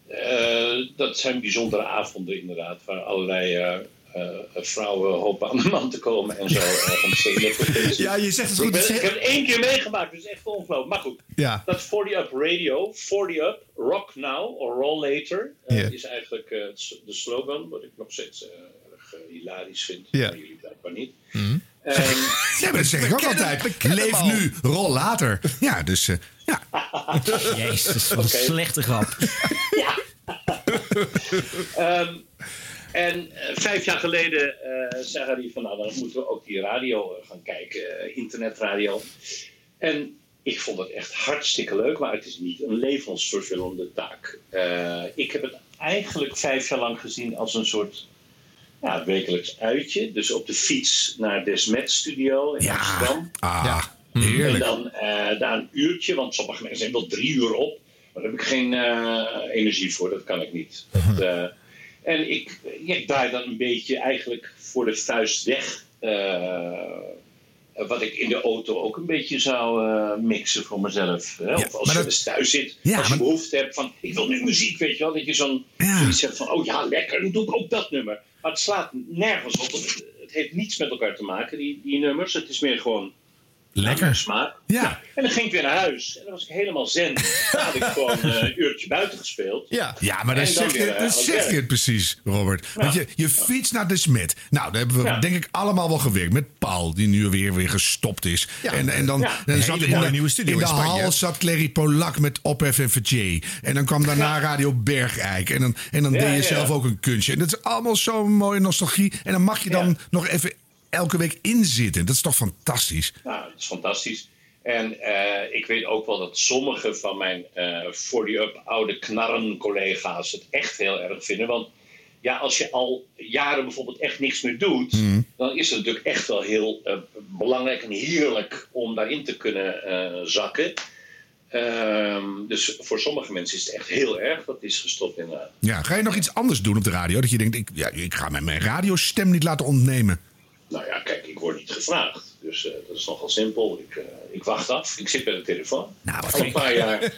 [SPEAKER 22] eh, dat zijn bijzondere avonden inderdaad, waar allerlei... eh, eh, vrouwen hopen aan de man te komen en zo. eh, om te zingen.
[SPEAKER 2] Ja, je zegt het goed.
[SPEAKER 22] Ik, ben-
[SPEAKER 2] Het is
[SPEAKER 22] ik
[SPEAKER 2] heel-
[SPEAKER 22] heb het één keer meegemaakt, dus echt ongelooflijk. Maar goed,
[SPEAKER 2] Ja.
[SPEAKER 22] dat 40 Up Radio, 40 Up, Rock Now or Roll Later, eh,
[SPEAKER 2] Ja.
[SPEAKER 22] is eigenlijk eh, het s- de slogan, wat ik nog steeds eh, erg eh, hilarisch vind.
[SPEAKER 6] Ja.
[SPEAKER 22] Maar jullie blijkbaar niet.
[SPEAKER 6] Mhm. Ja, maar dat zeg ik ook altijd. Leef nu, rol later. Ja, dus eh, ja.
[SPEAKER 7] Jezus, wat een
[SPEAKER 22] Oké.
[SPEAKER 7] slechte grap.
[SPEAKER 22] Ehm, en eh, vijf jaar geleden eh, zei Harry van nou, dan moeten we ook die radio eh, gaan kijken, eh, internetradio. En ik vond het echt hartstikke leuk, maar het is niet een levensvervullende taak. Eh, ik heb het eigenlijk vijf jaar lang gezien als een soort ja, wekelijks uitje. Dus op de fiets naar Desmet Studio in Amsterdam.
[SPEAKER 6] Ah,
[SPEAKER 18] Mm-hmm.
[SPEAKER 22] En
[SPEAKER 6] heerlijk.
[SPEAKER 22] dan eh, daar een uurtje, want sommige mensen zijn wel drie uur op. Maar daar heb ik geen eh, energie voor, dat kan ik niet. Dat, eh, En ik, ja, ik draai dan een beetje eigenlijk voor de vuist weg. eh, wat ik in de auto ook een beetje zou eh, mixen voor mezelf. Hè? of als je dus thuis zit, als je behoefte hebt van... ik wil nu muziek, weet je wel. Dat je zo'n, zoiets zegt van, oh ja, lekker, dan doe ik ook dat nummer. Maar het slaat nergens op. want Het, het heeft niets met elkaar te maken, die, die nummers. Het is meer gewoon... Lekker. Smaak. Ja. En dan ging ik weer naar huis. En dan was ik helemaal zen. Dan had ik gewoon eh, een uurtje buiten gespeeld.
[SPEAKER 6] Ja, ja maar dan,
[SPEAKER 22] En
[SPEAKER 6] zeg,
[SPEAKER 22] weer,
[SPEAKER 6] je,
[SPEAKER 22] eh, aan
[SPEAKER 6] dan
[SPEAKER 22] het
[SPEAKER 6] zeg
[SPEAKER 22] werk.
[SPEAKER 6] je het precies, Robert. Want
[SPEAKER 22] Ja.
[SPEAKER 6] je, je fietst naar de Smit. Nou, daar hebben we
[SPEAKER 22] Ja.
[SPEAKER 6] denk ik allemaal wel gewerkt. Met Paul, die nu weer, weer gestopt is.
[SPEAKER 22] Ja.
[SPEAKER 6] En, en dan,
[SPEAKER 22] Ja.
[SPEAKER 9] eh,
[SPEAKER 6] dan
[SPEAKER 22] Een
[SPEAKER 6] zat
[SPEAKER 22] hele
[SPEAKER 6] in de-
[SPEAKER 22] mooie nieuwe studio
[SPEAKER 6] in de
[SPEAKER 22] in Spanje.
[SPEAKER 6] hal zat Clary Polak met Ophef en Verjay. En dan kwam daarna Radio Bergijk. En dan, en dan
[SPEAKER 22] Ja,
[SPEAKER 6] deed je
[SPEAKER 22] ja,
[SPEAKER 6] zelf
[SPEAKER 22] ja.
[SPEAKER 6] ook een kunstje. En dat is allemaal zo'n mooie nostalgie. En dan mag je dan nog even elke week inzitten. Dat is toch fantastisch?
[SPEAKER 22] Nou, dat is fantastisch. En eh, ik weet ook wel dat sommige van mijn eh 40-up oude knarren-collega's het echt heel erg vinden. Want ja, als je al jaren bijvoorbeeld echt niks meer doet,
[SPEAKER 6] Hmm.
[SPEAKER 22] dan is het natuurlijk echt wel heel eh, belangrijk en heerlijk om daarin te kunnen eh, zakken. Ehm, dus voor sommige mensen is het echt heel erg dat is gestopt eh, inderdaad.
[SPEAKER 6] Ja, ga je nog iets anders doen op de radio? Dat je denkt, ik, ja, ik ga mijn, mijn radiostem niet laten ontnemen.
[SPEAKER 22] Nou ja, kijk, ik word niet gevraagd. Dus eh, dat is nogal simpel. Ik, eh, ik wacht af. Ik zit bij de telefoon.
[SPEAKER 2] Nou,
[SPEAKER 22] Al een paar jaar.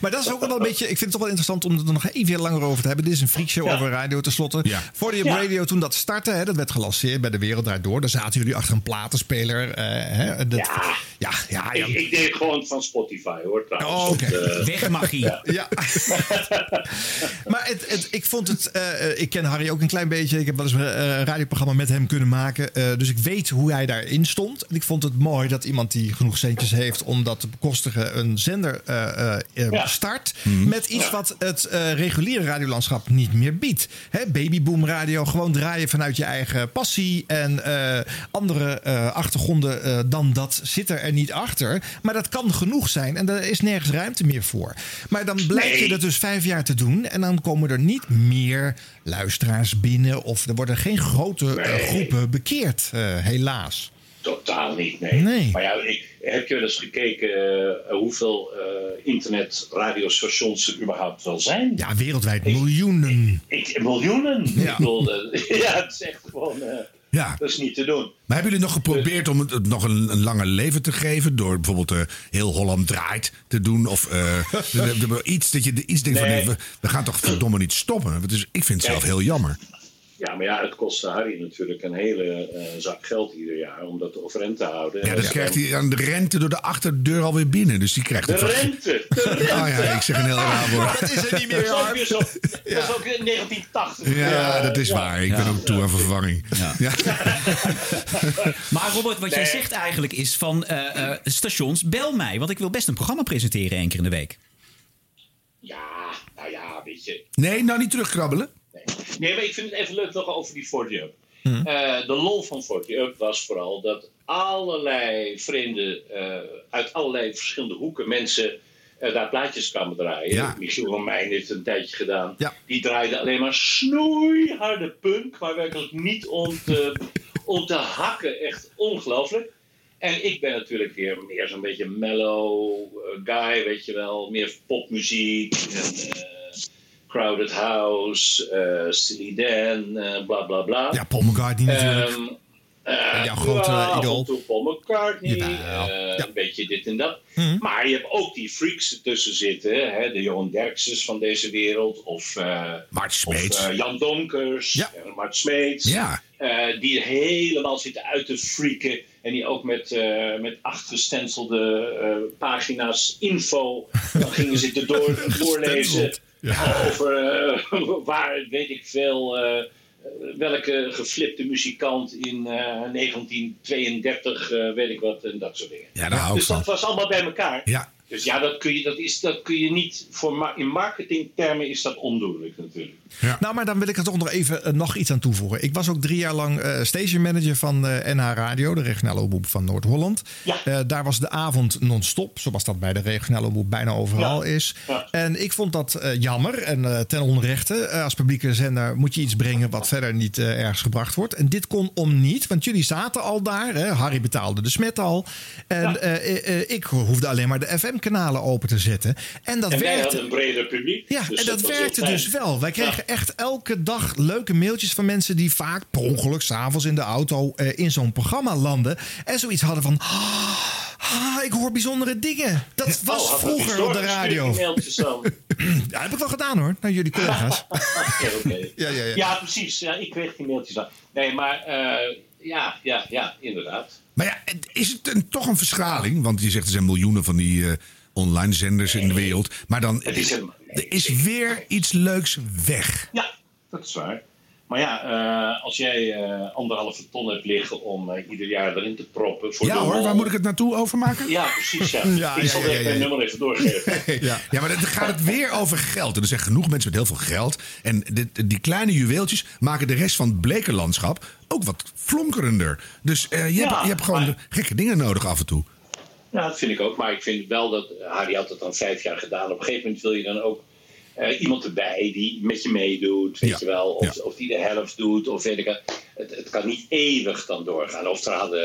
[SPEAKER 2] Maar dat is ook wel een beetje. Ik vind het toch wel interessant om het er nog even langer over te hebben. Dit is een freakshow over radio tenslotte. Voor de
[SPEAKER 22] Ja.
[SPEAKER 2] radio toen dat startte, hè, dat werd gelanceerd bij de Wereld Draait Door. Daar zaten jullie achter een platenspeler. eh, hè, dat, ja. Ja, ja,
[SPEAKER 22] Ik, ik deed gewoon van Spotify hoor trouwens.
[SPEAKER 2] Oh, oké.
[SPEAKER 22] Dat, eh,
[SPEAKER 2] Weg mag hij.
[SPEAKER 22] ja.
[SPEAKER 2] Maar het, het, ik vond het. eh, eh, ik ken Harry ook een klein beetje. Ik heb wel eens een eh, radioprogramma met hem kunnen maken. Eh, dus ik weet hoe hij daarin stond. En ik vond het mooi dat iemand die genoeg centjes heeft om dat te bekostigen, een zender eh, eh, eh,
[SPEAKER 21] Ja.
[SPEAKER 2] start.
[SPEAKER 21] Mhm.
[SPEAKER 2] Met iets wat het eh, reguliere radiolandschap niet meer biedt. Hè, babyboom radio, gewoon draaien vanuit je eigen passie. En eh, andere eh, achtergronden eh, dan dat zit er er niet achter. Maar dat kan genoeg zijn en daar is nergens ruimte meer voor. Maar dan blijf je dat dus vijf jaar te doen. En dan komen er niet meer luisteraars binnen. Of er worden geen grote eh, groepen bekeerd, eh, helaas.
[SPEAKER 22] Totaal niet, nee.
[SPEAKER 2] Nee.
[SPEAKER 22] Maar ja, ik, heb je wel eens gekeken eh, hoeveel eh internetradiostations er überhaupt wel zijn?
[SPEAKER 2] Ja, wereldwijd miljoenen.
[SPEAKER 22] Ik, miljoenen?
[SPEAKER 2] Ja.
[SPEAKER 22] Ik bedoel, eh, ja, het is echt gewoon... eh,
[SPEAKER 6] Ja.
[SPEAKER 22] Dat is niet te doen.
[SPEAKER 6] Maar hebben jullie nog
[SPEAKER 22] Dus-
[SPEAKER 6] geprobeerd om het, het nog een, een langer leven te geven? Door bijvoorbeeld eh, heel Holland draait te doen? Of eh, de- de- de- iets dat je de- iets denkt
[SPEAKER 22] Nee.
[SPEAKER 6] van... nee, we, we gaan toch verdomme niet stoppen? Dus ik vind het zelf
[SPEAKER 22] Nee.
[SPEAKER 6] heel jammer.
[SPEAKER 22] Ja, maar ja, het kost Harry natuurlijk een hele eh, zak geld ieder jaar om dat overeind te houden.
[SPEAKER 6] Ja,
[SPEAKER 22] En
[SPEAKER 6] dat
[SPEAKER 22] is
[SPEAKER 6] krijgt
[SPEAKER 22] dan-
[SPEAKER 6] hij aan de rente door de achterdeur alweer binnen. Dus die krijgt...
[SPEAKER 22] De
[SPEAKER 6] het wel-
[SPEAKER 22] rente! De rente!
[SPEAKER 6] Oh ja, ik zeg een heel raar woord.
[SPEAKER 22] Dat is ook weer zo. Dat is ook weer 1980.
[SPEAKER 6] Ja, dat is
[SPEAKER 22] Ja.
[SPEAKER 6] waar. Ik ben ook toe aan vervanging. Ja.
[SPEAKER 7] Maar Robert, wat jij
[SPEAKER 6] Nee.
[SPEAKER 7] zegt eigenlijk is van eh, eh, stations, bel mij. Want ik wil best een programma presenteren één keer in de week.
[SPEAKER 22] Ja, nou ja, weet je.
[SPEAKER 6] Nee, nou niet terugkrabbelen.
[SPEAKER 22] Nee, maar ik vind het even leuk nog over die 40 Up.
[SPEAKER 6] Hm. Hmm.
[SPEAKER 22] Eh, de lol van 40 Up was vooral dat allerlei vreemde, eh, uit allerlei verschillende hoeken mensen eh, daar plaatjes kwamen draaien.
[SPEAKER 6] Ja.
[SPEAKER 22] Michiel Romein heeft het een tijdje gedaan.
[SPEAKER 6] Ja.
[SPEAKER 22] Die draaide alleen maar snoeiharde punk, maar werkelijk niet om te, om te hakken. Echt ongelooflijk. En ik ben natuurlijk weer meer zo'n beetje mellow eh, guy, weet je wel. Meer popmuziek. En, eh, Crowded House, eh Steely Dan, eh, bla bla bla.
[SPEAKER 2] Ja, Paul McCartney natuurlijk.
[SPEAKER 22] Ehm, eh,
[SPEAKER 2] Jouw grote, eh,
[SPEAKER 22] af en
[SPEAKER 2] idool.
[SPEAKER 22] toe Paul McCartney,
[SPEAKER 2] Jawel. Mhm.
[SPEAKER 22] eh, een beetje dit en dat. Maar je hebt ook die freaks ertussen zitten. Hè? De Johan Derksens van deze wereld. Of, eh,
[SPEAKER 6] Smeets.
[SPEAKER 22] of, eh, Jan Donkers. en Mart Smeets.
[SPEAKER 6] Ja.
[SPEAKER 22] eh, die helemaal zitten uit te freaken. En die ook met, eh, met acht gestenselde eh, pagina's info. Dan gingen zitten door, doorlezen. Over eh, waar, weet ik veel. eh, welke geflipte muzikant in eh, 1932, eh, weet ik wat, en dat soort dingen.
[SPEAKER 6] Ja, daar hou ik
[SPEAKER 22] dus dat was allemaal bij elkaar.
[SPEAKER 6] Ja.
[SPEAKER 22] Dus ja, dat kun je, dat is, dat kun je niet. Voor ma- in marketingtermen is dat ondoenlijk natuurlijk.
[SPEAKER 2] Nou, maar dan wil ik er toch nog even eh, nog iets aan toevoegen. Ik was ook drie jaar lang eh station manager van eh, NH Radio, de regionale omroep van Noord-Holland. Eh, daar was de avond non-stop, zoals dat bij de regionale omroep bijna overal is. En ik vond dat eh, jammer en eh, ten onrechte. Eh, als publieke zender moet je iets brengen wat verder niet eh, ergens gebracht wordt. En dit kon om niet, want jullie zaten al daar. Hè? Harry betaalde de smet al. En eh, eh, eh, ik hoefde alleen maar de FM stemkanalen open te zetten. En dat
[SPEAKER 22] en
[SPEAKER 20] eh,
[SPEAKER 22] wij
[SPEAKER 2] werkte.
[SPEAKER 22] hadden een breder publiek.
[SPEAKER 2] Ja,
[SPEAKER 22] dus
[SPEAKER 2] en dat,
[SPEAKER 22] was heel
[SPEAKER 2] werkte
[SPEAKER 22] fijn.
[SPEAKER 2] dus wel. Wij kregen
[SPEAKER 22] Ja.
[SPEAKER 2] echt elke dag leuke mailtjes van mensen die vaak per ongeluk s'avonds in de auto eh, in zo'n programma landen. En zoiets hadden van. Ah, ik hoor bijzondere dingen. Dat
[SPEAKER 22] Ja.
[SPEAKER 2] was
[SPEAKER 22] Oh, had dat
[SPEAKER 2] vroeger op de
[SPEAKER 22] historisch
[SPEAKER 2] radio.
[SPEAKER 22] stukje mailtjes dan?
[SPEAKER 2] Ja, heb ik wel gedaan hoor, naar jullie collega's.
[SPEAKER 22] Ja, oké.
[SPEAKER 2] Ja, ja, ja.
[SPEAKER 22] precies. Ja, ik kreeg die mailtjes dan. Nee, maar eh, ja, ja, ja, inderdaad.
[SPEAKER 6] Maar ja, het- is het een- toch een verschraling? Want je zegt er zijn miljoenen van die eh, online zenders in de wereld. Maar dan
[SPEAKER 22] Het is helemaal-
[SPEAKER 6] er is weer iets leuks weg.
[SPEAKER 22] Ja, dat is waar. Maar ja, eh, als jij eh, anderhalve ton hebt liggen om eh, ieder jaar erin te proppen. Voor
[SPEAKER 6] Ja
[SPEAKER 22] de
[SPEAKER 6] hoor,
[SPEAKER 22] lol.
[SPEAKER 6] waar moet ik het naartoe overmaken?
[SPEAKER 22] Ja, precies. Ja.
[SPEAKER 6] Ja,
[SPEAKER 22] ik
[SPEAKER 6] ja,
[SPEAKER 22] zal
[SPEAKER 6] ja,
[SPEAKER 22] echt
[SPEAKER 6] ja,
[SPEAKER 22] mijn
[SPEAKER 6] ja.
[SPEAKER 22] nummer even doorgeven.
[SPEAKER 6] Ja. maar dan gaat het weer over geld. En er zijn genoeg mensen met heel veel geld. En dit- die kleine juweeltjes maken de rest van het bleke landschap ook wat flonkerender. Dus eh, je,
[SPEAKER 22] Ja,
[SPEAKER 6] hebt, je hebt gewoon gekke dingen nodig af en toe.
[SPEAKER 22] Ja, Nou, dat vind ik ook. Maar ik vind wel dat eh, Harry had dat dan vijf jaar gedaan. Op een gegeven moment wil je dan ook eh, iemand erbij die met je meedoet, weet je wel. Of, of die de helft doet, of weet ik wat. het. Het kan niet eeuwig dan doorgaan. Of er had, eh,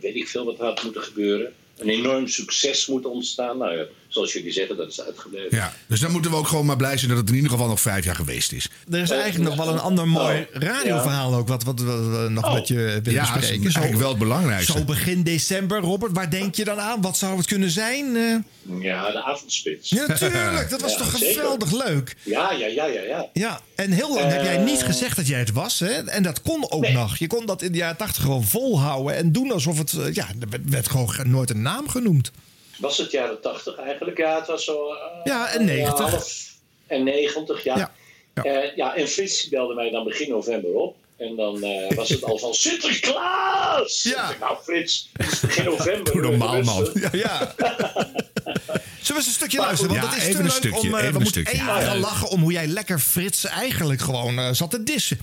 [SPEAKER 22] weet ik veel wat er had moeten gebeuren. Een enorm succes moet ontstaan. Nou ja, zoals jullie zeggen, dat is uitgebleven.
[SPEAKER 6] Ja. Dus dan moeten we ook gewoon maar blij zijn dat het in ieder geval nog vijf jaar geweest is.
[SPEAKER 2] Er is eigenlijk nog wel een
[SPEAKER 22] Oh.
[SPEAKER 2] ander mooi radioverhaal ook, wat, wat we nog
[SPEAKER 6] Oh.
[SPEAKER 2] met je willen
[SPEAKER 6] Ja, dat is
[SPEAKER 2] bespreken.
[SPEAKER 6] eigenlijk wel het belangrijkste.
[SPEAKER 2] Zo begin december, Robert, waar denk je dan aan? Wat zou het kunnen zijn? Eh,
[SPEAKER 22] Ja, de avondspits.
[SPEAKER 2] Ja, natuurlijk, dat was
[SPEAKER 22] Ja,
[SPEAKER 2] toch
[SPEAKER 22] zeker.
[SPEAKER 2] geweldig leuk?
[SPEAKER 22] Ja, ja, ja, ja, ja.
[SPEAKER 2] Ja, en heel lang heb jij
[SPEAKER 22] Eh,
[SPEAKER 2] niet gezegd dat jij het was. Hè? En dat kon ook nog. Je kon dat in de jaren tachtig gewoon volhouden en doen alsof het... eh, Ja, er werd- werd gewoon ge- nooit een naam genoemd.
[SPEAKER 22] Was het jaren 80 eigenlijk? Ja, het was zo. eh,
[SPEAKER 2] Ja, en 90.
[SPEAKER 22] half en 90, ja. Ja, ja. en Frits belde mij dan begin november op. En dan eh, was het al van Sinterklaas! Ja. nou, Frits, het is begin november.
[SPEAKER 6] Doe normaal, man.
[SPEAKER 22] rustig.
[SPEAKER 2] Ja. Zullen we eens een stukje
[SPEAKER 22] Maar
[SPEAKER 2] luisteren? Want
[SPEAKER 22] goed.
[SPEAKER 2] dat is
[SPEAKER 22] Ja, even
[SPEAKER 2] te
[SPEAKER 22] een
[SPEAKER 2] leuk
[SPEAKER 22] stukje,
[SPEAKER 2] om... eh,
[SPEAKER 22] even
[SPEAKER 2] we
[SPEAKER 22] een
[SPEAKER 2] moeten
[SPEAKER 22] stukje.
[SPEAKER 2] even
[SPEAKER 22] Ja, leuk.
[SPEAKER 2] lachen om hoe jij lekker Frits eigenlijk gewoon eh, zat te dissen.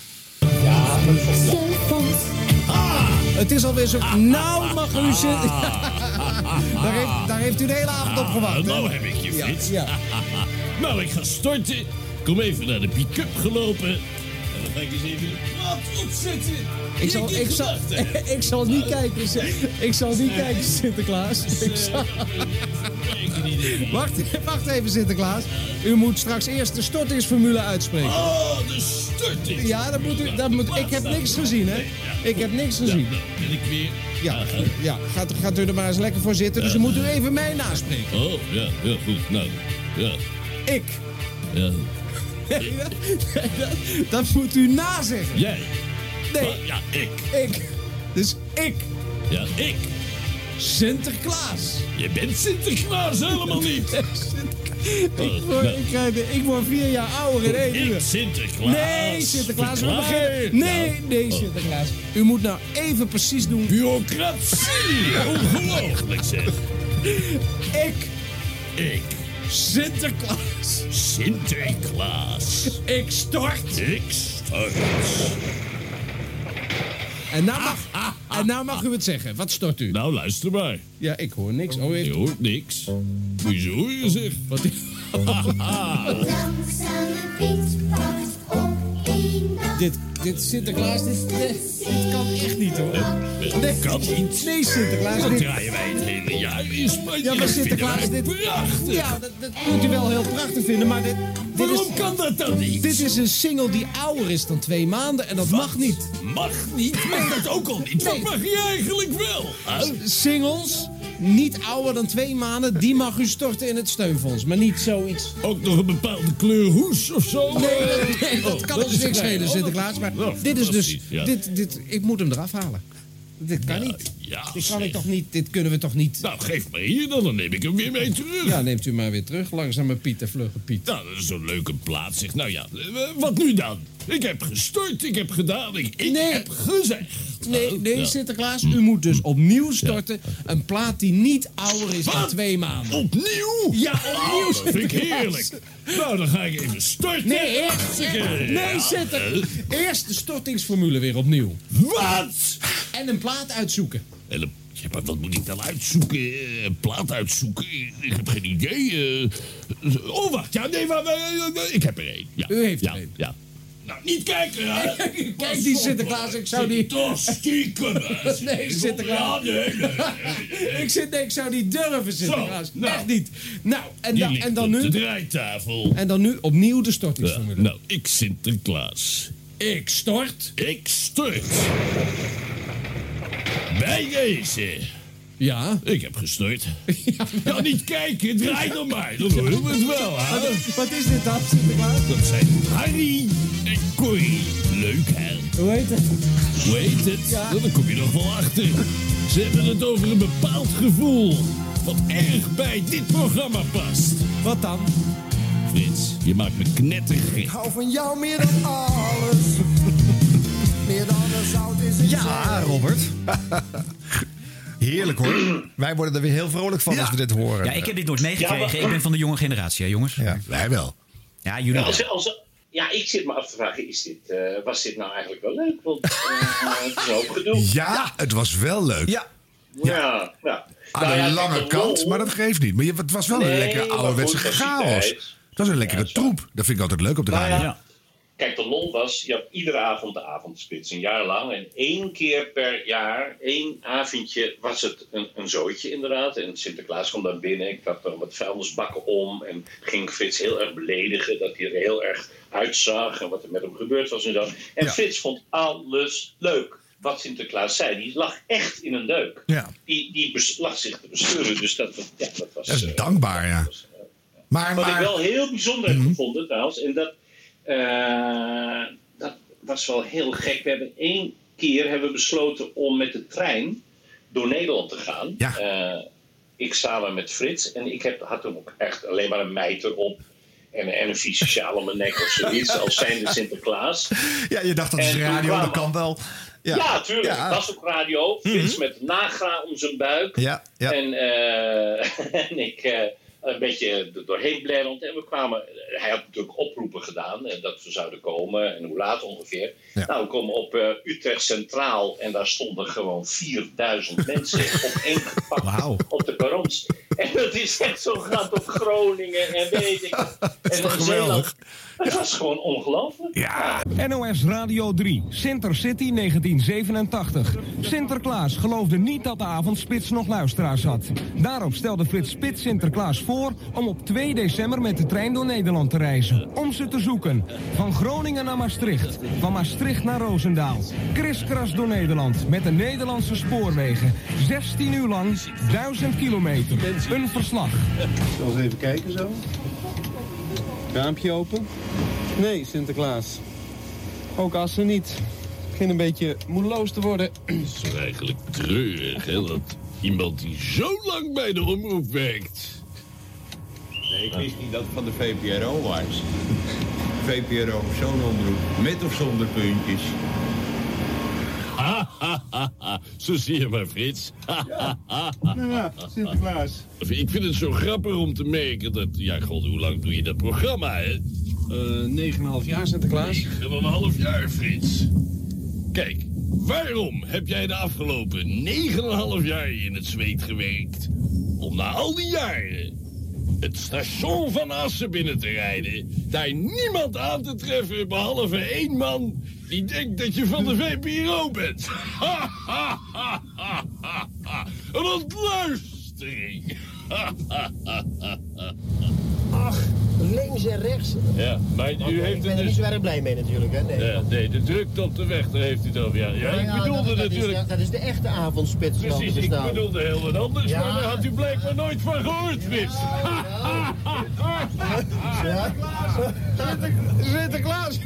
[SPEAKER 6] Ah.
[SPEAKER 21] Het is alweer zo. Nou mag u zitten. daar, heeft, daar heeft u de hele avond op gewacht. hè?
[SPEAKER 9] Nou heb ik je, Frits. nou, ik ga starten. Kom even naar de pick-up gelopen. En dan ga ik eens even een plaat opzetten.
[SPEAKER 21] Ik zal, ik, zal, ik zal niet kijken. Sin- Ik zal niet kijken, Sinterklaas. Ik zal- Wacht, wacht even, Sinterklaas. U moet straks eerst de stortingsformule uitspreken.
[SPEAKER 9] Oh, de storting.
[SPEAKER 21] Ja, dat moet u. Dat moet, ik heb niks gezien, hè? Ik heb niks gezien.
[SPEAKER 9] Ben ik weer. Ah,
[SPEAKER 21] Ja, ja gaat, gaat u er maar eens lekker voor zitten. Dus u moet u even mij naspreken.
[SPEAKER 9] Oh, ja, ja, goed. Nou, ja.
[SPEAKER 21] Ik.
[SPEAKER 9] ja.
[SPEAKER 21] Nee, dat, nee, dat- dat moet u nazeggen.
[SPEAKER 9] Jij.
[SPEAKER 21] Nee,
[SPEAKER 9] Ja, ik.
[SPEAKER 21] ik. Dus ik.
[SPEAKER 9] Ja, ik.
[SPEAKER 21] Sinterklaas.
[SPEAKER 9] Je bent Sinterklaas helemaal niet. Oh,
[SPEAKER 21] Ik word, ik, krijg de- ik word vier jaar ouder in één uur.
[SPEAKER 9] nou, Sinterklaas.
[SPEAKER 21] Nee, Sinterklaas, we
[SPEAKER 9] Verklaar.
[SPEAKER 21] beginnen. Nee,
[SPEAKER 9] Nou,
[SPEAKER 21] nee,
[SPEAKER 9] oh.
[SPEAKER 21] Sinterklaas. U moet nou even precies doen.
[SPEAKER 9] Bureaucratie. Ongelooflijk zeg.
[SPEAKER 21] Ik,
[SPEAKER 9] Ik.
[SPEAKER 21] Sinterklaas.
[SPEAKER 9] Sinterklaas.
[SPEAKER 21] Ik stort.
[SPEAKER 9] Ik stort.
[SPEAKER 21] En nou mag,
[SPEAKER 9] Ah,
[SPEAKER 21] en nou mag u het zeggen. Wat stort u?
[SPEAKER 9] Nou, luister maar.
[SPEAKER 21] Ja, ik hoor niks. Oh,
[SPEAKER 9] Je
[SPEAKER 21] even.
[SPEAKER 9] hoort niks. Moet je Ah, zo horen, zeg. Wat
[SPEAKER 21] Dit, dit Sinterklaas, dit, dit, dit kan echt niet hoor.
[SPEAKER 9] Nee, kan niet.
[SPEAKER 21] Nee, Sinterklaas,
[SPEAKER 9] Dan
[SPEAKER 21] dit-
[SPEAKER 9] draaien wij het hele jaar in Spanje.
[SPEAKER 21] Ja, maar
[SPEAKER 9] Dat vinden
[SPEAKER 21] Sinterklaas,
[SPEAKER 9] wij
[SPEAKER 21] dit...
[SPEAKER 9] Prachtig.
[SPEAKER 21] Ja, dat, dat moet u wel heel prachtig vinden, maar dit... dit
[SPEAKER 9] Waarom kan dat dan niet?
[SPEAKER 21] Dit is een single die ouder is dan twee maanden en dat mag niet.
[SPEAKER 9] Mag niet. Mag dat ook al niet. Wat
[SPEAKER 21] Nee.
[SPEAKER 9] mag je eigenlijk wel? hè?
[SPEAKER 21] S- Singles, niet ouder dan twee maanden, die mag u storten in het steunfonds. Maar niet zoiets...
[SPEAKER 9] Ook nog een bepaalde kleur hoes of zo?
[SPEAKER 21] Nee, nee, dat
[SPEAKER 9] Oh,
[SPEAKER 21] kan
[SPEAKER 9] dat
[SPEAKER 21] ons
[SPEAKER 9] is
[SPEAKER 21] niks
[SPEAKER 9] fijn.
[SPEAKER 21] schelen,
[SPEAKER 9] Oh,
[SPEAKER 21] Sinterklaas. Maar
[SPEAKER 9] nou,
[SPEAKER 21] dit is dus...
[SPEAKER 9] fantastisch, ja.
[SPEAKER 21] Dit, dit, ik moet hem eraf halen. Dit kan niet.
[SPEAKER 9] Ja,
[SPEAKER 21] dit, kan
[SPEAKER 9] zeg.
[SPEAKER 21] ik toch niet dit kunnen we toch niet...
[SPEAKER 9] Nou, geef maar hier dan. Dan neem ik hem weer mee terug.
[SPEAKER 21] Ja, neemt u maar weer terug. Langzame Piet en vlugge Piet.
[SPEAKER 9] Nou, dat is zo'n leuke plaats. Zeg. Nou ja, eh, wat nu dan? Ik heb gestort, ik heb gedaan, ik, ik heb gezegd.
[SPEAKER 21] Nee, nee
[SPEAKER 9] Ja.
[SPEAKER 21] Sinterklaas, u moet dus opnieuw storten. Een plaat die niet ouder is dan twee maanden.
[SPEAKER 9] Opnieuw?
[SPEAKER 21] Ja, opnieuw.
[SPEAKER 9] Oh, dat vind ik
[SPEAKER 21] Sinterklaas.
[SPEAKER 9] heerlijk. Nou, dan ga ik even starten.
[SPEAKER 21] Nee, eerst,
[SPEAKER 9] Hartstikke.
[SPEAKER 21] nee,
[SPEAKER 9] Ja,
[SPEAKER 21] Sinter.
[SPEAKER 9] eh,
[SPEAKER 21] Eerst de stortingsformule weer opnieuw.
[SPEAKER 9] Wat?
[SPEAKER 21] En een plaat uitzoeken.
[SPEAKER 9] En dan- ja, maar wat moet ik dan uitzoeken? Eh, Een plaat uitzoeken? Ik heb geen idee. eh. oh, wacht. Ja, nee, maar, maar, maar, maar, ik heb er één. Ja.
[SPEAKER 21] U heeft
[SPEAKER 9] ja,
[SPEAKER 21] er één.
[SPEAKER 9] Ja. Nou, niet kijken, hè?
[SPEAKER 21] Kijk, die Sinterklaas, ik zou die...
[SPEAKER 9] Toch stiekem, hè?
[SPEAKER 21] Nee, Sinterklaas.
[SPEAKER 9] Ja, nee, nee,
[SPEAKER 21] Ik, zit, nee, ik zou niet durven, Sinterklaas.
[SPEAKER 9] nou.
[SPEAKER 21] Echt niet. Nou, en,
[SPEAKER 9] Die
[SPEAKER 21] dan-
[SPEAKER 9] ligt
[SPEAKER 21] en dan
[SPEAKER 9] op
[SPEAKER 21] nu...
[SPEAKER 9] de draaitafel.
[SPEAKER 21] En dan nu opnieuw de
[SPEAKER 9] Ja,
[SPEAKER 21] stortingsformule.
[SPEAKER 9] nou, ik Sinterklaas.
[SPEAKER 21] Ik stort.
[SPEAKER 9] Ik stort. Bij deze.
[SPEAKER 21] Ja?
[SPEAKER 9] Ik heb gestort. Ja, niet kijken. Draai dan maar. Dan doen we het wel, hè?
[SPEAKER 21] Wat, wat is dit dan, Sinterklaas?
[SPEAKER 9] Dat zijn Harry en Corrie. Leuk, hè?
[SPEAKER 21] Hoe heet het?
[SPEAKER 9] Hoe heet het? Nou, Dan kom je nog wel achter. Ze hebben het over een bepaald gevoel. Wat erg bij dit programma past.
[SPEAKER 21] Wat dan?
[SPEAKER 9] Frits, je maakt me knettergek.
[SPEAKER 3] hou van jou meer dan alles. meer dan de zout is in
[SPEAKER 2] Ja, Robert.
[SPEAKER 6] Heerlijk hoor.
[SPEAKER 2] Wij worden er weer heel vrolijk van dus als we dit horen.
[SPEAKER 7] Ja, ik heb dit nooit meegekregen.
[SPEAKER 2] Ja, maar-
[SPEAKER 7] ik ben van de jonge generatie, hè, jongens.
[SPEAKER 6] Wij wel.
[SPEAKER 7] Ja, jullie
[SPEAKER 22] Ja,
[SPEAKER 7] wel.
[SPEAKER 22] als, als, ja, ik zit me af te vragen, is dit, eh, was dit nou eigenlijk wel leuk? Want eh, het is een hoop gedoe.
[SPEAKER 6] Ja, het was wel leuk. Ja.
[SPEAKER 22] Ja, ja.
[SPEAKER 6] Aan
[SPEAKER 22] Nou
[SPEAKER 6] de
[SPEAKER 22] ja,
[SPEAKER 6] lange
[SPEAKER 22] kijk,
[SPEAKER 6] kant, maar dat geeft niet. Maar je- het was wel
[SPEAKER 22] Nee,
[SPEAKER 6] een lekkere
[SPEAKER 22] maar
[SPEAKER 6] ouderwetse
[SPEAKER 22] goed, dat is die
[SPEAKER 6] chaos.
[SPEAKER 22] tijd.
[SPEAKER 6] Dat is een lekkere troep. Dat vind ik altijd leuk op de
[SPEAKER 22] Nou ja,
[SPEAKER 6] radio.
[SPEAKER 22] Kijk, de lol was, je had iedere avond de avondspits, een jaar lang. En één keer per jaar, één avondje, was het een, een zooitje inderdaad. En Sinterklaas kwam dan binnen, ik trapte hem met vuilnisbakken om. En ging Frits heel erg beledigen, dat hij er heel erg uitzag. En wat er met hem gebeurd was en zo. En Frits vond alles leuk. Wat Sinterklaas zei, die lag echt in een deuk.
[SPEAKER 2] Ja.
[SPEAKER 22] Die, die bes- lag zich te besturen, dus dat, was- ja, dat was...
[SPEAKER 6] Dat is
[SPEAKER 22] eh,
[SPEAKER 6] dankbaar, ja. Maar,
[SPEAKER 22] wat
[SPEAKER 6] maar- Mhm.
[SPEAKER 22] ik wel heel bijzonder heb gevonden trouwens, en dat, eh, dat was wel heel gek. We hebben één keer hebben we besloten om met de trein door Nederland te gaan. Eh, ik samen met Frits en ik heb, had toen ook echt alleen maar een mijter op. En, en een vieze sjaal om mijn nek of zoiets, als zijnde Sinterklaas.
[SPEAKER 2] Ja, je dacht dat is
[SPEAKER 22] En toen
[SPEAKER 2] radio,
[SPEAKER 22] kwamen-
[SPEAKER 2] dat kan wel.
[SPEAKER 22] Ja, tuurlijk.
[SPEAKER 2] Ja. Mhm.
[SPEAKER 22] Het was op radio. Frits met nagra om zijn buik.
[SPEAKER 2] Ja, ja.
[SPEAKER 22] En, eh, en ik eh, een beetje er doorheen blerend. En we kwamen... Hij had natuurlijk oproepen gedaan. eh, dat we zouden komen. En hoe laat ongeveer. Nou, we komen op eh, Utrecht Centraal. En daar stonden gewoon 4000 mensen op één gepakt op de perrons. En dat is echt zo gaat op Groningen. En weet ik. en
[SPEAKER 2] toch
[SPEAKER 22] op Zeeland. Het was gewoon ongelooflijk.
[SPEAKER 6] Ja.
[SPEAKER 19] NOS Radio 3, Sinter City 1987. Sinterklaas geloofde niet dat de avondspits nog luisteraars had. Daarop stelde Frits Spits Sinterklaas voor om op 2 december met de trein door Nederland te reizen. Om ze te zoeken. Van Groningen naar Maastricht. Van Maastricht naar Roosendaal. Kriskras door Nederland met de Nederlandse spoorwegen. 16 uur lang, 1000 kilometer. Een verslag.
[SPEAKER 8] Zal eens even kijken zo. Raampje open. Nee, Sinterklaas. Ook assen niet. Begin een beetje moedeloos te worden.
[SPEAKER 9] Het is eigenlijk treurig, hè? Dat iemand die zo lang bij de omroep werkt.
[SPEAKER 23] Nee, ik wist niet dat het van de VPRO was. VPRO, zo'n omroep. Met of zonder puntjes.
[SPEAKER 9] zo zie je maar, Frits.
[SPEAKER 8] Ja, Sinterklaas.
[SPEAKER 9] Ik vind het zo grappig om te merken dat... Ja, god, hoe lang doe je dat programma, hè?
[SPEAKER 8] Uh, 9,5 jaar, Sinterklaas.
[SPEAKER 9] 9,5 jaar, Frits. Kijk, waarom heb jij de afgelopen 9,5 jaar in het zweet gewerkt? Om na al die jaren het station van Assen binnen te rijden... daar niemand aan te treffen behalve één man... die denkt dat je van de VPRO bent. Ha, ha, ha, ha, ha, ha. Een ontluistering. Ha, ha, ha, ha, ha.
[SPEAKER 8] Ach, links en rechts.
[SPEAKER 9] Ja, maar u heeft het dus...
[SPEAKER 8] erg blij mee natuurlijk, hè?
[SPEAKER 9] Ja, nee, de drukte op de weg, daar heeft hij het over. Ja, ja ik bedoelde natuurlijk...
[SPEAKER 8] dat is de echte avondspits. dus
[SPEAKER 9] Precies, ik bedoelde heel wat anders, maar daar had u blijkbaar nooit van gehoord, Frits.
[SPEAKER 8] Sinterklaas!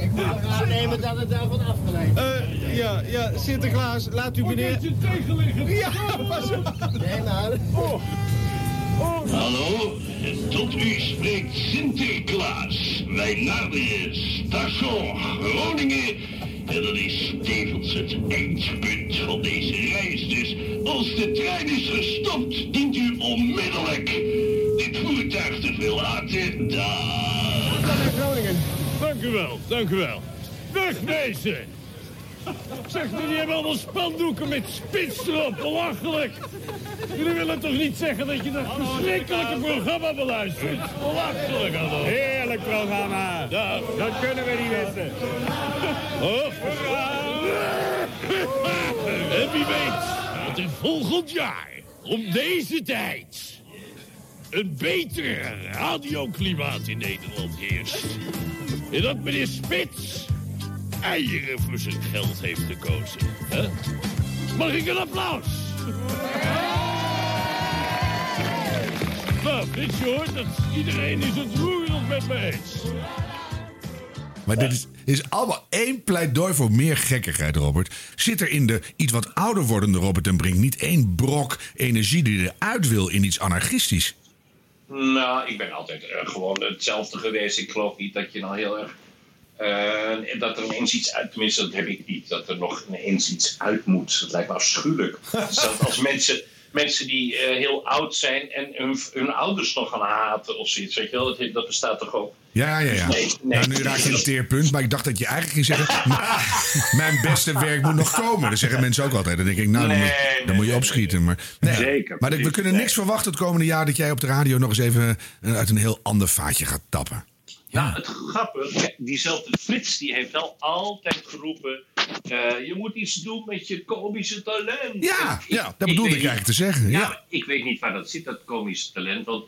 [SPEAKER 8] Ik moet aannemen dat het daarvan afgeleid is. Eh, ja, ja, Sinterklaas, laat u meneer... Wat je tegenliggen? Ja, pas op! Nee, nou... Oh.
[SPEAKER 9] Hallo, tot u spreekt Sinterklaas. Wij naderen station Groningen. En dat is tevens het eindpunt van deze reis. Dus als de trein is gestopt, dient u onmiddellijk dit voertuig te verlaten. Daar. Groningen. Dank u wel, dank u wel. Wegwezen! Zeg, jullie hebben allemaal spandoeken met spits erop. Belachelijk. Jullie willen toch niet zeggen dat je dat verschrikkelijke programma beluistert? Belachelijk, hallo. Heerlijk programma. Dat kunnen we niet weten. Oh. En wie weet dat er volgend jaar, om deze tijd... een betere radioklimaat in Nederland heerst. En dat meneer Spits eieren voor zijn geld heeft gekozen. hè? Mag ik een applaus? Nou, Frits, je hoort dat iedereen is het roerend met me eens.
[SPEAKER 6] Maar dit is, dit is allemaal één pleidooi voor meer gekkigheid, Robert. Zit er in de iets wat ouder wordende Robert en Brink niet één brok energie die eruit wil in iets anarchistisch?
[SPEAKER 22] Nou, ik ben altijd eh, gewoon hetzelfde geweest. Ik geloof niet dat je nou heel erg. eh, dat er ineens iets uit. Tenminste, dat heb ik niet. Dat er nog ineens iets uit moet. Dat lijkt me afschuwelijk. Zelfs als mensen. Mensen die eh, heel oud zijn en hun, hun ouders nog gaan haten of zoiets. Weet je wel, dat, dat bestaat toch ook.
[SPEAKER 6] Ja, ja, ja.
[SPEAKER 22] Nee, nee.
[SPEAKER 6] Nou, nu raak je een teerpunt, maar ik dacht dat je eigenlijk ging zeggen... "Nou, mijn beste werk moet nog komen. Dat zeggen mensen ook altijd. Dan denk ik, nou, dan moet, dan moet je opschieten. Maar, nee.
[SPEAKER 22] Zeker,
[SPEAKER 6] Maar we kunnen niks verwachten het komende jaar... dat jij op de radio nog eens even eh, uit een heel ander vaatje gaat tappen.
[SPEAKER 22] Nou, het grappige, kijk, diezelfde Frits die heeft wel altijd geroepen: eh, je moet iets doen met je komische talent.
[SPEAKER 6] Ja,
[SPEAKER 22] En
[SPEAKER 6] ja dat bedoelde ik
[SPEAKER 22] weet niet-
[SPEAKER 6] eigenlijk te zeggen.
[SPEAKER 22] Nou,
[SPEAKER 6] Ja.
[SPEAKER 22] ik weet niet waar dat zit, dat komische talent. Want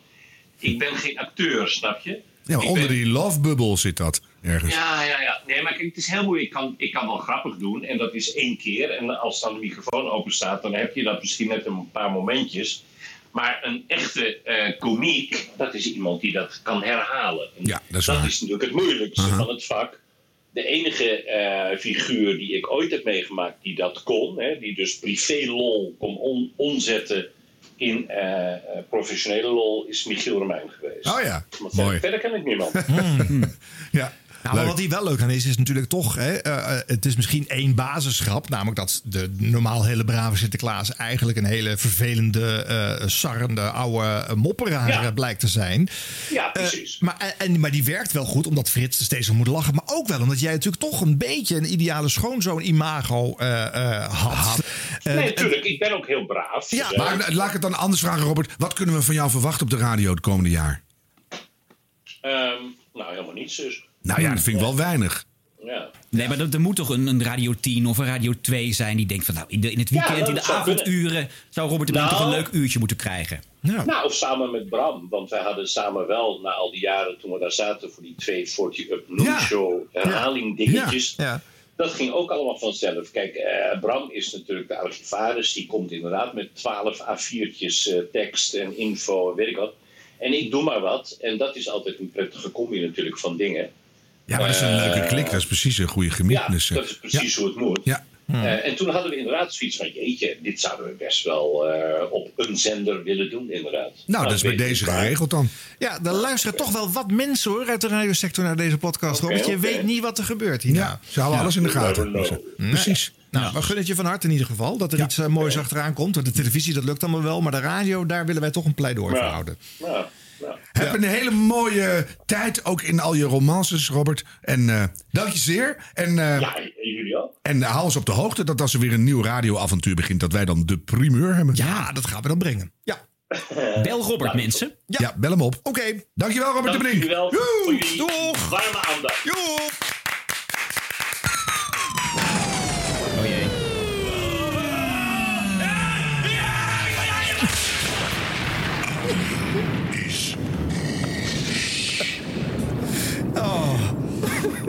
[SPEAKER 22] ik ben geen acteur, snap je?
[SPEAKER 6] Ja, maar
[SPEAKER 22] Ik
[SPEAKER 6] onder
[SPEAKER 22] ben-
[SPEAKER 6] die love bubble zit dat ergens.
[SPEAKER 22] Ja, ja, ja. Nee, maar kijk, het is heel moeilijk. Ik kan, ik kan wel grappig doen en dat is één keer. En als dan de microfoon open staat, dan heb je dat misschien net een paar momentjes. Maar een echte eh komiek, dat is iemand die dat kan herhalen. En
[SPEAKER 6] Ja, dat is
[SPEAKER 22] dat
[SPEAKER 6] waar.
[SPEAKER 22] is natuurlijk het moeilijkste
[SPEAKER 6] Aha.
[SPEAKER 22] van het vak. De enige eh, figuur die ik ooit heb meegemaakt die dat kon, hè, die dus privé lol kon on- omzetten in eh, eh, professionele lol, is Michiel Romein geweest.
[SPEAKER 6] Oh ja,
[SPEAKER 22] Maar
[SPEAKER 6] mooi.
[SPEAKER 22] verder, verder ken ik niemand.
[SPEAKER 6] ja.
[SPEAKER 2] Hmm. Nou, maar wat hier wel leuk aan is, is natuurlijk toch... Hè, eh, eh, het is misschien één basisgrap. Namelijk dat de normaal hele brave Sinterklaas... eigenlijk een hele vervelende, eh sarrende, oude eh, mopperaar eh, blijkt te zijn.
[SPEAKER 22] Ja,
[SPEAKER 2] precies. maar, en- en, maar die werkt wel goed, omdat Frits er steeds om moet lachen. Maar ook wel omdat jij natuurlijk toch een beetje... een ideale schoonzoon-imago eh, eh, had. Eh,
[SPEAKER 22] nee, natuurlijk. Ik ben ook heel braaf. Dus, eh,
[SPEAKER 6] Maar la- laat ik het dan anders vragen, Robert. Wat kunnen we van jou verwachten op de radio het komende jaar?
[SPEAKER 22] ehm, nou, helemaal niets dus.
[SPEAKER 6] Nou ja, dat vind ik wel weinig.
[SPEAKER 22] Ja.
[SPEAKER 7] Nee, maar dat- er moet toch een, een Radio 10 of een Radio 2 zijn die denkt van nou, in, de- in het
[SPEAKER 22] Ja,
[SPEAKER 7] weekend,
[SPEAKER 22] dat
[SPEAKER 7] in de
[SPEAKER 22] zou
[SPEAKER 7] avonduren, zou Robert de Bruin
[SPEAKER 22] Nou.
[SPEAKER 7] toch een leuk uurtje moeten krijgen.
[SPEAKER 22] Nou, of samen met Bram. Want wij hadden samen wel, na al die jaren toen we daar zaten... voor die twee 40 Up Noon Show herhaling dingetjes... Dat ging ook allemaal vanzelf. Kijk, eh, Bram is natuurlijk de archivaris. Die komt inderdaad met 12 A4'tjes eh, tekst en info en weet ik wat. En ik doe maar wat. En dat is altijd een prettige combi natuurlijk van dingen.
[SPEAKER 6] Ja, maar dat is een
[SPEAKER 22] Eh,
[SPEAKER 6] leuke klik. Dat is precies een goede gemiddenis.
[SPEAKER 22] Ja, dat is precies hoe het moet.
[SPEAKER 6] Ja.
[SPEAKER 22] Eh, en toen hadden we inderdaad zoiets van, jeetje, dit zouden we best wel eh, op een zender willen doen, inderdaad.
[SPEAKER 6] Nou, dat is bij
[SPEAKER 22] weet ik
[SPEAKER 6] deze
[SPEAKER 22] waar.
[SPEAKER 6] geregeld dan.
[SPEAKER 2] Ja, dan luisteren toch wel wat mensen hoor uit de radiosector naar deze podcast.
[SPEAKER 22] Oké,
[SPEAKER 2] Robert, je
[SPEAKER 22] oké.
[SPEAKER 2] weet niet wat er gebeurt hierna.
[SPEAKER 6] ze houden alles in de gaten.
[SPEAKER 2] Precies. Nou, we gunnen het je van harte in ieder geval. Dat er iets eh, moois achteraan komt. Want de televisie, dat lukt allemaal wel. Maar de radio, daar willen wij toch een pleidooi voor houden.
[SPEAKER 6] Heb een hele mooie tijd ook in al je romances, Robert. En eh dank je zeer. En, eh,
[SPEAKER 22] jullie ook.
[SPEAKER 6] En hou ons op de hoogte dat als er weer een nieuw radioavontuur begint, dat wij dan de primeur hebben.
[SPEAKER 2] Ja, dat gaan we dan brengen. Ja.
[SPEAKER 7] Bel Robert, mensen.
[SPEAKER 6] Ja. bel hem op. Oké. Dankjewel, Robert de Brink.
[SPEAKER 22] Dankjewel voor jullie warme aandacht.
[SPEAKER 7] Oh jee.
[SPEAKER 2] Oh.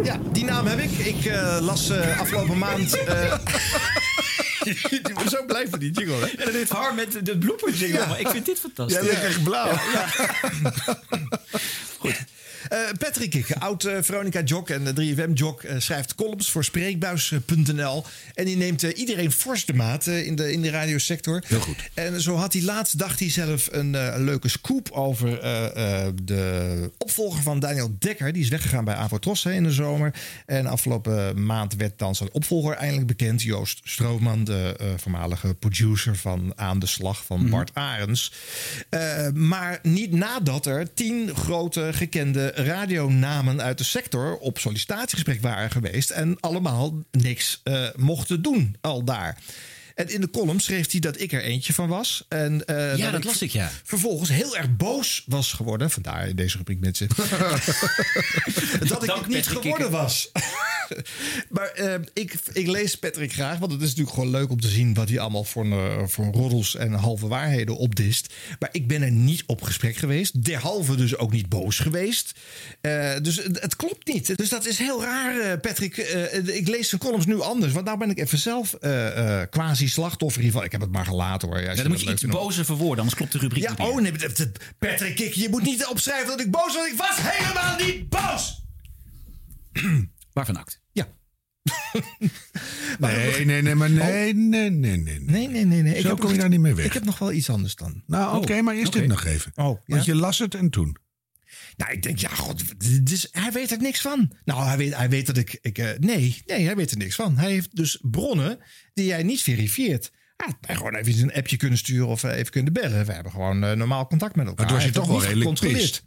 [SPEAKER 2] Ja, die naam heb ik. Ik eh, las eh, afgelopen maand... eh, Zo blijft het die jingle, hè?
[SPEAKER 7] En dit haar met de blooper jingle.
[SPEAKER 2] Ja.
[SPEAKER 7] maar Ik vind dit fantastisch.
[SPEAKER 2] Ja, lekker blauw.
[SPEAKER 7] Ja, ja.
[SPEAKER 2] Eh, Patrick Kikke, oud eh, Veronica Jock en de 3FM Jock, eh, schrijft columns voor spreekbuis.nl. En die neemt eh, iedereen fors de maat eh, in, de, in de radiosector. Heel goed. En zo had hij laatst, dacht hij zelf, een eh, leuke scoop over eh, eh, de opvolger van Daniel Dekker. Die is weggegaan bij Avotros hè, in de zomer. En afgelopen maand werd dan zijn opvolger eindelijk bekend. Joost Stroopman, de eh, voormalige producer van Aan de Slag
[SPEAKER 7] Mhm.
[SPEAKER 2] van Bart Arends. Eh, maar niet nadat er tien grote gekende radionamen uit de sector op sollicitatiegesprek waren geweest. En allemaal niks eh, mochten doen al daar. En in de column schreef hij dat ik er eentje van was. En, eh,
[SPEAKER 7] Ja, dat las ik, ja.
[SPEAKER 2] Vervolgens heel erg boos was geworden. Vandaar in deze rubriek mensen. dat ik het niet geworden was. maar eh, ik, ik lees Patrick graag, want het is natuurlijk gewoon leuk om te zien wat hij allemaal voor, eh, voor roddels en halve waarheden opdist. Maar ik ben er niet op gesprek geweest, derhalve dus ook niet boos geweest. Eh, dus het, het klopt niet. Dus dat is heel raar, eh, Patrick. Eh, ik lees zijn columns nu anders, want nou ben ik even zelf eh, eh, quasi-slachtoffer hiervan. Ik heb het maar gelaten hoor.
[SPEAKER 7] Ja, dan moet je iets bozer verwoorden, anders klopt de rubriek
[SPEAKER 2] Ja,
[SPEAKER 7] niet
[SPEAKER 2] oh nee, Patrick, ik, je moet niet opschrijven dat ik boos was. Ik was helemaal niet boos!
[SPEAKER 7] Waarvan act?
[SPEAKER 6] Nee, nee, nee, maar nee, nee, nee, nee.
[SPEAKER 2] Oh. Nee, nee, nee. nee.
[SPEAKER 6] Zo
[SPEAKER 2] heb
[SPEAKER 6] kom
[SPEAKER 2] nog-
[SPEAKER 6] je daar niet mee weg.
[SPEAKER 2] Ik heb nog wel iets anders dan.
[SPEAKER 6] Nou, oké, maar eerst dit nog even.
[SPEAKER 2] Oh, ja.
[SPEAKER 6] Want je las het en toen.
[SPEAKER 2] Nou, ik denk, ja, god, dit is, hij weet er niks van. Nou, hij weet, hij weet dat ik... ik eh, nee, nee, hij weet er niks van. Hij heeft dus bronnen die jij niet verifieert. Hij had mij gewoon even een appje kunnen sturen of eh, even kunnen bellen. We hebben gewoon eh, normaal contact met elkaar.
[SPEAKER 6] Maar toen was je
[SPEAKER 2] Hij
[SPEAKER 6] toch
[SPEAKER 2] heeft
[SPEAKER 6] wel
[SPEAKER 2] dat
[SPEAKER 6] redelijk
[SPEAKER 2] niet gecontroleerd.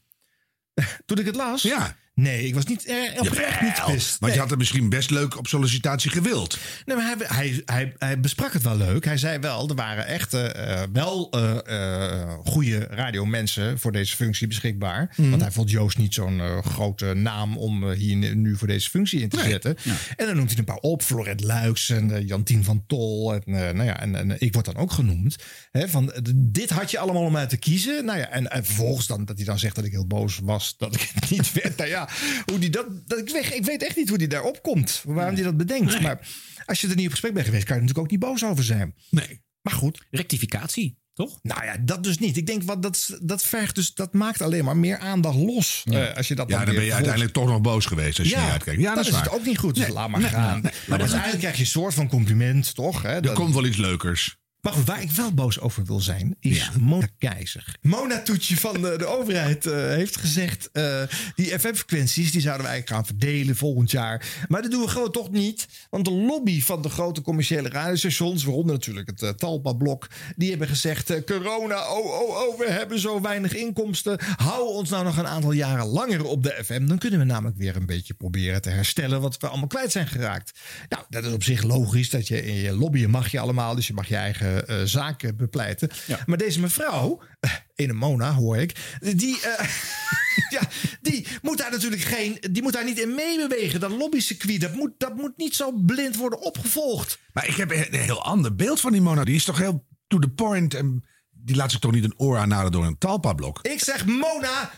[SPEAKER 6] pist.
[SPEAKER 2] Toen ik het las?
[SPEAKER 6] Ja.
[SPEAKER 2] Nee, ik was niet, eh, oprecht niet
[SPEAKER 6] Jawel,
[SPEAKER 2] pist.
[SPEAKER 6] Want je had het misschien best leuk op sollicitatie gewild.
[SPEAKER 2] Nee, maar hij, hij, hij, hij besprak het wel leuk. Hij zei wel, er waren echt eh, wel eh, eh, goede radiomensen voor deze functie beschikbaar.
[SPEAKER 24] Mhm.
[SPEAKER 2] Want hij vond Joost niet zo'n eh, grote naam om eh, hier nu- nu voor deze functie in te
[SPEAKER 24] Nee.
[SPEAKER 2] zetten. En dan noemt hij een paar op. Florent Luiks en eh, Jantien van Tol. En, eh, nou ja, en, en ik word dan ook genoemd. Hè, van, eh, dit had je allemaal om uit te kiezen. Nou ja, en, en vervolgens dan, dat hij dan zegt dat ik heel boos was. Dat ik het niet werd. Nou ja, hoe die dat, dat ik, weg, ik weet echt niet hoe die daarop komt. Waarom die dat bedenkt. Maar als je er niet op gesprek bent geweest, kan je er natuurlijk ook niet boos over zijn.
[SPEAKER 6] Nee.
[SPEAKER 2] Maar goed.
[SPEAKER 7] Rectificatie, toch?
[SPEAKER 2] Nou ja, dat dus niet. Ik denk, wat, dat, is- dat vergt dus, dat maakt alleen maar meer aandacht los. eh, als je dat
[SPEAKER 6] ja, dan ben
[SPEAKER 2] weer
[SPEAKER 6] je
[SPEAKER 2] volgt.
[SPEAKER 6] uiteindelijk toch nog boos geweest als je niet uitkijkt. Ja, dat,
[SPEAKER 2] dan is,
[SPEAKER 6] waar.
[SPEAKER 2] het ook niet goed. Dus
[SPEAKER 6] Nee,
[SPEAKER 2] laat maar
[SPEAKER 6] nee,
[SPEAKER 2] gaan.
[SPEAKER 6] nee, nee.
[SPEAKER 2] maar uiteindelijk krijg je een soort van compliment, toch? Hè?
[SPEAKER 6] Er komt wel iets leukers.
[SPEAKER 2] Maar goed, waar ik wel boos over wil zijn, is Mona Keizer. Mona Toetje van de, de overheid eh, heeft gezegd... eh, die FM-frequenties die zouden we eigenlijk gaan verdelen volgend jaar. Maar dat doen we gewoon toch niet. Want de lobby van de grote commerciële radiostations... waaronder natuurlijk het eh, Talpa-blok... die hebben gezegd, eh, corona, oh, oh, oh... we hebben zo weinig inkomsten. Hou ons nou nog een aantal jaren langer op de FM. Dan kunnen we namelijk weer een beetje proberen te herstellen... wat we allemaal kwijt zijn geraakt. Nou, dat is op zich logisch. Dat je in je lobbyen mag je allemaal. Dus je mag je eigen eh, zaken bepleiten. Maar deze mevrouw, eh, Enemona hoor ik... die... eh, ja, die moet daar natuurlijk geen. Die moet daar niet in meebewegen. Dat lobbycircuit, dat moet, dat moet niet zo blind worden opgevolgd.
[SPEAKER 6] Maar ik heb een een heel ander beeld van die Mona. Die is toch heel to the point. En die laat zich toch niet een oor aanhalen door een talpa-blok.
[SPEAKER 2] Ik zeg, Mona,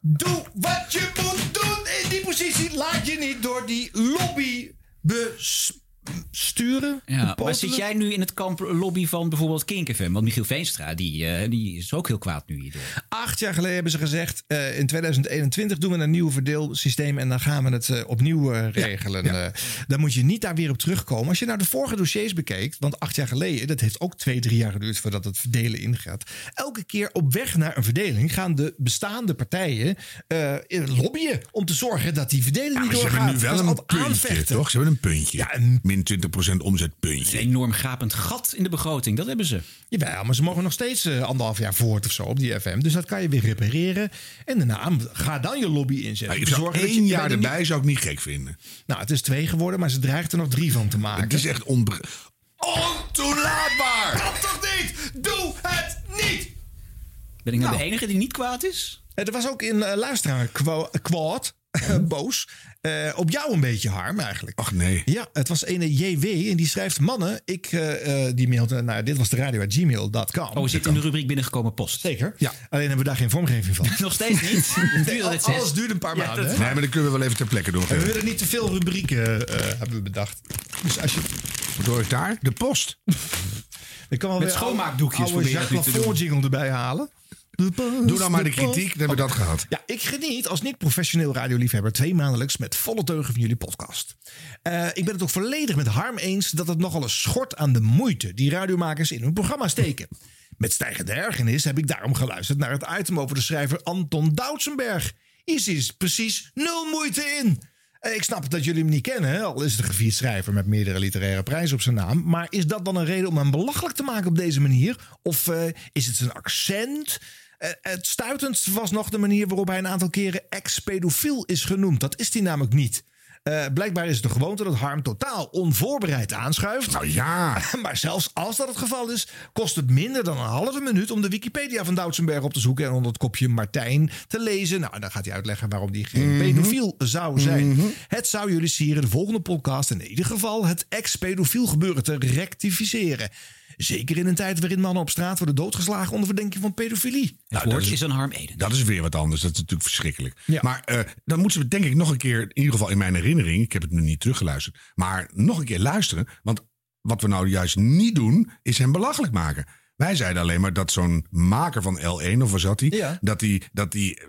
[SPEAKER 2] doe wat je moet doen in die positie. Laat je niet door die lobby besturen.
[SPEAKER 7] Ja, maar
[SPEAKER 2] bepotelen.
[SPEAKER 7] zit jij nu in het kamp eh, lobby van bijvoorbeeld Kink FM? Want Michiel Veenstra, die, eh, die is ook heel kwaad nu hierdoor.
[SPEAKER 2] Acht jaar geleden hebben ze gezegd, eh, in 2021 doen we een nieuw verdeelsysteem en dan gaan we het eh, opnieuw eh, regelen. Eh, dan moet je niet daar weer op terugkomen. Als je nou de vorige dossiers bekeek, want acht jaar geleden, dat heeft ook twee, drie jaar geduurd voordat het verdelen ingaat. Elke keer op weg naar een verdeling gaan de bestaande partijen eh, lobbyen om te zorgen dat die verdeling niet
[SPEAKER 6] Maar ze
[SPEAKER 2] doorgaat.
[SPEAKER 6] hebben nu wel
[SPEAKER 2] Dat is
[SPEAKER 6] een
[SPEAKER 2] altijd
[SPEAKER 6] puntje,
[SPEAKER 2] aanvechten.
[SPEAKER 6] toch? Ze hebben een puntje. Min 20%
[SPEAKER 7] Een
[SPEAKER 6] omzetpuntje.
[SPEAKER 7] enorm gapend gat in de begroting, dat hebben ze.
[SPEAKER 2] Jawel, maar ze mogen nog steeds eh, anderhalf jaar voort of zo op die FM. Dus dat kan je weer repareren. En daarna ga dan je lobby inzetten.
[SPEAKER 6] Nou, ik zou
[SPEAKER 2] Zorgen dat
[SPEAKER 6] één
[SPEAKER 2] je bij
[SPEAKER 6] jaar
[SPEAKER 2] de
[SPEAKER 6] erbij zou ik niet gek vinden.
[SPEAKER 2] Nou, het is twee geworden, maar ze dreigt er nog drie van te maken.
[SPEAKER 6] Het is echt onbe... Ontoelaatbaar!
[SPEAKER 2] Kan toch niet? Doe het niet!
[SPEAKER 7] Ben ik nou, de enige die niet kwaad is?
[SPEAKER 2] Er was ook een eh, luisteraar kwa- kwaad, boos. Eh, op jou een beetje, Harm, eigenlijk.
[SPEAKER 6] Ach nee.
[SPEAKER 2] Ja, het was ene JW en die schrijft... Mannen, ik... eh, eh, die mailde nou, dit was de radio at gmail.com.
[SPEAKER 7] Oh, zit in de rubriek binnengekomen post.
[SPEAKER 2] Zeker. Ja. Alleen hebben we daar geen vormgeving van.
[SPEAKER 7] Nog steeds niet. Het duurde het zes.
[SPEAKER 2] alles duurde een paar
[SPEAKER 7] Ja,
[SPEAKER 2] maanden.
[SPEAKER 7] dat-
[SPEAKER 2] hè?
[SPEAKER 6] Nee, maar dat kunnen we wel even ter plekke doen.
[SPEAKER 2] En we willen niet te veel rubrieken, eh, hebben we bedacht. Dus als je...
[SPEAKER 6] Waardoor ik daar? De post.
[SPEAKER 2] Ik kan wel
[SPEAKER 6] Met
[SPEAKER 2] weer
[SPEAKER 6] schoonmaakdoekjes
[SPEAKER 2] oude- oude
[SPEAKER 6] probeer ik
[SPEAKER 2] Jacques
[SPEAKER 6] het nu te
[SPEAKER 2] Lafont jingle erbij halen.
[SPEAKER 6] Doe nou maar de kritiek, dan hebben we dat gehad.
[SPEAKER 2] Ja, ik geniet als niet-professioneel radioliefhebber twee maandelijks met volle teugen van jullie podcast. Eh, ik ben het ook volledig met Harm eens dat het nogal eens schort aan de moeite die radiomakers in hun programma steken. Met stijgende ergernis heb ik daarom geluisterd naar het item over de schrijver Anton Doutsenberg. Hier is precies nul moeite in. Eh, Ik snap dat jullie hem niet kennen, hè? al is het een gevierd schrijver met meerdere literaire prijzen op zijn naam. Maar is dat dan een reden om hem belachelijk te maken op deze manier? Of eh, is het zijn accent? Eh, Eh, het stuitendst was nog de manier waarop hij een aantal keren ex-pedofiel is genoemd. Dat is hij namelijk niet. Eh, blijkbaar is het de gewoonte dat Harm totaal onvoorbereid aanschuift. Nou
[SPEAKER 6] ja.
[SPEAKER 2] Maar zelfs als dat het geval is, kost het minder dan een halve minuut om de Wikipedia van Doutsenberg op te zoeken en onder het kopje Martijn te lezen. Nou, en dan gaat hij uitleggen waarom die geen
[SPEAKER 6] Mhm.
[SPEAKER 2] pedofiel zou zijn. Het zou jullie sieren de volgende podcast in ieder geval het ex-pedofiel gebeuren te rectificeren. Zeker in een tijd waarin mannen op straat worden doodgeslagen onder verdenking van pedofilie.
[SPEAKER 6] Nou, dat
[SPEAKER 7] is een Harm Eden.
[SPEAKER 6] Dat is weer wat anders. Dat is natuurlijk verschrikkelijk.
[SPEAKER 2] Ja.
[SPEAKER 6] Maar eh, dan moeten we het denk ik nog een keer, in ieder geval in mijn herinnering, ik heb het nu niet teruggeluisterd, maar nog een keer luisteren. Want wat we nou juist niet doen, is hem belachelijk maken. Wij zeiden alleen maar dat zo'n maker van L1, of was dat die, dat die, dat die eh,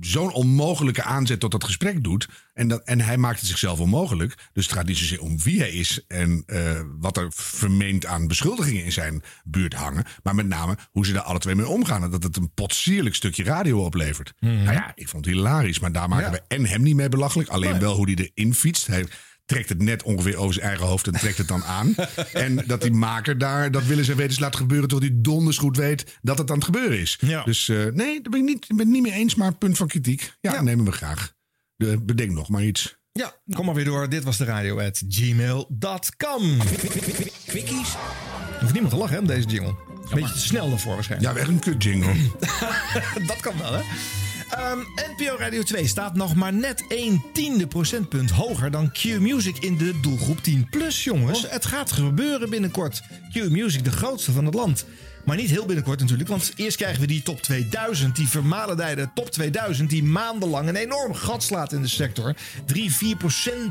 [SPEAKER 6] zo'n onmogelijke aanzet tot dat gesprek doet. En, dat, en hij maakt het zichzelf onmogelijk. Dus het gaat niet zozeer om wie hij is en eh, wat er vermeend aan beschuldigingen in zijn buurt hangen. Maar met name hoe ze daar alle twee mee omgaan. En dat het een potsierlijk stukje radio oplevert. Nou ja, ik vond het hilarisch. Maar daar maken we en hem niet mee belachelijk. Alleen wel hoe hij erin fietst. Hij trekt het net ongeveer over zijn eigen hoofd en trekt het dan aan. en dat die maker daar, dat willen ze weten, laat gebeuren. Terwijl hij donders goed weet dat het aan het gebeuren is. Dus eh, nee, daar ben ik niet, ben het niet mee eens. Maar punt van kritiek. Ja, nemen we graag. De, bedenk nog maar iets.
[SPEAKER 2] Ja, kom maar weer door. Dit was de radio at gmail.com.
[SPEAKER 3] Quickies.
[SPEAKER 2] Hoeft niemand te lachen hè, om deze jingle. Een beetje te snel daarvoor waarschijnlijk.
[SPEAKER 6] Ja, echt een kut jingle.
[SPEAKER 2] dat kan wel, hè? Ehm, NPO Radio 2 staat nog maar net 1 tiende procentpunt hoger dan Q-Music in de doelgroep 10 plus, jongens.
[SPEAKER 6] Oh.
[SPEAKER 2] Het gaat gebeuren binnenkort. Q-Music, de grootste van het land. Maar niet heel binnenkort natuurlijk, want eerst krijgen we die top 2000. Die vermalendijde top 2000 die maandenlang een enorm gat slaat in de sector. 3, 4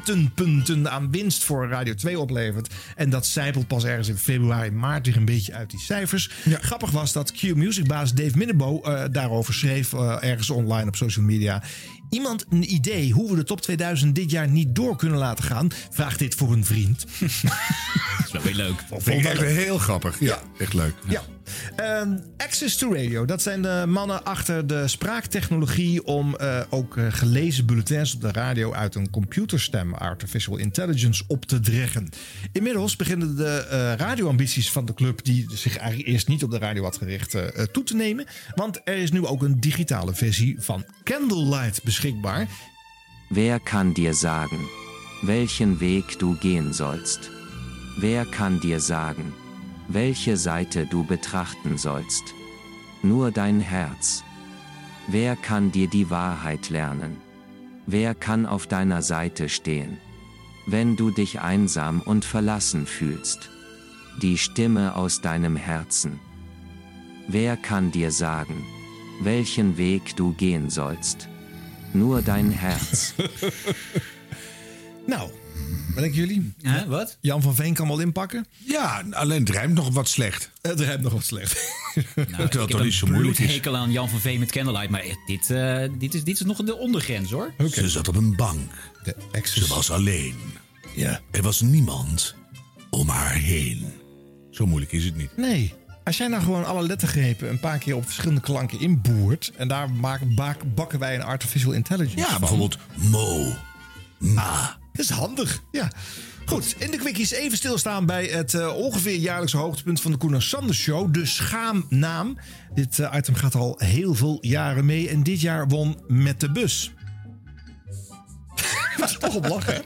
[SPEAKER 2] procentpunten aan winst voor Radio 2 oplevert. En dat zijpelt pas ergens in februari, maart weer een beetje uit die cijfers. Grappig was dat Q-Music-baas Dave Minnebo eh, daarover schreef eh, ergens online op social media. Iemand een idee hoe we de top 2000 dit jaar niet door kunnen laten gaan? Vraag dit voor een vriend.
[SPEAKER 7] Dat is wel weer leuk.
[SPEAKER 6] Vind ik echt heel grappig. Ja, echt leuk.
[SPEAKER 2] Ja. Ehm, Access to Radio, dat zijn de mannen achter de spraaktechnologie om eh, ook eh, gelezen bulletins op de radio uit een computerstem, artificial intelligence, op te dreggen. Inmiddels beginnen de eh, radioambities van de club, die zich eigenlijk eerst niet op de radio had gericht, eh, eh, toe te nemen. Want er is nu ook een digitale versie van Candlelight beschikbaar.
[SPEAKER 18] Wer kann dir sagen, welchen Weg du gehen sollst? Wer kann dir sagen, welche Seite du betrachten sollst? Nur dein Herz. Wer kann dir die Wahrheit lernen? Wer kann auf deiner Seite stehen? Wenn du dich einsam und verlassen fühlst. Die Stimme aus deinem Herzen. Wer kann dir sagen, welchen Weg du gehen sollst? Nur dein Herz.
[SPEAKER 2] Nou, wat denken jullie?
[SPEAKER 7] wat?
[SPEAKER 2] Jan van Veen kan wel inpakken.
[SPEAKER 6] Ja, alleen het rijmt nog wat slecht.
[SPEAKER 2] Het rijmt nog wat slecht.
[SPEAKER 7] Nou, ik heb een bloedhekel aan Jan van Veen met Candlelight. Maar dit, eh, dit, is, dit is nog de ondergrens, hoor.
[SPEAKER 6] Ze zat op een bank. Ze was alleen.
[SPEAKER 2] Ja.
[SPEAKER 6] Er was niemand om haar heen. Zo moeilijk is het niet.
[SPEAKER 2] Nee. Als jij nou gewoon alle lettergrepen een paar keer op verschillende klanken inboert. en daar maken, bak- bakken wij een artificial intelligence.
[SPEAKER 6] Ja,
[SPEAKER 2] van. Ah,
[SPEAKER 6] bijvoorbeeld mo, ma.
[SPEAKER 2] Dat is handig. Ja. Goed, in de quickies even stilstaan bij het eh, ongeveer jaarlijkse hoogtepunt van de Koen en Sander Show. De schaamnaam. Dit eh, item gaat al heel veel jaren mee. En dit jaar won met de bus. Dat is toch op lachen, hè?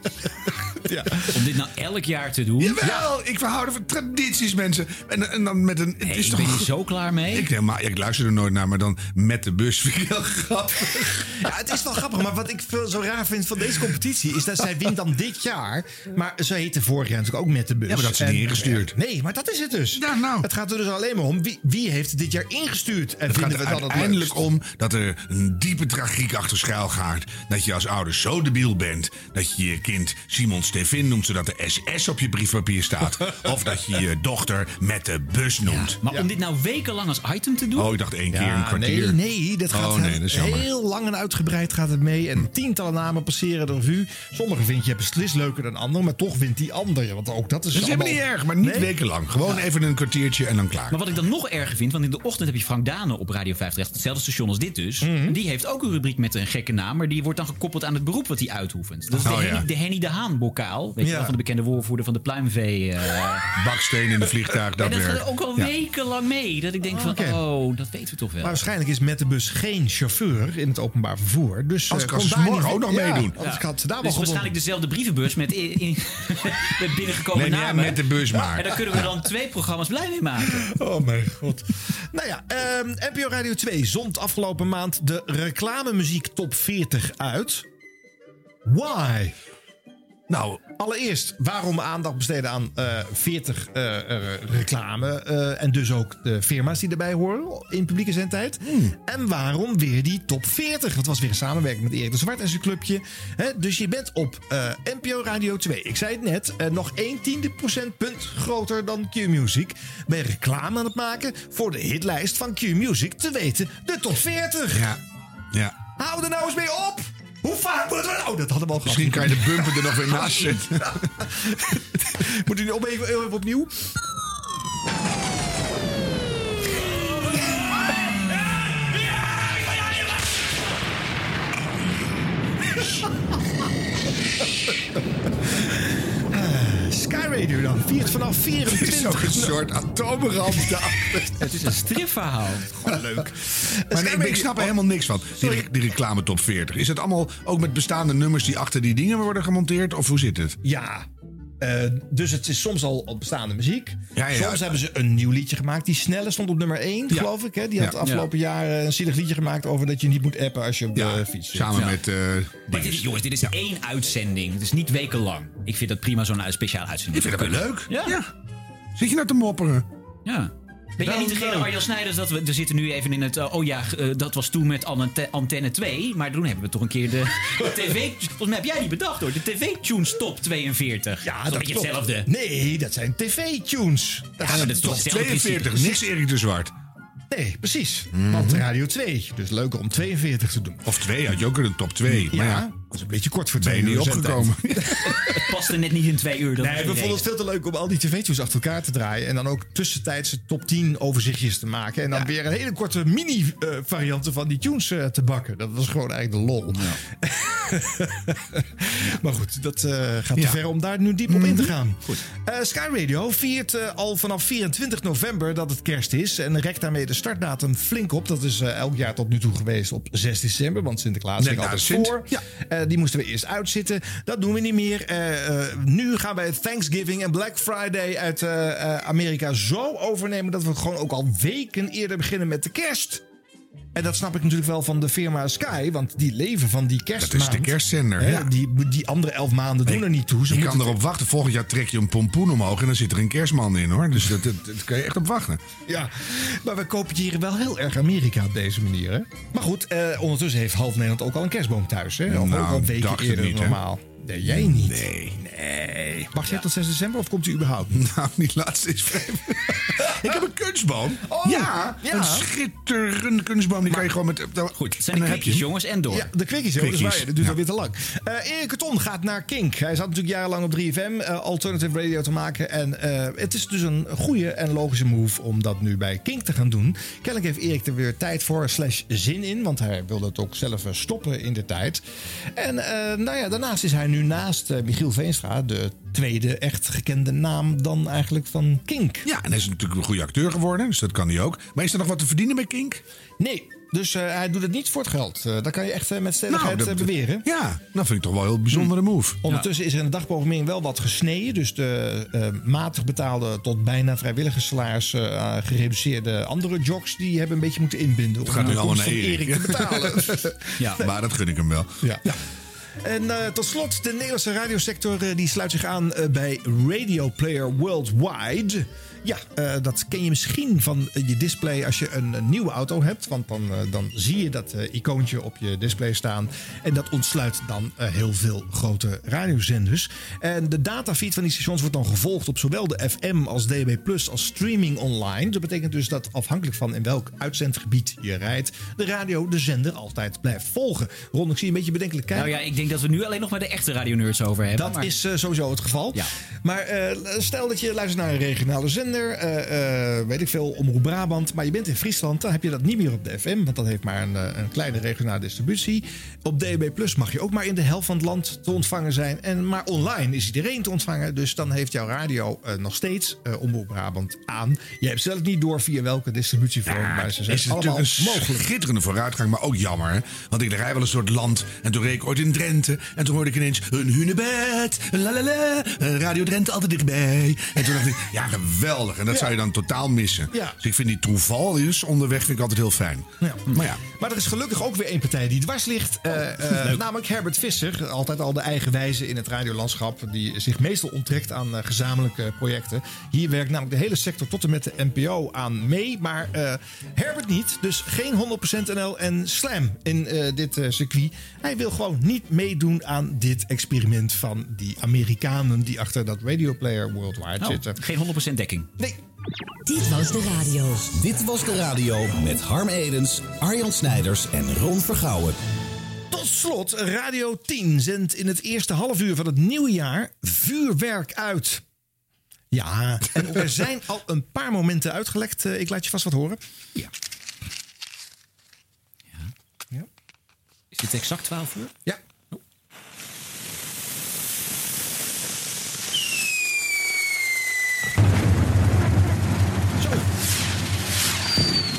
[SPEAKER 2] ja.
[SPEAKER 7] Om dit nou elk jaar te doen.
[SPEAKER 6] Jawel, ik verhoud van tradities, mensen. En, en dan met een... Het is toch...
[SPEAKER 7] ben je zo klaar mee?
[SPEAKER 6] Ik, denk, maar, ik luister er nooit naar, maar dan met de bus vind ik heel grappig.
[SPEAKER 2] Ja, het is wel grappig, maar wat ik veel zo raar vind van deze competitie is dat zij wint dan dit jaar. Maar ze heette vorig jaar natuurlijk ook met de bus.
[SPEAKER 6] Ja, maar dat is
[SPEAKER 2] En-
[SPEAKER 6] niet ingestuurd.
[SPEAKER 2] Nee, maar dat is het dus.
[SPEAKER 6] Ja, nou.
[SPEAKER 2] Het gaat er dus alleen maar om wie, wie heeft het dit jaar ingestuurd. En
[SPEAKER 6] Het gaat
[SPEAKER 2] vinden
[SPEAKER 6] er
[SPEAKER 2] we dat het
[SPEAKER 6] uiteindelijk
[SPEAKER 2] leukst?
[SPEAKER 6] om dat er een diepe tragiek achter schuil gaat. Dat je als ouder zo debiel bent dat je je kind Simon Stevin noemt zodat de SS op je briefpapier staat. of dat je je dochter met de bus noemt.
[SPEAKER 7] Maar om dit nou wekenlang als item te doen?
[SPEAKER 6] Oh, ik dacht één keer
[SPEAKER 7] Ja,
[SPEAKER 6] een kwartier.
[SPEAKER 2] Nee, nee, dat gaat
[SPEAKER 6] oh, nee, dat is jammer.
[SPEAKER 2] heel lang en uitgebreid gaat het mee. En tientallen namen passeren de revue. Sommige vind je beslist leuker dan anderen, maar toch wint die andere. Want ook dat is
[SPEAKER 6] Dat is helemaal niet
[SPEAKER 2] allemaal-
[SPEAKER 6] erg, maar niet
[SPEAKER 2] Nee?
[SPEAKER 6] wekenlang. Gewoon even een kwartiertje en dan klaar.
[SPEAKER 7] Maar wat ik dan nog erger vind, want in de ochtend heb je Frank Dane op Radio 50. Hetzelfde station als dit dus.
[SPEAKER 2] Mhm.
[SPEAKER 7] Die heeft ook een rubriek met een gekke naam, maar die wordt dan gekoppeld aan het beroep wat hij uitoefent. Dat is
[SPEAKER 6] Oh,
[SPEAKER 7] de,
[SPEAKER 6] ja.
[SPEAKER 7] Henny, de Henny de Haan bokaal. Weet
[SPEAKER 6] Ja.
[SPEAKER 7] je wel, van de bekende woordvoerder van de pluimvee. eh.
[SPEAKER 6] Baksteen in de vliegtuig, dat
[SPEAKER 7] en dat
[SPEAKER 6] werkt.
[SPEAKER 7] gaat ook al
[SPEAKER 6] Ja.
[SPEAKER 7] wekenlang mee. Dat ik denk van,
[SPEAKER 2] Oké.
[SPEAKER 7] oh, dat weten we toch wel.
[SPEAKER 2] Maar waarschijnlijk is met de bus geen chauffeur in het openbaar vervoer. Dus
[SPEAKER 7] Als
[SPEAKER 2] eh, kon daar niet- Ja, Anders had ze daar
[SPEAKER 7] dus
[SPEAKER 2] wel gewonnen.
[SPEAKER 7] waarschijnlijk dezelfde brievenbus met, in, in- met binnengekomen
[SPEAKER 2] Neem jij
[SPEAKER 7] namen.
[SPEAKER 2] met de bus maar.
[SPEAKER 7] En daar kunnen we dan twee programma's dus blij mee maken.
[SPEAKER 2] Oh mijn god. Nou ja, ehm NPO Radio 2 zond afgelopen maand de reclamemuziek top 40 uit. Why? Nou, allereerst, waarom aandacht besteden aan eh, 40 eh, eh, reclame eh, en dus ook de firma's die erbij horen in publieke zendtijd? En waarom weer die top 40? Dat was weer een samenwerking met Erik de Zwart en zijn clubje. Hè? Dus je bent op eh, NPO Radio 2, ik zei het net, eh, nog 1 tiende procentpunt groter dan Q-Music. Ben je reclame aan het maken voor de hitlijst van Q-Music, te weten de top 40. Ja,
[SPEAKER 6] ja.
[SPEAKER 2] Hou er nou eens mee op! Hoe vaak moeten we... Oh, dat hadden we al gehad.
[SPEAKER 6] Misschien kan je de bumper er nog weer naast zetten.
[SPEAKER 2] Moet u nu op even, even opnieuw? Sky Radio dan viert vanaf 24... Het is ook een soort atoomramp
[SPEAKER 7] Het is een stripverhaal.
[SPEAKER 6] Gewoon leuk. Maar nee, ik, ik snap er helemaal niks van. Die, re- die reclame top 40. Is het allemaal ook met bestaande nummers die achter die dingen worden gemonteerd? Of hoe zit het?
[SPEAKER 2] Ja. Eh, dus het is soms al op bestaande muziek.
[SPEAKER 6] Ja, ja.
[SPEAKER 2] Soms hebben ze een nieuw liedje gemaakt. Die Snelle stond op nummer 1, geloof ik. Hè? Die had
[SPEAKER 6] Ja.
[SPEAKER 2] afgelopen jaar eh, een zielig liedje gemaakt over dat je niet moet appen als je op de fiets zit.
[SPEAKER 6] Samen met... eh,
[SPEAKER 7] Maar dit is, jongens, dit is één uitzending. Het is niet wekenlang. Ik vind dat prima zo'n eh, speciaal uitzending.
[SPEAKER 6] Ik vind dat wel leuk.
[SPEAKER 7] Ja.
[SPEAKER 6] Zit je nou te mopperen? eh,
[SPEAKER 7] Ja. Ben jij
[SPEAKER 6] Wel
[SPEAKER 7] niet degene,
[SPEAKER 6] leuk.
[SPEAKER 7] Arjan Snijders, dat we er zitten nu even in het... eh, oh ja, eh, dat was toen met ante- Antenne 2. Maar toen hebben we toch een keer de tv... Volgens mij heb jij die bedacht hoor. De TV-tunes top 42. Ja,
[SPEAKER 2] dat
[SPEAKER 7] is toch een beetje
[SPEAKER 2] klopt.
[SPEAKER 7] hetzelfde.
[SPEAKER 2] Nee, dat zijn tv-tunes.
[SPEAKER 7] Ja, maar dat is toch hetzelfde
[SPEAKER 6] 42, niks Erik de Zwart. Mhm.
[SPEAKER 2] Nee, precies. Want Radio 2. Dus leuker om 42 te doen.
[SPEAKER 6] Of 2, had je ook een top 2.
[SPEAKER 2] Ja,
[SPEAKER 6] maar ja,
[SPEAKER 2] dat is een beetje kort voor
[SPEAKER 6] ben
[SPEAKER 2] twee
[SPEAKER 6] je niet
[SPEAKER 2] uur zendtijd.
[SPEAKER 6] opgekomen.
[SPEAKER 7] Het paste net niet in twee uur. dat
[SPEAKER 2] Nee,
[SPEAKER 7] was
[SPEAKER 2] we
[SPEAKER 7] de
[SPEAKER 2] vonden het
[SPEAKER 7] reden.
[SPEAKER 2] veel te leuk om al die tv-tunes achter elkaar te draaien. En dan ook tussentijdse top 10 overzichtjes te maken. En dan weer een hele korte mini-varianten van die tunes eh, te bakken. Dat was gewoon eigenlijk de lol. maar goed, dat eh, gaat te
[SPEAKER 6] Ja.
[SPEAKER 2] ver om daar nu diep op in
[SPEAKER 7] Mhm.
[SPEAKER 2] te gaan. Eh, Sky Radio viert eh, al vanaf 24 november dat het kerst is. En rekt daarmee de startdatum flink op. Dat is eh, elk jaar tot nu toe geweest op 6 december. Want Sinterklaas
[SPEAKER 6] Net
[SPEAKER 2] ging
[SPEAKER 6] na
[SPEAKER 2] altijd
[SPEAKER 6] de Sint.
[SPEAKER 2] voor. Eh, die moesten we eerst uitzitten. Dat doen we niet meer. Eh, eh, nu gaan wij Thanksgiving en Black Friday uit eh, eh, Amerika zo overnemen... dat we gewoon ook al weken eerder beginnen met de kerst. En dat snap ik natuurlijk wel van de firma Sky. Want die leven van die kerstmaand.
[SPEAKER 6] de kerstzender,
[SPEAKER 2] Hè,
[SPEAKER 6] ja.
[SPEAKER 2] Die, die andere elf maanden doen er niet toe. Ze
[SPEAKER 6] je
[SPEAKER 2] moeten
[SPEAKER 6] kan erop wachten. Volgend jaar trek je een pompoen omhoog en dan zit er een kerstman in hoor. Dus dat, dat, dat kan je echt op wachten.
[SPEAKER 2] Ja, maar we kopiëren wel heel erg Amerika op deze manier. Hè? Maar goed, eh, ondertussen heeft half Nederland ook al een kerstboom thuis. Hè? Of ook al een weekje
[SPEAKER 6] Nou, dacht het
[SPEAKER 2] eerder
[SPEAKER 6] niet,
[SPEAKER 2] dan
[SPEAKER 6] hè?
[SPEAKER 2] normaal. Nee, jij niet.
[SPEAKER 6] Nee.
[SPEAKER 2] Nee. Wacht jij tot 6 december of komt u überhaupt?
[SPEAKER 6] Nou, die laatste is vreemd. Ik heb een kunstboom.
[SPEAKER 2] Oh,
[SPEAKER 6] ja,
[SPEAKER 2] ja.
[SPEAKER 6] een schitterende kunstboom. Die kan je gewoon met... goed,
[SPEAKER 7] zijn de kwikjes, jongens, en door.
[SPEAKER 2] Ja, de kwikjes, joh, dat is waar. dus Dat duurt alweer te lang. Eh Erik Katon gaat naar Kink. Hij zat natuurlijk jarenlang op 3FM eh, alternative radio te maken. En eh, het is dus een goede en logische move om dat nu bij Kink te gaan doen. Kennelijk heeft Erik er weer tijd voor slash zin in. Want hij wilde het ook zelf eh, stoppen in de tijd. En eh, nou ja, daarnaast is hij nu naast eh, Michiel Veenstra... de tweede echt gekende naam dan eigenlijk van Kink.
[SPEAKER 6] Ja, en hij is natuurlijk een goede acteur geworden, dus dat kan hij ook. Maar is er nog wat te verdienen bij Kink?
[SPEAKER 2] Nee, dus eh, hij doet het niet voor het geld. Eh dat kan je echt eh, met stelligheid
[SPEAKER 6] Nou, dat-
[SPEAKER 2] eh, beweren. Hm.
[SPEAKER 6] Ja, dat vind ik toch wel een heel bijzondere move.
[SPEAKER 2] Ondertussen is er in de dagprogrammering wel wat gesneden. Dus de eh, matig betaalde tot bijna vrijwilligerssalaris eh, gereduceerde andere jocks... die hebben een beetje moeten inbinden. om
[SPEAKER 6] Het gaat nu
[SPEAKER 2] de
[SPEAKER 6] allemaal
[SPEAKER 2] komst
[SPEAKER 6] naar
[SPEAKER 2] van
[SPEAKER 6] Erik.
[SPEAKER 2] te betalen.
[SPEAKER 6] Ja. Maar dat gun ik hem wel.
[SPEAKER 2] Ja. En eh, tot slot, de Nederlandse radiosector eh, die sluit zich aan eh, bij Radio Player Worldwide. Ja, eh, dat ken je misschien van eh, je display als je een, een nieuwe auto hebt. Want dan, eh, dan zie je dat eh, icoontje op je display staan. En dat ontsluit dan eh, heel veel grote radiozenders. En de datafeed van die stations wordt dan gevolgd op zowel de FM als DB+, als streaming online. Dat betekent dus dat afhankelijk van in welk uitzendgebied je rijdt... de radio de zender altijd blijft volgen. Ron, ik zie je een beetje bedenkelijk kijken.
[SPEAKER 7] Nou ja, ik denk dat we nu alleen nog maar de echte radionerds over hebben.
[SPEAKER 2] Dat
[SPEAKER 7] maar-
[SPEAKER 2] is eh, sowieso het geval. Maar eh, stel dat je luistert naar een regionale zender zender, eh, eh, weet ik veel, Omroep Brabant. Maar je bent in Friesland, dan heb je dat niet meer op de FM. Want dat heeft maar een, eh, een kleine regionale distributie. Op DB Plus mag je ook maar in de helft van het land te ontvangen zijn. En, maar online is iedereen te ontvangen. Dus dan heeft jouw radio eh, nog steeds eh, Omroep Brabant aan. Je hebt zelf niet door via welke distributievorm. maar ze zijn
[SPEAKER 6] is het
[SPEAKER 2] allemaal
[SPEAKER 6] natuurlijk een
[SPEAKER 2] mogelijk.
[SPEAKER 6] schitterende vooruitgang, maar ook jammer. Hè? Want ik rij wel een soort land en toen reed ik ooit in Drenthe. En toen hoorde ik ineens een hunebed, la la la, eh, Radio Drenthe altijd dichtbij. En toen dacht ik, ja geweldig. En dat zou je dan totaal missen.
[SPEAKER 2] Ja.
[SPEAKER 6] Dus ik vind die trouvaljes onderweg vind ik altijd heel fijn.
[SPEAKER 2] Ja. Maar, er is gelukkig ook weer één partij die dwars ligt.
[SPEAKER 7] Oh,
[SPEAKER 2] Eh, eh, namelijk Herbert Visser. Altijd al de eigen wijze in het radiolandschap. Die zich meestal onttrekt aan eh, gezamenlijke projecten. Hier werkt namelijk de hele sector tot en met de NPO aan mee. Maar eh, Herbert niet. Dus geen 100% NL en slam in eh, dit eh, circuit. Hij wil gewoon niet meedoen aan dit experiment van die Amerikanen. Die achter dat Radio Player Worldwide
[SPEAKER 7] Oh,
[SPEAKER 2] zitten.
[SPEAKER 7] Geen 100% dekking.
[SPEAKER 2] Nee.
[SPEAKER 13] Dit was de radio. Dit was de radio met Harm Edens, Arjan Snijders en Ron Vergouwen.
[SPEAKER 2] Tot slot, Radio 10 zendt in het eerste halfuur van het nieuwe jaar vuurwerk uit. Ja, en er zijn al een paar momenten uitgelekt. Eh, Ik laat je vast wat horen. Ja.
[SPEAKER 7] Is dit exact 12 uur?
[SPEAKER 2] Ja.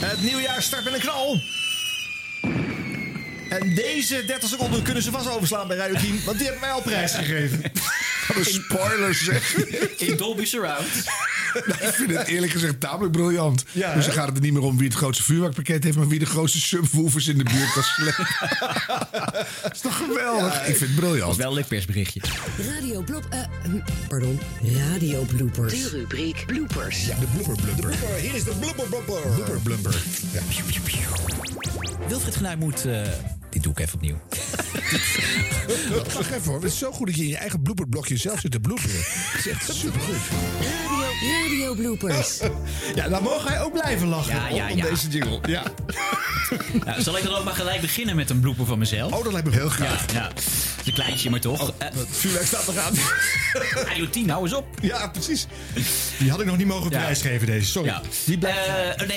[SPEAKER 2] Het nieuwjaar start met een knal. En deze 30 seconden kunnen ze vast overslaan bij Radio 10, want die hebben wij al prijs gegeven.
[SPEAKER 6] Wat een spoiler zeg.
[SPEAKER 7] In Dolby Surround.
[SPEAKER 6] Ik vind het eerlijk gezegd tamelijk briljant.
[SPEAKER 2] Ja,
[SPEAKER 6] dus dan
[SPEAKER 2] hè?
[SPEAKER 6] gaat het er niet meer om wie het grootste vuurwerkpakket heeft... maar wie de grootste subwoofers in de buurt kan slepen. is toch geweldig? ik vind het briljant.
[SPEAKER 7] Dat is wel een leuk persberichtje.
[SPEAKER 13] Radio blop, eh, hm, pardon, radio bloopers.
[SPEAKER 25] De
[SPEAKER 13] rubriek bloopers.
[SPEAKER 6] Ja, de blooper blooper.
[SPEAKER 13] Hier is de blooper blooper.
[SPEAKER 6] Blubber, blubber. Ja.
[SPEAKER 7] Wilfried Genuij moet... eh, dit doe ik even opnieuw.
[SPEAKER 6] Wacht even hoor. Het is zo goed dat je in je eigen blooperblokje zelf zit te bloeperen. Het is echt supergoed.
[SPEAKER 13] Radio, radio bloopers.
[SPEAKER 2] Ja, dan mogen wij ook blijven lachen
[SPEAKER 7] Ja, ja,
[SPEAKER 2] om
[SPEAKER 7] ja.
[SPEAKER 2] deze jingle. Ja.
[SPEAKER 7] Nou, zal ik dan ook maar gelijk beginnen met een blooper van mezelf? Oh,
[SPEAKER 2] dat lijkt me heel Oh,
[SPEAKER 7] graag. Ja, ja. Het is een kleintje, maar toch. Eh,
[SPEAKER 2] vuurwerk staat nog aan.
[SPEAKER 7] Radio 10, hou eens op.
[SPEAKER 2] Ja, precies. Die had ik nog niet mogen prijsgeven, deze. Sorry.
[SPEAKER 7] Die nee,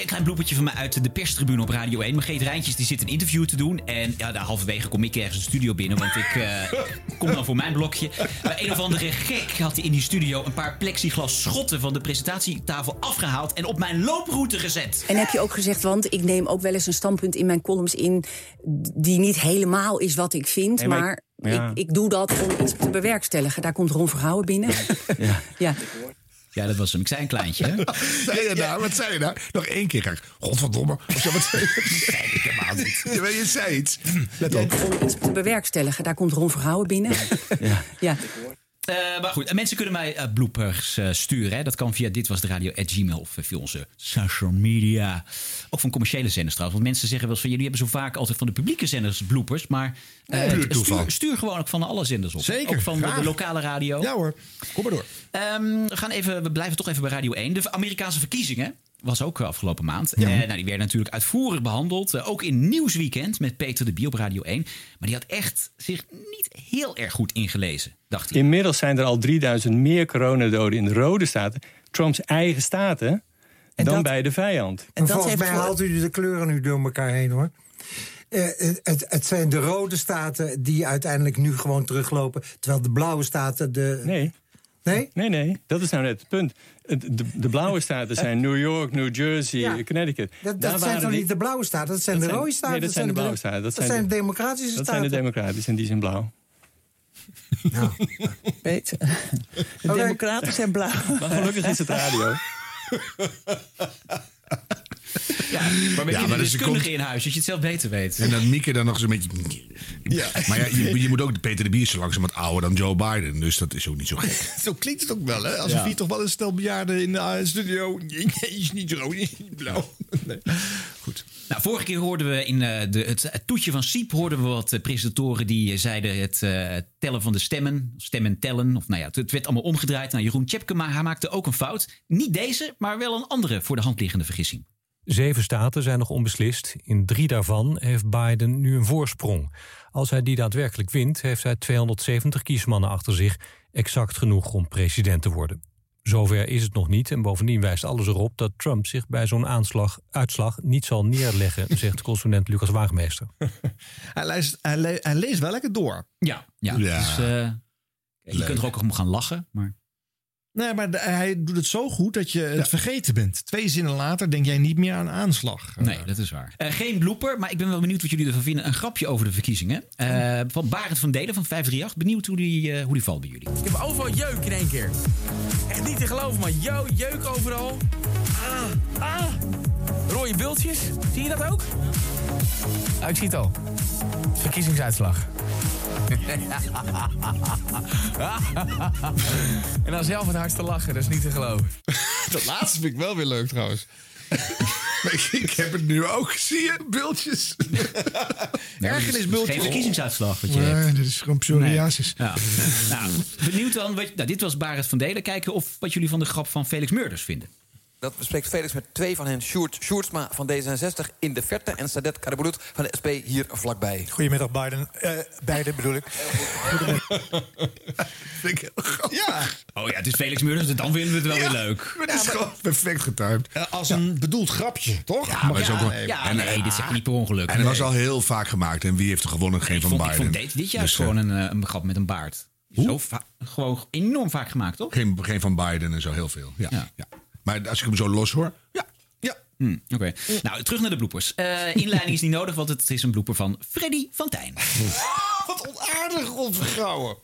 [SPEAKER 7] een klein bloepertje van mij uit de perstribune op Radio 1. Maar Geet Rijntjes die zit een interview te doen. En ja, daar halverwege kom ik ergens de studio binnen. Want ik eh, kom dan voor mijn blokje. Maar een of andere gek had hij in die studio een paar plexiglas schotten van de presentatietafel afgehaald. En op mijn looproute gezet.
[SPEAKER 27] En heb je ook gezegd, want ik neem ook wel eens een standpunt in mijn columns in... die niet helemaal is wat ik vind,
[SPEAKER 28] Nee, maar
[SPEAKER 27] maar,
[SPEAKER 28] ik- ja.
[SPEAKER 27] ik, ik doe dat om iets te bewerkstelligen. Daar komt Ron Verhouwen binnen.
[SPEAKER 7] Ja.
[SPEAKER 27] Ja.
[SPEAKER 7] ja, dat was hem. Ik zei een kleintje. Hè?
[SPEAKER 6] Zei je nou? Wat zei je nou? Nog één keer ga ik. Godverdomme. Of zo, wat zei je? Nee, ik helemaal niet. Je, weet, je zei iets. Let op.
[SPEAKER 27] Om iets te bewerkstelligen. Daar komt Ron Verhouwen binnen.
[SPEAKER 7] Ja.
[SPEAKER 27] Ja.
[SPEAKER 7] Eh, maar goed, en mensen kunnen mij eh, bloopers eh, sturen. Hè. Dat kan via ditwasderadio.gmail of eh, via onze social media. Ook van commerciële zenders trouwens. Want mensen zeggen wel eens van... jullie hebben zo vaak altijd van de publieke zenders bloopers. Maar eh,
[SPEAKER 6] Nee, puur
[SPEAKER 7] stuur,
[SPEAKER 6] toeval.
[SPEAKER 7] stuur gewoon ook van alle zenders op.
[SPEAKER 6] Zeker,
[SPEAKER 7] Ook van de,
[SPEAKER 6] graag.
[SPEAKER 7] de lokale radio. Ja
[SPEAKER 2] hoor, kom maar door.
[SPEAKER 7] we, gaan even, we blijven toch even bij Radio 1. De Amerikaanse verkiezingen was ook eh, afgelopen maand.
[SPEAKER 2] Ja.
[SPEAKER 7] Eh, nou, die werden natuurlijk uitvoerig behandeld. Eh, ook in Nieuwsweekend met Peter de Bier op Radio 1. Maar die had echt zich niet heel erg goed ingelezen, dacht ik.
[SPEAKER 26] Inmiddels zijn er al 3000 meer coronadoden in de rode staten, Trumps eigen staten, dan
[SPEAKER 33] dat-
[SPEAKER 26] bij de vijand.
[SPEAKER 33] En volgens mij haalt u de kleuren nu door elkaar heen hoor. Eh, het, het zijn de rode staten die uiteindelijk nu gewoon teruglopen. Terwijl de blauwe staten de.
[SPEAKER 26] Nee.
[SPEAKER 33] Nee?
[SPEAKER 26] Nee, nee, dat is nou net het punt. Het- De, de blauwe staten zijn New York, New Jersey,
[SPEAKER 33] Ja.
[SPEAKER 26] Connecticut.
[SPEAKER 33] Dat,
[SPEAKER 26] Daar
[SPEAKER 33] dat zijn
[SPEAKER 26] waren
[SPEAKER 33] toch
[SPEAKER 26] die-
[SPEAKER 33] niet de blauwe staten, dat zijn
[SPEAKER 26] dat
[SPEAKER 33] de rode staten.
[SPEAKER 26] Nee, dat zijn de blauwe staten.
[SPEAKER 33] Dat, zijn de democratische
[SPEAKER 26] dat
[SPEAKER 33] staten.
[SPEAKER 26] zijn de democratische en die zijn blauw.
[SPEAKER 28] Peter. De Democraten zijn blauw.
[SPEAKER 26] Maar gelukkig is het radio.
[SPEAKER 7] Maar met
[SPEAKER 6] Ja,
[SPEAKER 7] ja,
[SPEAKER 6] maar dat is-
[SPEAKER 7] deskundige
[SPEAKER 6] komt-
[SPEAKER 7] in huis, dat je het zelf beter weet.
[SPEAKER 6] En dan Mieke dan nog zo'n beetje... Maar ja, je, je moet ook... Peter de Bier is zo langzaam wat ouder dan Joe Biden. Dus dat is ook niet zo gek.
[SPEAKER 2] Zo klinkt het ook wel, hè? Als
[SPEAKER 6] Ja.
[SPEAKER 2] we hier toch wel een stel bejaarden in de eh, studio. Nee, is niet rood, is niet blauw. Nee.
[SPEAKER 7] Nou, vorige keer hoorden we in eh, de, het, het toetje van Siep hoorden we wat eh, presentatoren die eh, zeiden het eh, tellen van de stemmen, stemmen tellen. Of nou ja, het, het werd allemaal omgedraaid. Nou, Jeroen Tjepkema hij maakte ook een fout. Niet deze, maar wel een andere voor de hand liggende vergissing.
[SPEAKER 34] Zeven staten zijn nog onbeslist. In drie daarvan heeft Biden nu een voorsprong. Als hij die daadwerkelijk wint, heeft hij 270 kiesmannen achter zich. Exact genoeg om president te worden.
[SPEAKER 35] Zover is het nog niet. En bovendien wijst alles erop dat Trump zich bij zo'n aanslag, uitslag niet zal neerleggen, zegt correspondent Lucas Waagmeester.
[SPEAKER 2] Hij leest, hij, le- hij leest wel lekker door.
[SPEAKER 7] Ja, ja.
[SPEAKER 2] Ja.
[SPEAKER 7] Dus, eh, je kunt er ook om gaan lachen, maar
[SPEAKER 2] Nee, maar de- hij doet het zo goed dat je het vergeten bent. Twee zinnen later denk jij niet meer aan aanslag.
[SPEAKER 7] Nee, dat is waar. Eh, geen blooper, maar ik ben wel benieuwd wat jullie ervan vinden. Een grapje over de verkiezingen. Eh, van Barend van Delen van 538. Benieuwd hoe die, eh, hoe die valt bij jullie.
[SPEAKER 21] Ik heb overal jeuk in één keer. Echt niet te geloven, man. Jo, jeuk overal. Ah, ah. Rode bultjes. Zie je dat ook? Ah, ik zie het al. Verkiezingsuitslag. en dan zelf het hardste lachen, dat is niet te geloven.
[SPEAKER 6] Dat laatste vind ik wel weer leuk trouwens. ik, ik heb het nu ook, zie je? Bultjes.
[SPEAKER 7] Ergernisbultjes. Geen verkiezingsuitslag wat je
[SPEAKER 6] Nee,
[SPEAKER 7] hebt.
[SPEAKER 6] dit is gewoon psoriasis.
[SPEAKER 7] Ja. nou, benieuwd dan. Wat, nou, dit was Barend van Delen. Kijken of wat jullie van de grap van Felix Murders vinden.
[SPEAKER 16] Dat bespreekt Felix met twee van hen, Sjoerd Sjoerdsma van D66 in de verte... en Sadet Karabulut van de SP hier vlakbij.
[SPEAKER 8] Goedemiddag, Biden. Eh beiden bedoel ik.
[SPEAKER 2] Ja.
[SPEAKER 7] Oh ja, het is Felix Murders. Dan vinden we het wel weer leuk.
[SPEAKER 6] Maar dit is gewoon perfect getimed.
[SPEAKER 2] als een bedoeld grapje, toch?
[SPEAKER 6] Ja, maar is ook wel-
[SPEAKER 7] ja, nee, dit is echt niet per ongeluk.
[SPEAKER 6] En dat was
[SPEAKER 7] Nee.
[SPEAKER 6] al heel vaak gemaakt. En wie heeft er gewonnen? Geen
[SPEAKER 7] Ik
[SPEAKER 6] van
[SPEAKER 7] vond, ik
[SPEAKER 6] Biden.
[SPEAKER 7] vond dit, dit juist
[SPEAKER 6] Dus, eh,
[SPEAKER 7] gewoon een, eh, een grap met een baard. Zo va- gewoon enorm vaak gemaakt, toch?
[SPEAKER 6] Geen, geen van Biden en zo heel veel. Ja. Ja. Maar als ik hem zo los hoor.
[SPEAKER 7] Hmm, Oké. Nou, terug naar de bloepers. Eh, inleiding is niet nodig, want het is een blooper van Freddy van Tijn.
[SPEAKER 2] Wat onaardig ontvergouwen.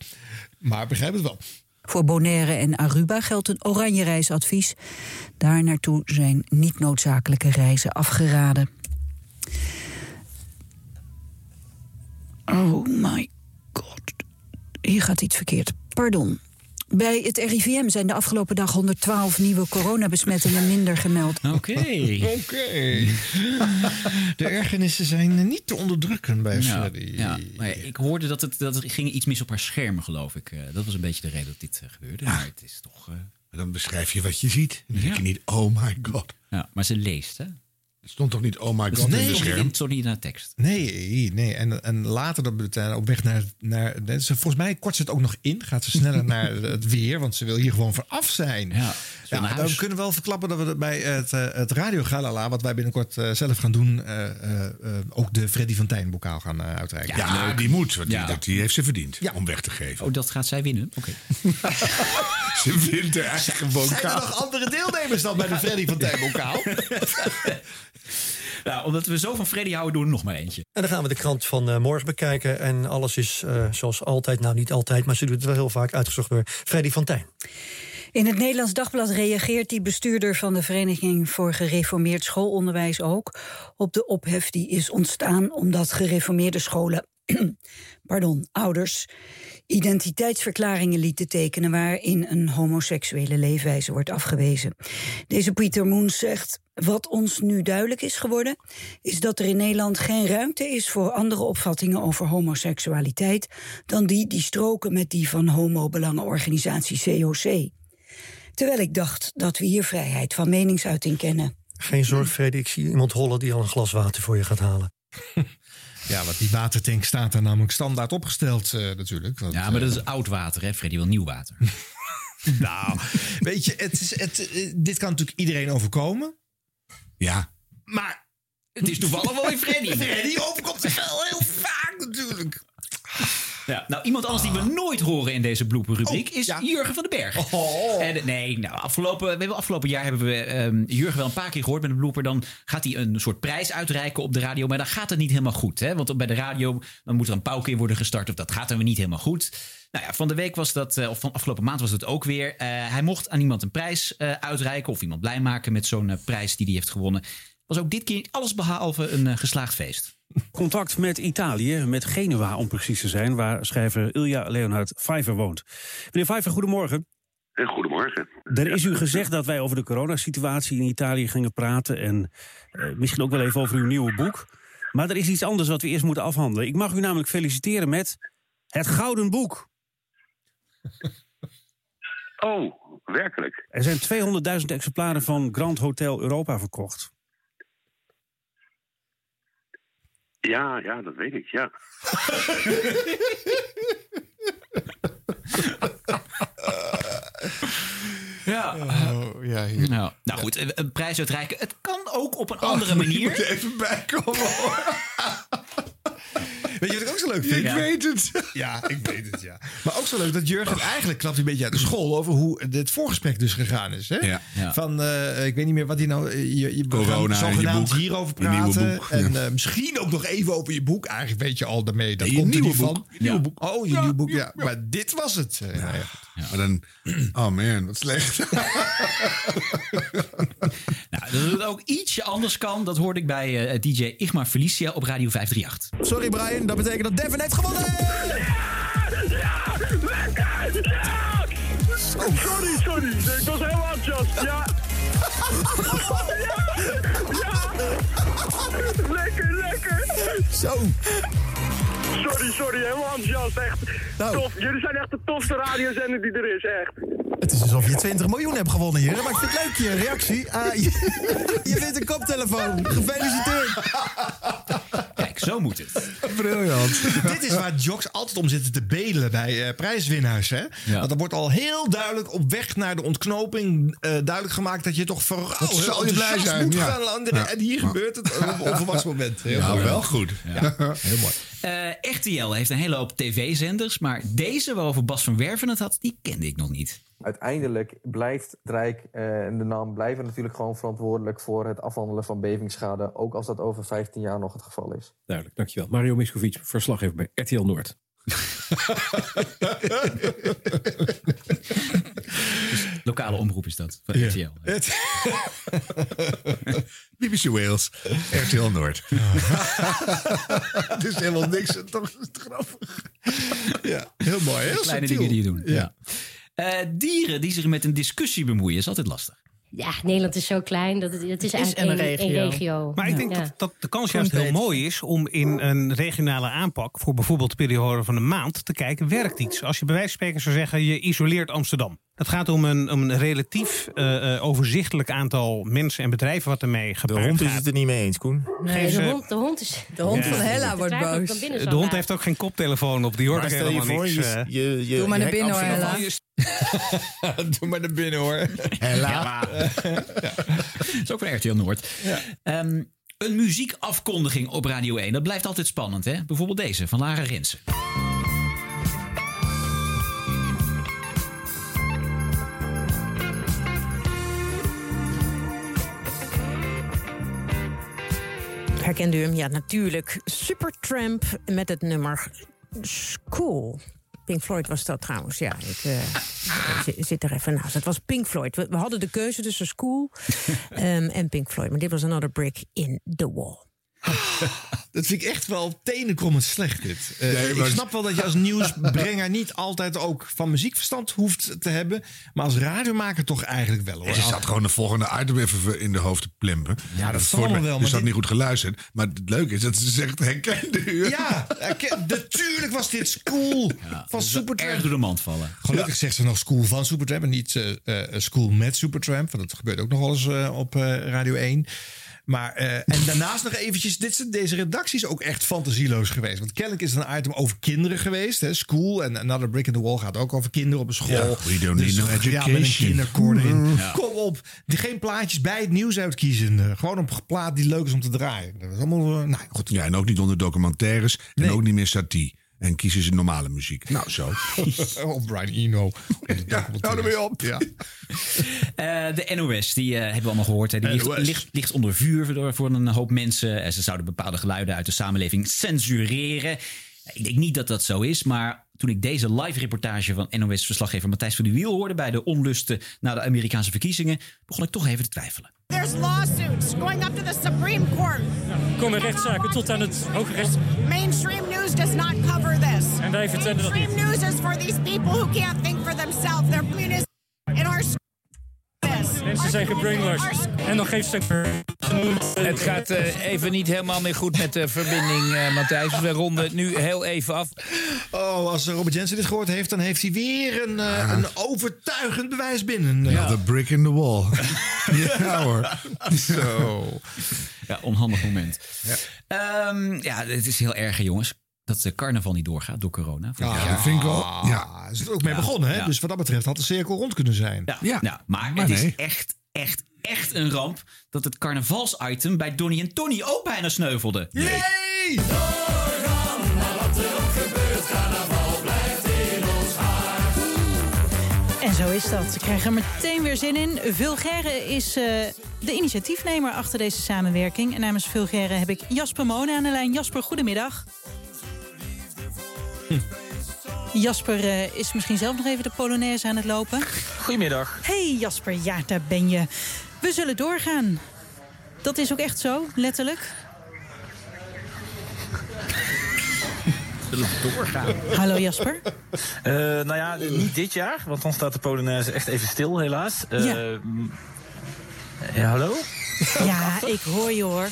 [SPEAKER 2] Maar ik begrijp het wel.
[SPEAKER 36] Voor Bonaire en Aruba geldt een oranje reisadvies. Daar naartoe zijn niet noodzakelijke reizen afgeraden. Oh my god. Hier gaat iets verkeerd. Pardon. Bij het RIVM zijn de afgelopen dag 112 nieuwe coronabesmettingen minder gemeld.
[SPEAKER 7] Oké.
[SPEAKER 2] Oké. De ergernissen zijn eh, niet te onderdrukken bij
[SPEAKER 7] Ja,
[SPEAKER 2] Freddy.
[SPEAKER 7] ja. Maar ja, ik hoorde dat, het, dat er ging iets mis op haar schermen, geloof ik. Eh, dat was een beetje de reden dat dit eh, gebeurde. Maar het is toch... eh,
[SPEAKER 6] Dan beschrijf je wat je ziet. En dan denk je niet, oh my god.
[SPEAKER 7] Ja, maar ze leest, hè?
[SPEAKER 6] Het stond toch niet, oh my
[SPEAKER 7] Het
[SPEAKER 6] god,
[SPEAKER 7] stond
[SPEAKER 6] in de
[SPEAKER 7] niet
[SPEAKER 6] scherm?
[SPEAKER 7] in- het stond niet naar tekst.
[SPEAKER 2] Dus Nee, nee. En, en later dat betekent op weg naar... naar ze- volgens mij kort ze het ook nog in. Gaat ze sneller naar het weer. Want ze wil hier gewoon vanaf zijn. Ja,
[SPEAKER 7] wil naar
[SPEAKER 2] dan
[SPEAKER 7] huis.
[SPEAKER 2] kunnen we wel verklappen dat we dat bij het, eh, het Radio Galala... wat wij binnenkort eh, zelf gaan doen... eh, eh, eh, ook de Freddy van Tijn bokaal gaan eh, uitreiken.
[SPEAKER 6] Ja, die moet. Want
[SPEAKER 2] Ja.
[SPEAKER 6] die, dat, die heeft ze verdiend. Om weg te geven.
[SPEAKER 7] Oh, dat gaat zij winnen? Oké.
[SPEAKER 6] Ze wint haar eigen bokaal.
[SPEAKER 2] Zijn er nog andere deelnemers dan bij de Freddy van Tijn bokaal?
[SPEAKER 7] Nou, omdat we zo van Freddy houden, doen we er nog maar eentje.
[SPEAKER 8] En dan gaan we de krant van eh, morgen bekijken. En alles is eh, zoals altijd, nou niet altijd, maar ze doet het wel heel vaak uitgezocht door Freddy van Tijn.
[SPEAKER 36] In het Nederlands Dagblad reageert die bestuurder van de Vereniging voor Gereformeerd Schoolonderwijs ook op de ophef die is ontstaan omdat gereformeerde scholen, pardon, ouders, identiteitsverklaringen lieten tekenen waarin een homoseksuele leefwijze wordt afgewezen. Deze Pieter Moens zegt. Wat ons nu duidelijk is geworden, is dat er in Nederland geen ruimte is voor andere opvattingen over homoseksualiteit dan die die stroken met die van homobelangenorganisatie COC. Terwijl ik dacht dat we hier vrijheid van meningsuiting kennen.
[SPEAKER 8] Geen zorg, Freddy, ik zie iemand hollen die al een glas water voor je gaat halen.
[SPEAKER 2] Ja, want die watertank staat er namelijk standaard opgesteld eh, natuurlijk. Want,
[SPEAKER 7] Ja, maar dat
[SPEAKER 2] eh,
[SPEAKER 7] is oud water, hè? Freddy wil nieuw water.
[SPEAKER 2] nou, weet je, het is, het, eh, dit kan natuurlijk iedereen overkomen.
[SPEAKER 6] Ja.
[SPEAKER 2] Maar
[SPEAKER 7] het is toevallig wel weer Freddy.
[SPEAKER 2] Freddy overkomt zich wel heel vaak natuurlijk.
[SPEAKER 7] Ja, nou, iemand anders die we nooit horen in deze blooper-rubriek
[SPEAKER 6] Oh,
[SPEAKER 7] is Jurgen van den Berg. En, nee, nou, afgelopen, we hebben, afgelopen jaar hebben we ehm, Jurgen wel een paar keer gehoord met een blooper. Dan gaat hij een soort prijs uitreiken op de radio. Maar dan gaat het niet helemaal goed. Hè? Want bij de radio dan moet er een pauke in worden gestart. Of dat gaat dan weer niet helemaal goed. Nou ja, van de week was dat, eh, of van afgelopen maand was dat ook weer. Eh, hij mocht aan iemand een prijs eh, uitreiken. Of iemand blij maken met zo'n eh, prijs die hij heeft gewonnen. Was ook dit keer alles behalve een eh, geslaagd feest.
[SPEAKER 37] Contact met Italië, met Genua om precies te zijn, waar schrijver Ilja Leonhard Vijver woont. Meneer Vijver, goedemorgen.
[SPEAKER 25] Eh, Goedemorgen.
[SPEAKER 37] Er is u gezegd dat wij over de coronasituatie in Italië gingen praten en eh, misschien ook wel even over uw nieuwe boek. Maar er is iets anders wat we eerst moeten afhandelen. Ik mag u namelijk feliciteren met het Gouden Boek.
[SPEAKER 25] Oh, werkelijk.
[SPEAKER 37] Er zijn 200.000 exemplaren van Grand Hotel Europa verkocht.
[SPEAKER 25] Ja, ja, dat weet ik, ja.
[SPEAKER 7] Ja.
[SPEAKER 6] Oh, ja, hier.
[SPEAKER 7] Nou, nou goed, eh, een prijs uitreiken. Het kan ook op een
[SPEAKER 2] Oh,
[SPEAKER 7] andere manier.
[SPEAKER 6] moet even bijkomen.
[SPEAKER 2] Weet je wat ik ook zo leuk
[SPEAKER 6] Ik
[SPEAKER 2] vind?
[SPEAKER 6] weet
[SPEAKER 2] het.
[SPEAKER 6] Ja, ik weet het, ja.
[SPEAKER 2] Maar ook zo leuk dat Jurgen eigenlijk knapt een beetje uit de school over hoe dit voorgesprek dus gegaan is. Hè?
[SPEAKER 6] Ja. Ja.
[SPEAKER 2] Van, eh, ik weet niet meer wat hij nou... eh, Je, je we
[SPEAKER 6] Corona
[SPEAKER 2] gaan
[SPEAKER 6] en je
[SPEAKER 2] zogenaamd
[SPEAKER 6] boek.
[SPEAKER 2] hierover
[SPEAKER 6] Je nieuwe
[SPEAKER 2] praten.
[SPEAKER 6] boek, ja.
[SPEAKER 2] En eh, misschien ook nog even over je boek. Eigenlijk weet je al daarmee, dat
[SPEAKER 6] Je
[SPEAKER 2] komt
[SPEAKER 6] nieuwe
[SPEAKER 2] er niet
[SPEAKER 6] boek.
[SPEAKER 2] van.
[SPEAKER 6] Je nieuwe boek.
[SPEAKER 2] Oh, je nieuwe boek, ja. Maar dit was het. Eh, nou ja, goed.
[SPEAKER 6] Maar dan, oh man, wat slecht.
[SPEAKER 7] Nou, dat het ook ietsje anders kan, dat hoorde ik bij eh, DJ Igmar Felicia op Radio 538.
[SPEAKER 2] Sorry Brian, dat betekent dat Devin heeft gewonnen.
[SPEAKER 3] Oh, sorry, sorry. Ik was heel enthousiast. Ja. Ja. ja. Lekker, lekker.
[SPEAKER 2] Zo.
[SPEAKER 3] Sorry, sorry. Heel enthousiast. Echt
[SPEAKER 2] Nou.
[SPEAKER 3] tof. Jullie zijn echt de tofste radiozender die er is. Echt.
[SPEAKER 6] Het is alsof
[SPEAKER 2] je 20 miljoen hebt gewonnen hier. Maar ik vind het leuk, je reactie. Ah, je, je wint een koptelefoon. Gefeliciteerd.
[SPEAKER 7] Kijk, zo moet het.
[SPEAKER 2] Briljant. Dit is waar jocks altijd om zitten te bedelen bij eh, prijswinnaars. Hè?
[SPEAKER 7] Ja.
[SPEAKER 2] Want er wordt al heel duidelijk op weg naar de ontknoping eh, duidelijk gemaakt dat je toch vooral
[SPEAKER 6] Dat
[SPEAKER 2] heel
[SPEAKER 6] zal je blij
[SPEAKER 2] enthousiast
[SPEAKER 6] zijn,
[SPEAKER 2] moet
[SPEAKER 6] ja.
[SPEAKER 2] gaan landen.
[SPEAKER 6] Ja.
[SPEAKER 2] En hier
[SPEAKER 6] Ja.
[SPEAKER 2] gebeurt het op een onverwachts moment. Heel
[SPEAKER 6] Ja,
[SPEAKER 2] goed.
[SPEAKER 6] wel goed.
[SPEAKER 2] Ja. Heel mooi.
[SPEAKER 7] Eh, RTL heeft een hele hoop tv-zenders, maar deze waarover Bas van Werven het had, die kende ik nog niet.
[SPEAKER 16] Uiteindelijk blijft het Rijk eh, en de naam blijven natuurlijk gewoon verantwoordelijk voor het afhandelen van bevingsschade, ook als dat over 15 jaar nog het geval is.
[SPEAKER 38] Duidelijk, dankjewel. Mario Miskovic, verslaggever bij RTL Noord.
[SPEAKER 7] Lokale omroep is dat, van
[SPEAKER 6] Ja.
[SPEAKER 7] RTL.
[SPEAKER 2] Het-
[SPEAKER 6] BBC Wales, RTL Noord. Het is helemaal niks, en toch is het grappig.
[SPEAKER 2] Ja, heel mooi.
[SPEAKER 7] De
[SPEAKER 6] Heel
[SPEAKER 7] kleine
[SPEAKER 6] subtiel.
[SPEAKER 7] dingen die je doet. Ja. Eh, dieren die zich met een discussie bemoeien, is altijd lastig.
[SPEAKER 27] Ja, Nederland is zo klein. Dat het, het
[SPEAKER 7] is
[SPEAKER 27] is eigenlijk
[SPEAKER 7] een
[SPEAKER 27] één één regio.
[SPEAKER 7] regio.
[SPEAKER 8] Maar ik denk
[SPEAKER 27] Ja.
[SPEAKER 8] dat, dat de kans juist heel
[SPEAKER 27] Groenbeet.
[SPEAKER 8] mooi is om in een regionale aanpak, voor bijvoorbeeld de periode van een maand, te kijken, werkt iets? Als je bij wijze van spreken zou zeggen, je isoleert Amsterdam. Het gaat om een, om een relatief eh, eh, overzichtelijk aantal mensen en bedrijven wat ermee gepaard
[SPEAKER 39] hond is
[SPEAKER 8] gaat.
[SPEAKER 39] het er niet mee eens, Koen.
[SPEAKER 8] Geef
[SPEAKER 27] Nee, de
[SPEAKER 8] ze-
[SPEAKER 28] eh,
[SPEAKER 27] hond, de hond is...
[SPEAKER 8] De hond van Hella
[SPEAKER 27] De
[SPEAKER 8] wordt
[SPEAKER 27] twijfel
[SPEAKER 8] boos.
[SPEAKER 27] kan binnen
[SPEAKER 8] De
[SPEAKER 27] zo
[SPEAKER 8] hond
[SPEAKER 27] laat.
[SPEAKER 8] heeft ook geen koptelefoon op. Die hoort
[SPEAKER 39] Maar
[SPEAKER 8] ook
[SPEAKER 39] stel je
[SPEAKER 8] helemaal
[SPEAKER 39] voor,
[SPEAKER 8] niks.
[SPEAKER 39] je-
[SPEAKER 8] eh.
[SPEAKER 39] je- je- Doe maar je naar hek binnen, hoor, afzetten van-
[SPEAKER 2] Doe maar naar binnen hoor.
[SPEAKER 7] Hella. dat is ook van RTL Noord. Ehm, een muziekafkondiging op Radio 1, dat blijft altijd spannend. Hè? Bijvoorbeeld deze, van Lara Rensen.
[SPEAKER 40] Herkende u hem? Ja, natuurlijk. Supertramp met het nummer School. Pink Floyd was dat trouwens, ja. Ik eh, zi- zit er even naast. Het was Pink Floyd. We, we hadden de keuze tussen School ehm, en Pink Floyd. Maar dit was Another Brick in the Wall.
[SPEAKER 2] Dat vind ik echt wel tenenkrommend slecht, dit. Eh,
[SPEAKER 39] Nee, maar-
[SPEAKER 2] Ik snap wel dat je als nieuwsbrenger niet altijd ook van muziekverstand hoeft te hebben. Maar als radiomaker toch eigenlijk wel, hoor.
[SPEAKER 6] Ze zat gewoon de volgende item even in de hoofd te plempen. Ja,
[SPEAKER 2] dat zal allemaal wel, maar
[SPEAKER 6] Dus dat
[SPEAKER 2] dit-
[SPEAKER 6] niet goed geluisterd. Maar het leuke is dat ze zegt, herkende u.
[SPEAKER 2] Ja, herken- natuurlijk was dit school van Supertramp.
[SPEAKER 7] Erg door de mand vallen.
[SPEAKER 2] Gelukkig zegt ze nog school van Supertramp en niet eh, eh, school met Supertramp. Want dat gebeurt ook nog wel eens eh, op eh, Radio 1. Maar, eh, en daarnaast nog eventjes, dit, zijn- deze redactie is ook echt fantasieloos geweest. Want kennelijk is het een item over kinderen geweest. Hè? School en Another Brick in the Wall gaat ook over kinderen op een school. Dus
[SPEAKER 6] Ja, we don't need no
[SPEAKER 2] Ja, met een
[SPEAKER 6] education.
[SPEAKER 2] kinderkoor erin.
[SPEAKER 6] Mm. Ja.
[SPEAKER 2] Kom op, die, geen plaatjes bij het nieuws uitkiezen. Eh, Gewoon een plaat die leuk is om te draaien. Dat is allemaal, eh, nou, goed.
[SPEAKER 6] Ja, en ook niet onder documentaires. En ook niet meer satie. En kiezen ze normale muziek. Nou, zo.
[SPEAKER 2] of Oh, Brian Eno. Ja,
[SPEAKER 6] hou ermee op. Ja.
[SPEAKER 7] Eh, de NOS, die eh, hebben we allemaal gehoord. Hè. Die ligt,
[SPEAKER 6] NOS.
[SPEAKER 7] ligt, ligt onder vuur door- voor een hoop mensen. En ze zouden bepaalde geluiden uit de samenleving censureren. Ik denk niet dat dat zo is, maar toen ik deze live reportage van NOS-verslaggever Matthijs van de Wiel hoorde bij de onlusten na de Amerikaanse verkiezingen, begon ik toch even te twijfelen.
[SPEAKER 9] There's lawsuits going up to the Supreme Court.
[SPEAKER 41] komen rechtszaken tot aan het Hoge Recht.
[SPEAKER 9] Mainstream news does not cover this.
[SPEAKER 41] En wij vertellen dat
[SPEAKER 9] Mainstream news is for these people who can't think for themselves. They're communists in our s- this.
[SPEAKER 41] Mensen zijn gebrainwashed. En dan geeft ze
[SPEAKER 42] Het gaat eh, even niet helemaal meer goed met de verbinding, eh, Matthijs. Dus we ronden het nu heel even af.
[SPEAKER 2] Oh, als Robert Jensen dit gehoord heeft, dan heeft hij weer een, eh, een overtuigend bewijs binnen.
[SPEAKER 6] Another brick in the wall. ja hoor.
[SPEAKER 7] Ja, onhandig moment. Ehm, ja, het is heel erg, hè, jongens. dat de carnaval niet doorgaat door corona.
[SPEAKER 2] Ja, Ah, dat vind ik wel- ja. Is er ook mee begonnen, hè? Dus wat dat betreft had de cirkel rond kunnen zijn.
[SPEAKER 7] Ja, nou, maar,
[SPEAKER 2] Maar
[SPEAKER 7] het
[SPEAKER 2] nee.
[SPEAKER 7] is echt, echt, echt een ramp dat het carnavalsitem bij Donnie en Tony ook bijna sneuvelde.
[SPEAKER 2] Nee!
[SPEAKER 28] En zo is dat. Ze krijgen er meteen weer zin in. Vulgaire is eh, de initiatiefnemer achter deze samenwerking. En namens Vulgaire heb ik Jasper Monen aan de lijn. Jasper, goedemiddag. Jasper eh, is misschien zelf nog even de Polonaise aan het lopen.
[SPEAKER 20] Goedemiddag.
[SPEAKER 28] Hey Jasper, ja, daar ben je. We zullen doorgaan. Dat is ook echt zo, letterlijk.
[SPEAKER 20] Zullen we doorgaan?
[SPEAKER 28] Hallo Jasper.
[SPEAKER 20] Eh, nou ja, niet dit jaar, want dan staat de Polonaise echt even stil, helaas. Eh,
[SPEAKER 28] Ja.
[SPEAKER 20] m- ja, hallo?
[SPEAKER 28] Ja, ik hoor je hoor.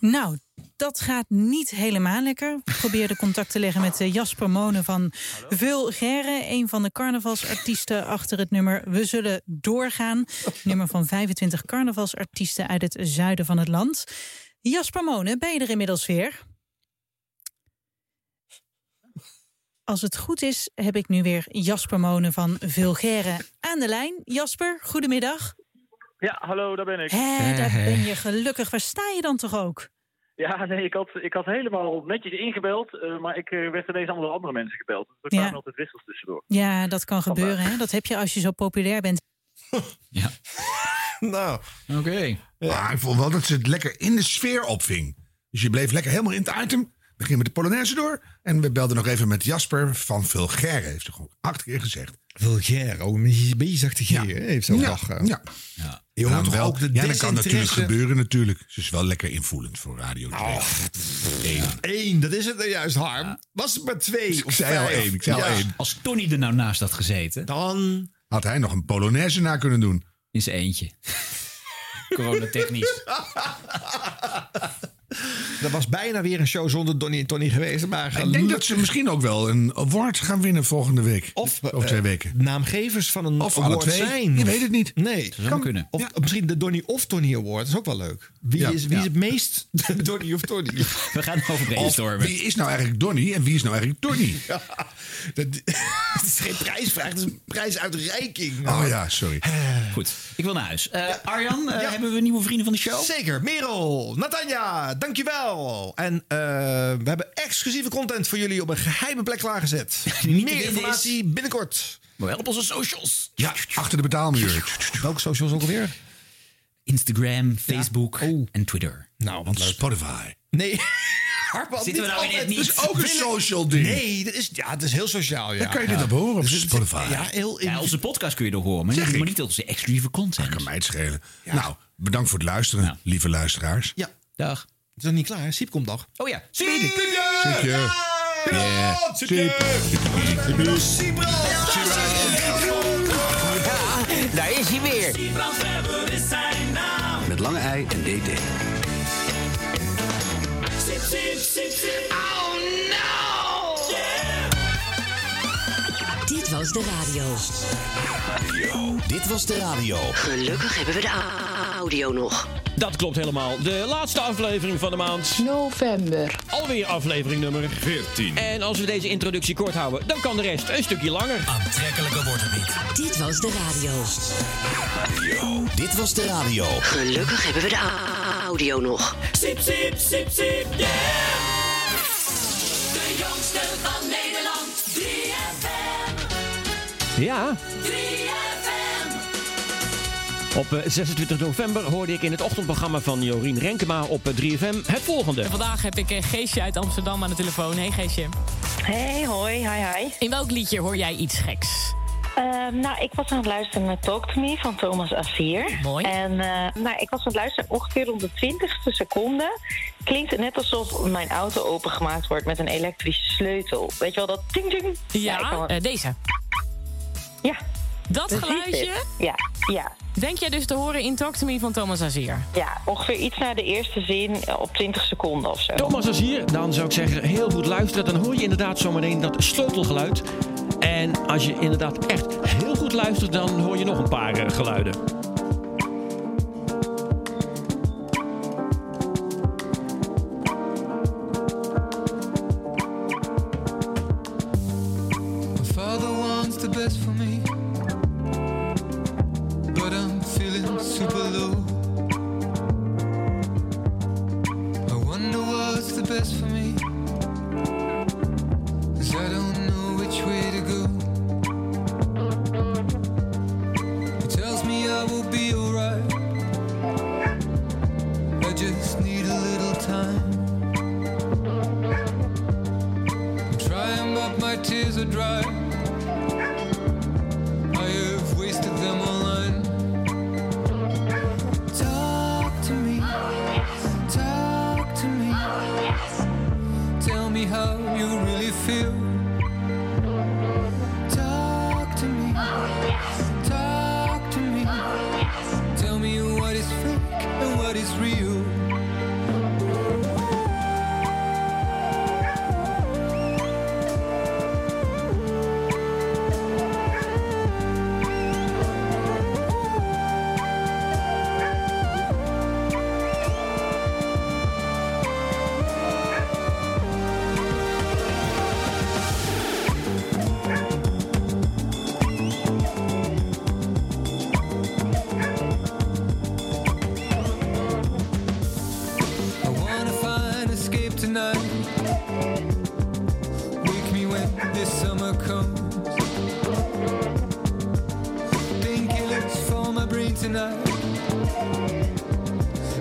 [SPEAKER 28] Nou, dat gaat niet helemaal lekker. Ik probeerde contact te leggen met eh, Jasper Monen van Vulgaire... een van de carnavalsartiesten achter het nummer We Zullen Doorgaan. Nummer van 25 carnavalsartiesten uit het zuiden van het land. Jasper Monen, ben je er inmiddels weer? Als het goed is, heb ik nu weer Jasper Monen van Vulgaire aan de lijn. Jasper, goedemiddag.
[SPEAKER 20] Ja, hallo, daar ben ik.
[SPEAKER 28] Hé, daar ben je gelukkig. Waar sta je dan toch ook?
[SPEAKER 20] Ja, nee, ik had, ik had helemaal netjes ingebeld, eh, maar ik eh, werd ineens allemaal door andere mensen gebeld. Dus er
[SPEAKER 28] Ja.
[SPEAKER 20] kwamen altijd wissels tussendoor.
[SPEAKER 28] Ja, dat kan gebeuren. Hè? Dat heb je als je zo populair bent.
[SPEAKER 6] Nou,
[SPEAKER 7] oké.
[SPEAKER 6] ik vond wel dat ze het lekker in de sfeer opving. Dus je bleef lekker helemaal in het item. We gingen met de Polonaise door. En we belden nog even met Jasper van Vulgaire. Heeft ze gewoon acht keer gezegd.
[SPEAKER 2] Vulgaire, oh, een bezig hier. hè? Heeft eh. zo
[SPEAKER 6] Ja,
[SPEAKER 2] lachen.
[SPEAKER 6] ja.
[SPEAKER 2] Je hoort
[SPEAKER 6] Nou,
[SPEAKER 2] toch
[SPEAKER 6] wel-
[SPEAKER 2] ook de
[SPEAKER 6] ja, dat kan natuurlijk
[SPEAKER 2] desinteresse-
[SPEAKER 6] gebeuren natuurlijk. Ze is wel lekker invoelend voor Radio 2. Eén. Dus
[SPEAKER 2] Eén, dat is het nou juist, Harm. Was het maar twee?
[SPEAKER 6] Ik
[SPEAKER 2] of
[SPEAKER 6] zei al
[SPEAKER 2] vijf?
[SPEAKER 6] één, ik zei al
[SPEAKER 2] Ja.
[SPEAKER 6] één.
[SPEAKER 7] Als Tony er nou naast had gezeten...
[SPEAKER 2] Dan...
[SPEAKER 6] Had hij nog een Polonaise na kunnen doen.
[SPEAKER 7] In zijn eentje. Coronatechnisch.
[SPEAKER 2] Dat was bijna weer een show zonder Donnie en Tony geweest. Maar
[SPEAKER 6] Ik denk dat ze misschien ook wel een award gaan winnen volgende week.
[SPEAKER 2] Of,
[SPEAKER 6] Over twee
[SPEAKER 2] eh,
[SPEAKER 6] weken.
[SPEAKER 2] Naamgevers van een
[SPEAKER 6] Of alle
[SPEAKER 2] award
[SPEAKER 6] twee.
[SPEAKER 2] zijn.
[SPEAKER 6] Je weet het niet.
[SPEAKER 2] Nee.
[SPEAKER 6] zou Kan- kunnen.
[SPEAKER 2] Of misschien de Donnie of Tony Award. Dat is ook wel leuk. Wie,
[SPEAKER 6] Ja.
[SPEAKER 2] is, wie is
[SPEAKER 6] Ja.
[SPEAKER 2] het meest Donnie of Tony?
[SPEAKER 7] We gaan over
[SPEAKER 6] Of wie is nou eigenlijk Donnie en wie is nou eigenlijk Tony?
[SPEAKER 2] Het is geen prijsvraag, het is een prijsuitreiking.
[SPEAKER 6] Oh ja, sorry.
[SPEAKER 7] Goed, ik wil naar huis. Eh, Arjan, eh, hebben we nieuwe vrienden van de show?
[SPEAKER 2] Zeker. Merel, Natanja, dankjewel. En eh, we hebben exclusieve content voor jullie op een geheime plek klaargezet.
[SPEAKER 7] winnen
[SPEAKER 2] Meer
[SPEAKER 7] is-
[SPEAKER 2] informatie binnenkort.
[SPEAKER 7] Maar wel op onze socials.
[SPEAKER 6] Ja, achter de betaalmuur.
[SPEAKER 2] Welke socials ook alweer?
[SPEAKER 7] Instagram, Facebook en Twitter.
[SPEAKER 2] Nou,
[SPEAKER 6] Oh. want Spotify.
[SPEAKER 2] Nee. Harp had
[SPEAKER 7] Zitten we nou in
[SPEAKER 2] altijd-
[SPEAKER 7] het niet?
[SPEAKER 2] Dat is ook een social ding. Nee, dat is, ja, dat is heel sociaal. Ja.
[SPEAKER 6] Dan kan je dit op horen op
[SPEAKER 2] Dus het is-
[SPEAKER 6] Spotify.
[SPEAKER 2] Ja, heel in-
[SPEAKER 7] Oh, Ja, onze podcast kun je er horen, maar,
[SPEAKER 6] Zeg
[SPEAKER 7] maar
[SPEAKER 6] ik.
[SPEAKER 7] niet onze exclusieve content.
[SPEAKER 6] kan mij het schelen. Nou, bedankt voor het luisteren, lieve luisteraars.
[SPEAKER 2] Ja.
[SPEAKER 7] Dag. Het
[SPEAKER 2] is nog niet klaar. hè? Siep komt nog.
[SPEAKER 7] Oh ja,
[SPEAKER 6] Zit je? Ja.
[SPEAKER 3] Ja, daar is hij weer.
[SPEAKER 9] Met lange ei en
[SPEAKER 25] E
[SPEAKER 9] DD.
[SPEAKER 3] Oh no!
[SPEAKER 25] Dit was de radio. Dit was de radio. Gelukkig hebben we de a- audio nog.
[SPEAKER 8] Dat klopt helemaal. De laatste aflevering van de maand.
[SPEAKER 25] November.
[SPEAKER 8] Alweer aflevering nummer 14. En als we deze introductie kort houden, dan kan de rest een stukje langer.
[SPEAKER 3] Ah.
[SPEAKER 8] Aantrekkelijker wordt het niet.
[SPEAKER 25] Dit was de radio. Dit was de radio. Gelukkig hebben we de a- audio nog.
[SPEAKER 3] Sip, sip, sip, sip, yeah! De jongste van Nederland, 3FM,
[SPEAKER 8] Ja,
[SPEAKER 3] 3FM.
[SPEAKER 8] op eh, 26 november hoorde ik in het ochtendprogramma van Jorien Renkema op eh, 3FM het volgende.
[SPEAKER 27] En vandaag heb ik eh, Geesje uit Amsterdam aan de telefoon. Hey Geesje.
[SPEAKER 43] Hey, hoi, hi, hi.
[SPEAKER 27] In welk liedje hoor jij iets geks?
[SPEAKER 43] Ehm, nou, ik was aan het luisteren naar Talk to Me van Thomas Azier. Mooi. En eh, nou, ik was aan het luisteren ongeveer om de twintigste seconde. Klinkt het net alsof mijn auto opengemaakt wordt met een elektrische sleutel. Weet je wel, dat ding ding.
[SPEAKER 27] Ja, eh, deze.
[SPEAKER 43] Ja.
[SPEAKER 27] Dat
[SPEAKER 43] precies
[SPEAKER 27] geluidje?
[SPEAKER 43] dit. Ja, ja.
[SPEAKER 27] Denk jij dus te horen in Talk to Me van Thomas Azier?
[SPEAKER 43] Ja, ongeveer iets na de eerste zin eh, op 20 seconden of zo.
[SPEAKER 8] Thomas Azier, dan zou ik zeggen heel goed luisteren. Dan hoor je inderdaad zometeen dat sleutelgeluid. En als je inderdaad echt heel goed luistert, dan hoor je nog een paar eh, geluiden.
[SPEAKER 25] do. I wonder what's the best for me. Cause I don't know which way to go. It tells me I will be alright. I just need a little time. I'm trying, but my tears are dry. I have wasted them online. Talk to me. Talk to me. Tell me how you really feel. Talk to me. Talk to me. Tell me what is fake and what is real. I wanna find escape tonight. Wake me when this summer comes. Painkillers for my brain tonight.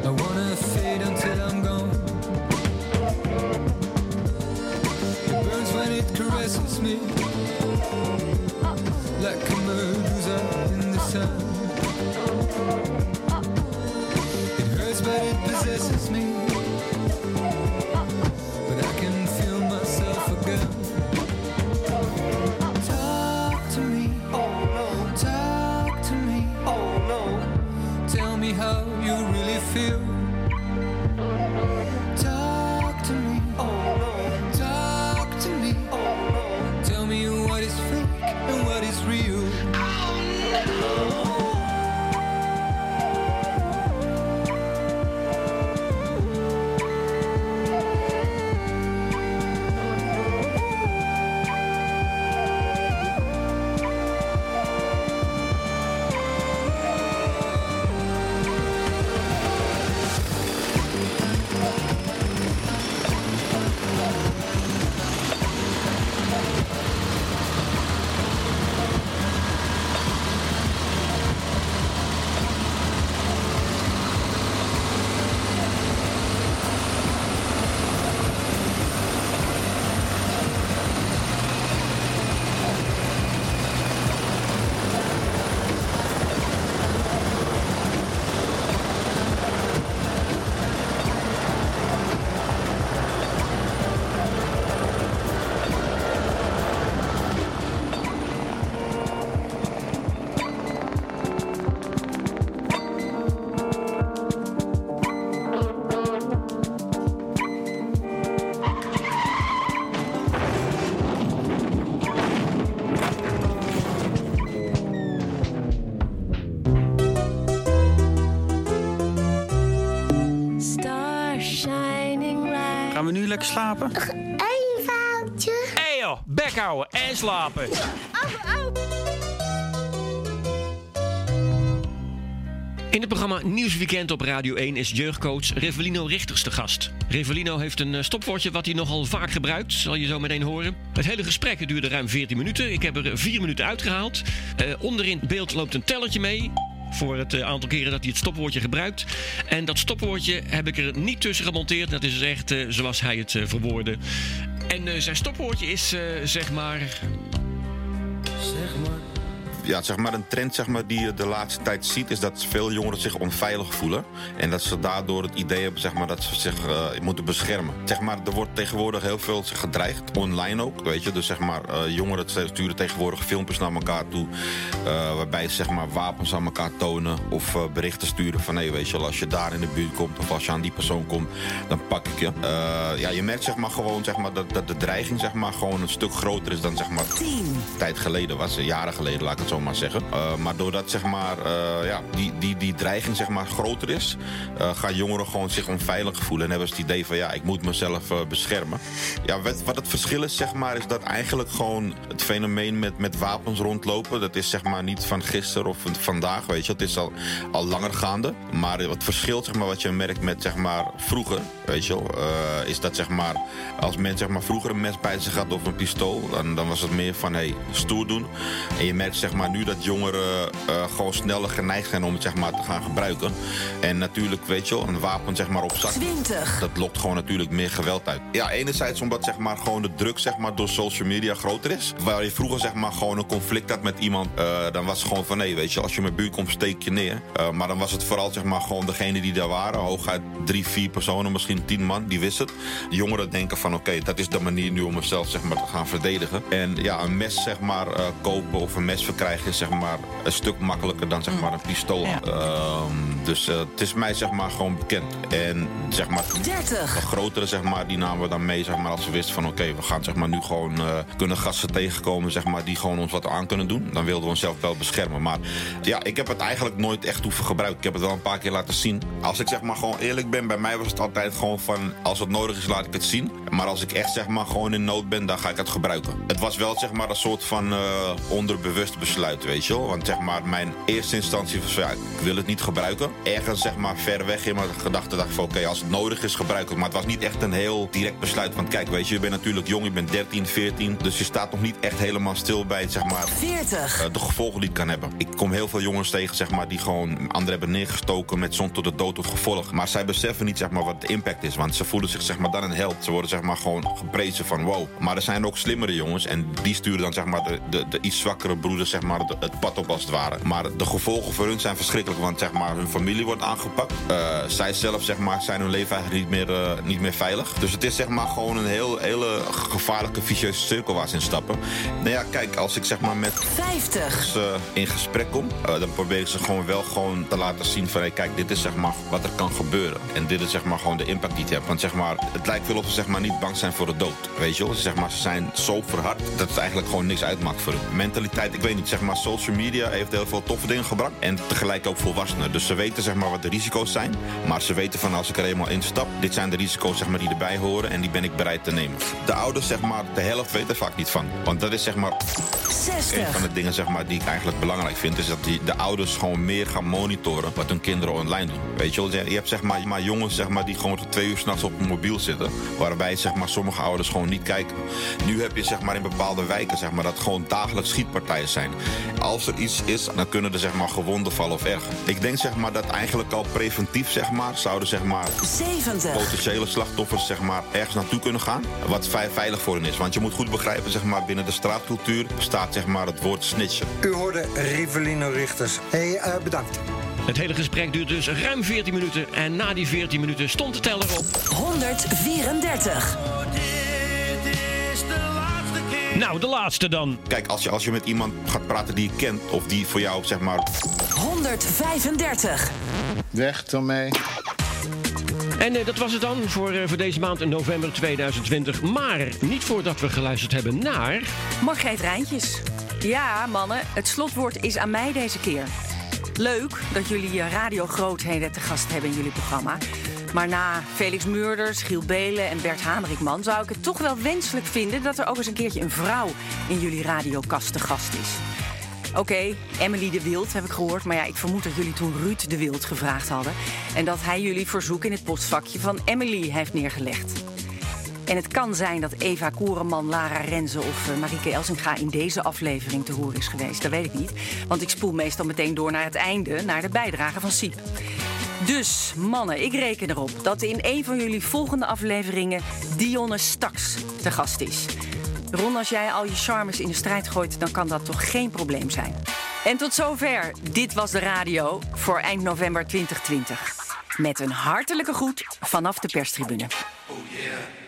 [SPEAKER 25] I wanna fade until I'm gone. It burns when it caresses me. Like a medusa in the sun. It hurts, but it possesses me. But I can feel myself again. Talk to me. Oh no. Talk to me. Oh no. Tell me how you really feel. Talk to me. Oh no. Talk to me. Oh no. Tell me what is fake and what is real. Oh no.
[SPEAKER 3] Star shining light.
[SPEAKER 8] Gaan we nu lekker slapen?
[SPEAKER 3] Eén vaaltje.
[SPEAKER 8] Hé joh, bek houden en slapen. In het programma Nieuwsweekend op Radio 1 is jeugdcoach Revelino Richters te gast. Revelino heeft een eh, stopwoordje wat hij nogal vaak gebruikt, zal je zo meteen horen. Het hele gesprek duurde ruim 14 minuten. Ik heb er 4 minuten uitgehaald. Eh, onderin beeld loopt een tellertje mee. Voor het eh, aantal keren dat hij het stopwoordje gebruikt. En dat stopwoordje heb ik er niet tussen gemonteerd. Dat is echt eh, zoals hij het eh, verwoordde. En eh, zijn stopwoordje is eh, zeg maar.
[SPEAKER 30] Zeg maar. Ja, zeg maar een trend zeg maar, die je de laatste tijd ziet, is dat veel jongeren zich onveilig voelen. En dat ze daardoor het idee hebben zeg maar, dat ze zich eh, moeten beschermen. Zeg maar, er wordt tegenwoordig heel veel gedreigd, online ook. Weet je? Dus zeg maar, eh, jongeren sturen tegenwoordig filmpjes naar elkaar toe. eh, waarbij ze zeg maar, wapens aan elkaar tonen of eh, berichten sturen van hé, weet je, wel, als je daar in de buurt komt of als je aan die persoon komt, dan pak ik je. Eh, ja, je merkt zeg maar, gewoon zeg maar, dat, dat de dreiging zeg maar, gewoon een stuk groter is dan zeg maar, tijd geleden was, eh, jaren geleden, laat ik het zo zo maar zeggen. Eh, maar doordat zeg maar, eh, ja, die, die, die dreiging zeg maar, groter is, eh, gaan jongeren gewoon zich onveilig voelen. En hebben ze het idee van ja, ik moet mezelf eh, beschermen. Ja, wat, wat het verschil is, zeg maar, is dat eigenlijk gewoon het fenomeen met, met wapens rondlopen. Dat is zeg maar niet van gisteren of van vandaag, weet je. Het is al, al langer gaande. Maar het verschil, zeg maar, wat je merkt met zeg maar, vroeger, weet je, wel, eh, is dat zeg maar, als men zeg maar, vroeger een mes bij zich had of een pistool, dan, dan was het meer van hey, stoer doen. En je merkt zeg maar, nu dat jongeren eh, gewoon sneller geneigd zijn om het zeg maar, te gaan gebruiken. En natuurlijk, weet je, wel, een wapen zeg maar, op zak.
[SPEAKER 7] 20.
[SPEAKER 30] Dat lokt gewoon natuurlijk meer geweld uit. Ja, enerzijds omdat zeg maar gewoon de druk zeg maar door social media groter is. Waar je vroeger zeg maar gewoon een conflict had met iemand, eh, dan was het gewoon van nee, weet je, als je mijn buurt komt steek je neer. Eh, maar dan was het vooral zeg maar gewoon degene die daar waren, hooguit drie, vier personen, misschien tien man, die wist het. Jongeren denken van oké, dat is de manier nu om mezelf zeg maar te gaan verdedigen. En ja, een mes zeg maar eh, kopen of een mes verkrijgen is zeg maar een stuk makkelijker dan zeg maar een pistool. Ehm, dus eh, het is mij zeg maar gewoon bekend. En zeg maar
[SPEAKER 7] 30.
[SPEAKER 30] de grotere, zeg maar, die namen we dan mee, zeg maar, als ze wisten van oké, we gaan zeg maar, nu gewoon eh, kunnen gasten tegenkomen, zeg maar, die gewoon ons wat aan kunnen doen. Dan wilden we onszelf wel beschermen. Maar ja, ik heb het eigenlijk nooit echt hoeven gebruiken. Ik heb het wel een paar keer laten zien. Als ik zeg maar gewoon eerlijk ben, bij mij was het altijd gewoon van als het nodig is, laat ik het zien. Maar als ik echt zeg maar gewoon in nood ben, dan ga ik het gebruiken. Het was wel zeg maar een soort van eh, onderbewust besluit, weet je wel. Want zeg maar, mijn eerste instantie was van ja, ik wil het niet gebruiken. Ergens zeg maar ver weg in mijn gedachten dacht ik van oké, als het nodig is, gebruik het. Maar het was niet echt een heel direct besluit. Want kijk, weet je, je bent natuurlijk jong, je bent 13, 14. Dus je staat nog niet echt helemaal stil bij het, zeg maar.
[SPEAKER 7] 40.
[SPEAKER 30] eh, de gevolgen die het kan hebben. Ik kom heel veel jongens tegen, zeg maar, die gewoon anderen hebben neergestoken met zon tot de dood tot gevolg. Maar zij beseffen niet, zeg maar, wat de impact is. Want ze voelen zich, zeg maar, dan een held. Ze worden, zeg maar, gewoon geprezen van wow. Maar er zijn ook slimmere jongens en die sturen dan, zeg maar, de, de, de iets zwakkere broeders, zeg maar, de- het pad op als het ware. Maar de gevolgen voor hun zijn verschrikkelijk, want, zeg maar, hun familie wordt aangepakt. Eh, zij zelf, zeg maar, zijn hun leven eigenlijk niet meer, eh, niet meer veilig. Dus het is, zeg maar, gewoon een heel, hele gevaarlijke, vicieuze cirkel waar ze in stappen. Nou ja, kijk, als ik, zeg maar, met
[SPEAKER 7] 50.
[SPEAKER 30] als ze in gesprek kom, eh, dan probeer ik ze gewoon wel gewoon te laten zien van... Hey, kijk, dit is zeg maar wat er kan gebeuren. En dit is zeg maar gewoon de impact die het heeft. Want zeg maar, het lijkt wel of ze zeg maar niet bang zijn voor de dood. Weet je wel? Ze, Zeg maar, ze zijn zo verhard dat het eigenlijk gewoon niks uitmaakt voor hun. Mentaliteit, ik weet niet, zeg maar, social media heeft heel veel toffe dingen gebracht. En tegelijk ook volwassenen. Dus ze weten zeg maar wat de risico's zijn. Maar ze weten van als ik er eenmaal in stap, dit zijn de risico's zeg maar die erbij horen. En die ben ik bereid te nemen. De ouders zeg maar, de helft weet er vaak niet van. Want dat is zeg maar...
[SPEAKER 7] 60.
[SPEAKER 30] Een van de dingen zeg maar, die ik eigenlijk belangrijk vind, is dat die, de ouders gewoon meer gaan monitoren wat hun kinderen online doen. Weet je, wel? je hebt zeg maar, maar jongens zeg maar, die gewoon tot twee uur s'nachts op hun mobiel zitten. Waarbij zeg maar, sommige ouders gewoon niet kijken. Nu heb je zeg maar, in bepaalde wijken zeg maar, dat gewoon dagelijks schietpartijen zijn. Als er iets is, dan kunnen er zeg maar, gewonden vallen of erger. Ik denk zeg maar, dat eigenlijk al preventief zeg maar, zouden zeg maar,
[SPEAKER 7] 70.
[SPEAKER 30] potentiële slachtoffers zeg maar, ergens naartoe kunnen gaan. Wat vei- veilig voor hen is. Want je moet goed begrijpen, zeg maar, binnen de straatcultuur bestaat zeg maar, het woord snitchen.
[SPEAKER 24] U hoorde Revelino Richters. Hey, eh, bedankt.
[SPEAKER 8] Het hele gesprek duurt dus ruim 14 minuten. En na die 14 minuten stond de teller op.
[SPEAKER 7] 134.
[SPEAKER 30] Nou, de laatste dan. Kijk, als je, als je met iemand gaat praten die je kent, of die voor jou zeg maar.
[SPEAKER 7] 135.
[SPEAKER 30] Weg ermee.
[SPEAKER 8] En eh, dat was het dan voor, eh, voor deze maand in november 2020. Maar niet voordat we geluisterd hebben naar...
[SPEAKER 27] Margreet Rijntjes. Ja, mannen, het slotwoord is aan mij deze keer. Leuk dat jullie eh, radiogrootheden te gast hebben in jullie programma. Maar na Felix Murders, Giel Belen en Bert Hamerikman... zou ik het toch wel wenselijk vinden dat er ook eens een keertje een vrouw... in jullie radiokast te gast is. Oké, Emily de Wild heb ik gehoord. Maar ja, ik vermoed dat jullie toen Ruud de Wild gevraagd hadden. En dat hij jullie verzoek in het postvakje van Emily heeft neergelegd. En het kan zijn dat Eva Koereman, Lara Renze of eh, Marieke Elsinga in deze aflevering te horen is geweest. Dat weet ik niet. Want ik spoel meestal meteen door naar het einde, naar de bijdrage van Siep. Dus, mannen, ik reken erop dat in een van jullie volgende afleveringen Dionne Staks te gast is. Ron, als jij al je charmes in de strijd gooit, dan kan dat toch geen probleem zijn. En tot zover. Dit was de radio voor eind november 2020. Met een hartelijke groet vanaf de perstribune.
[SPEAKER 44] Yeah.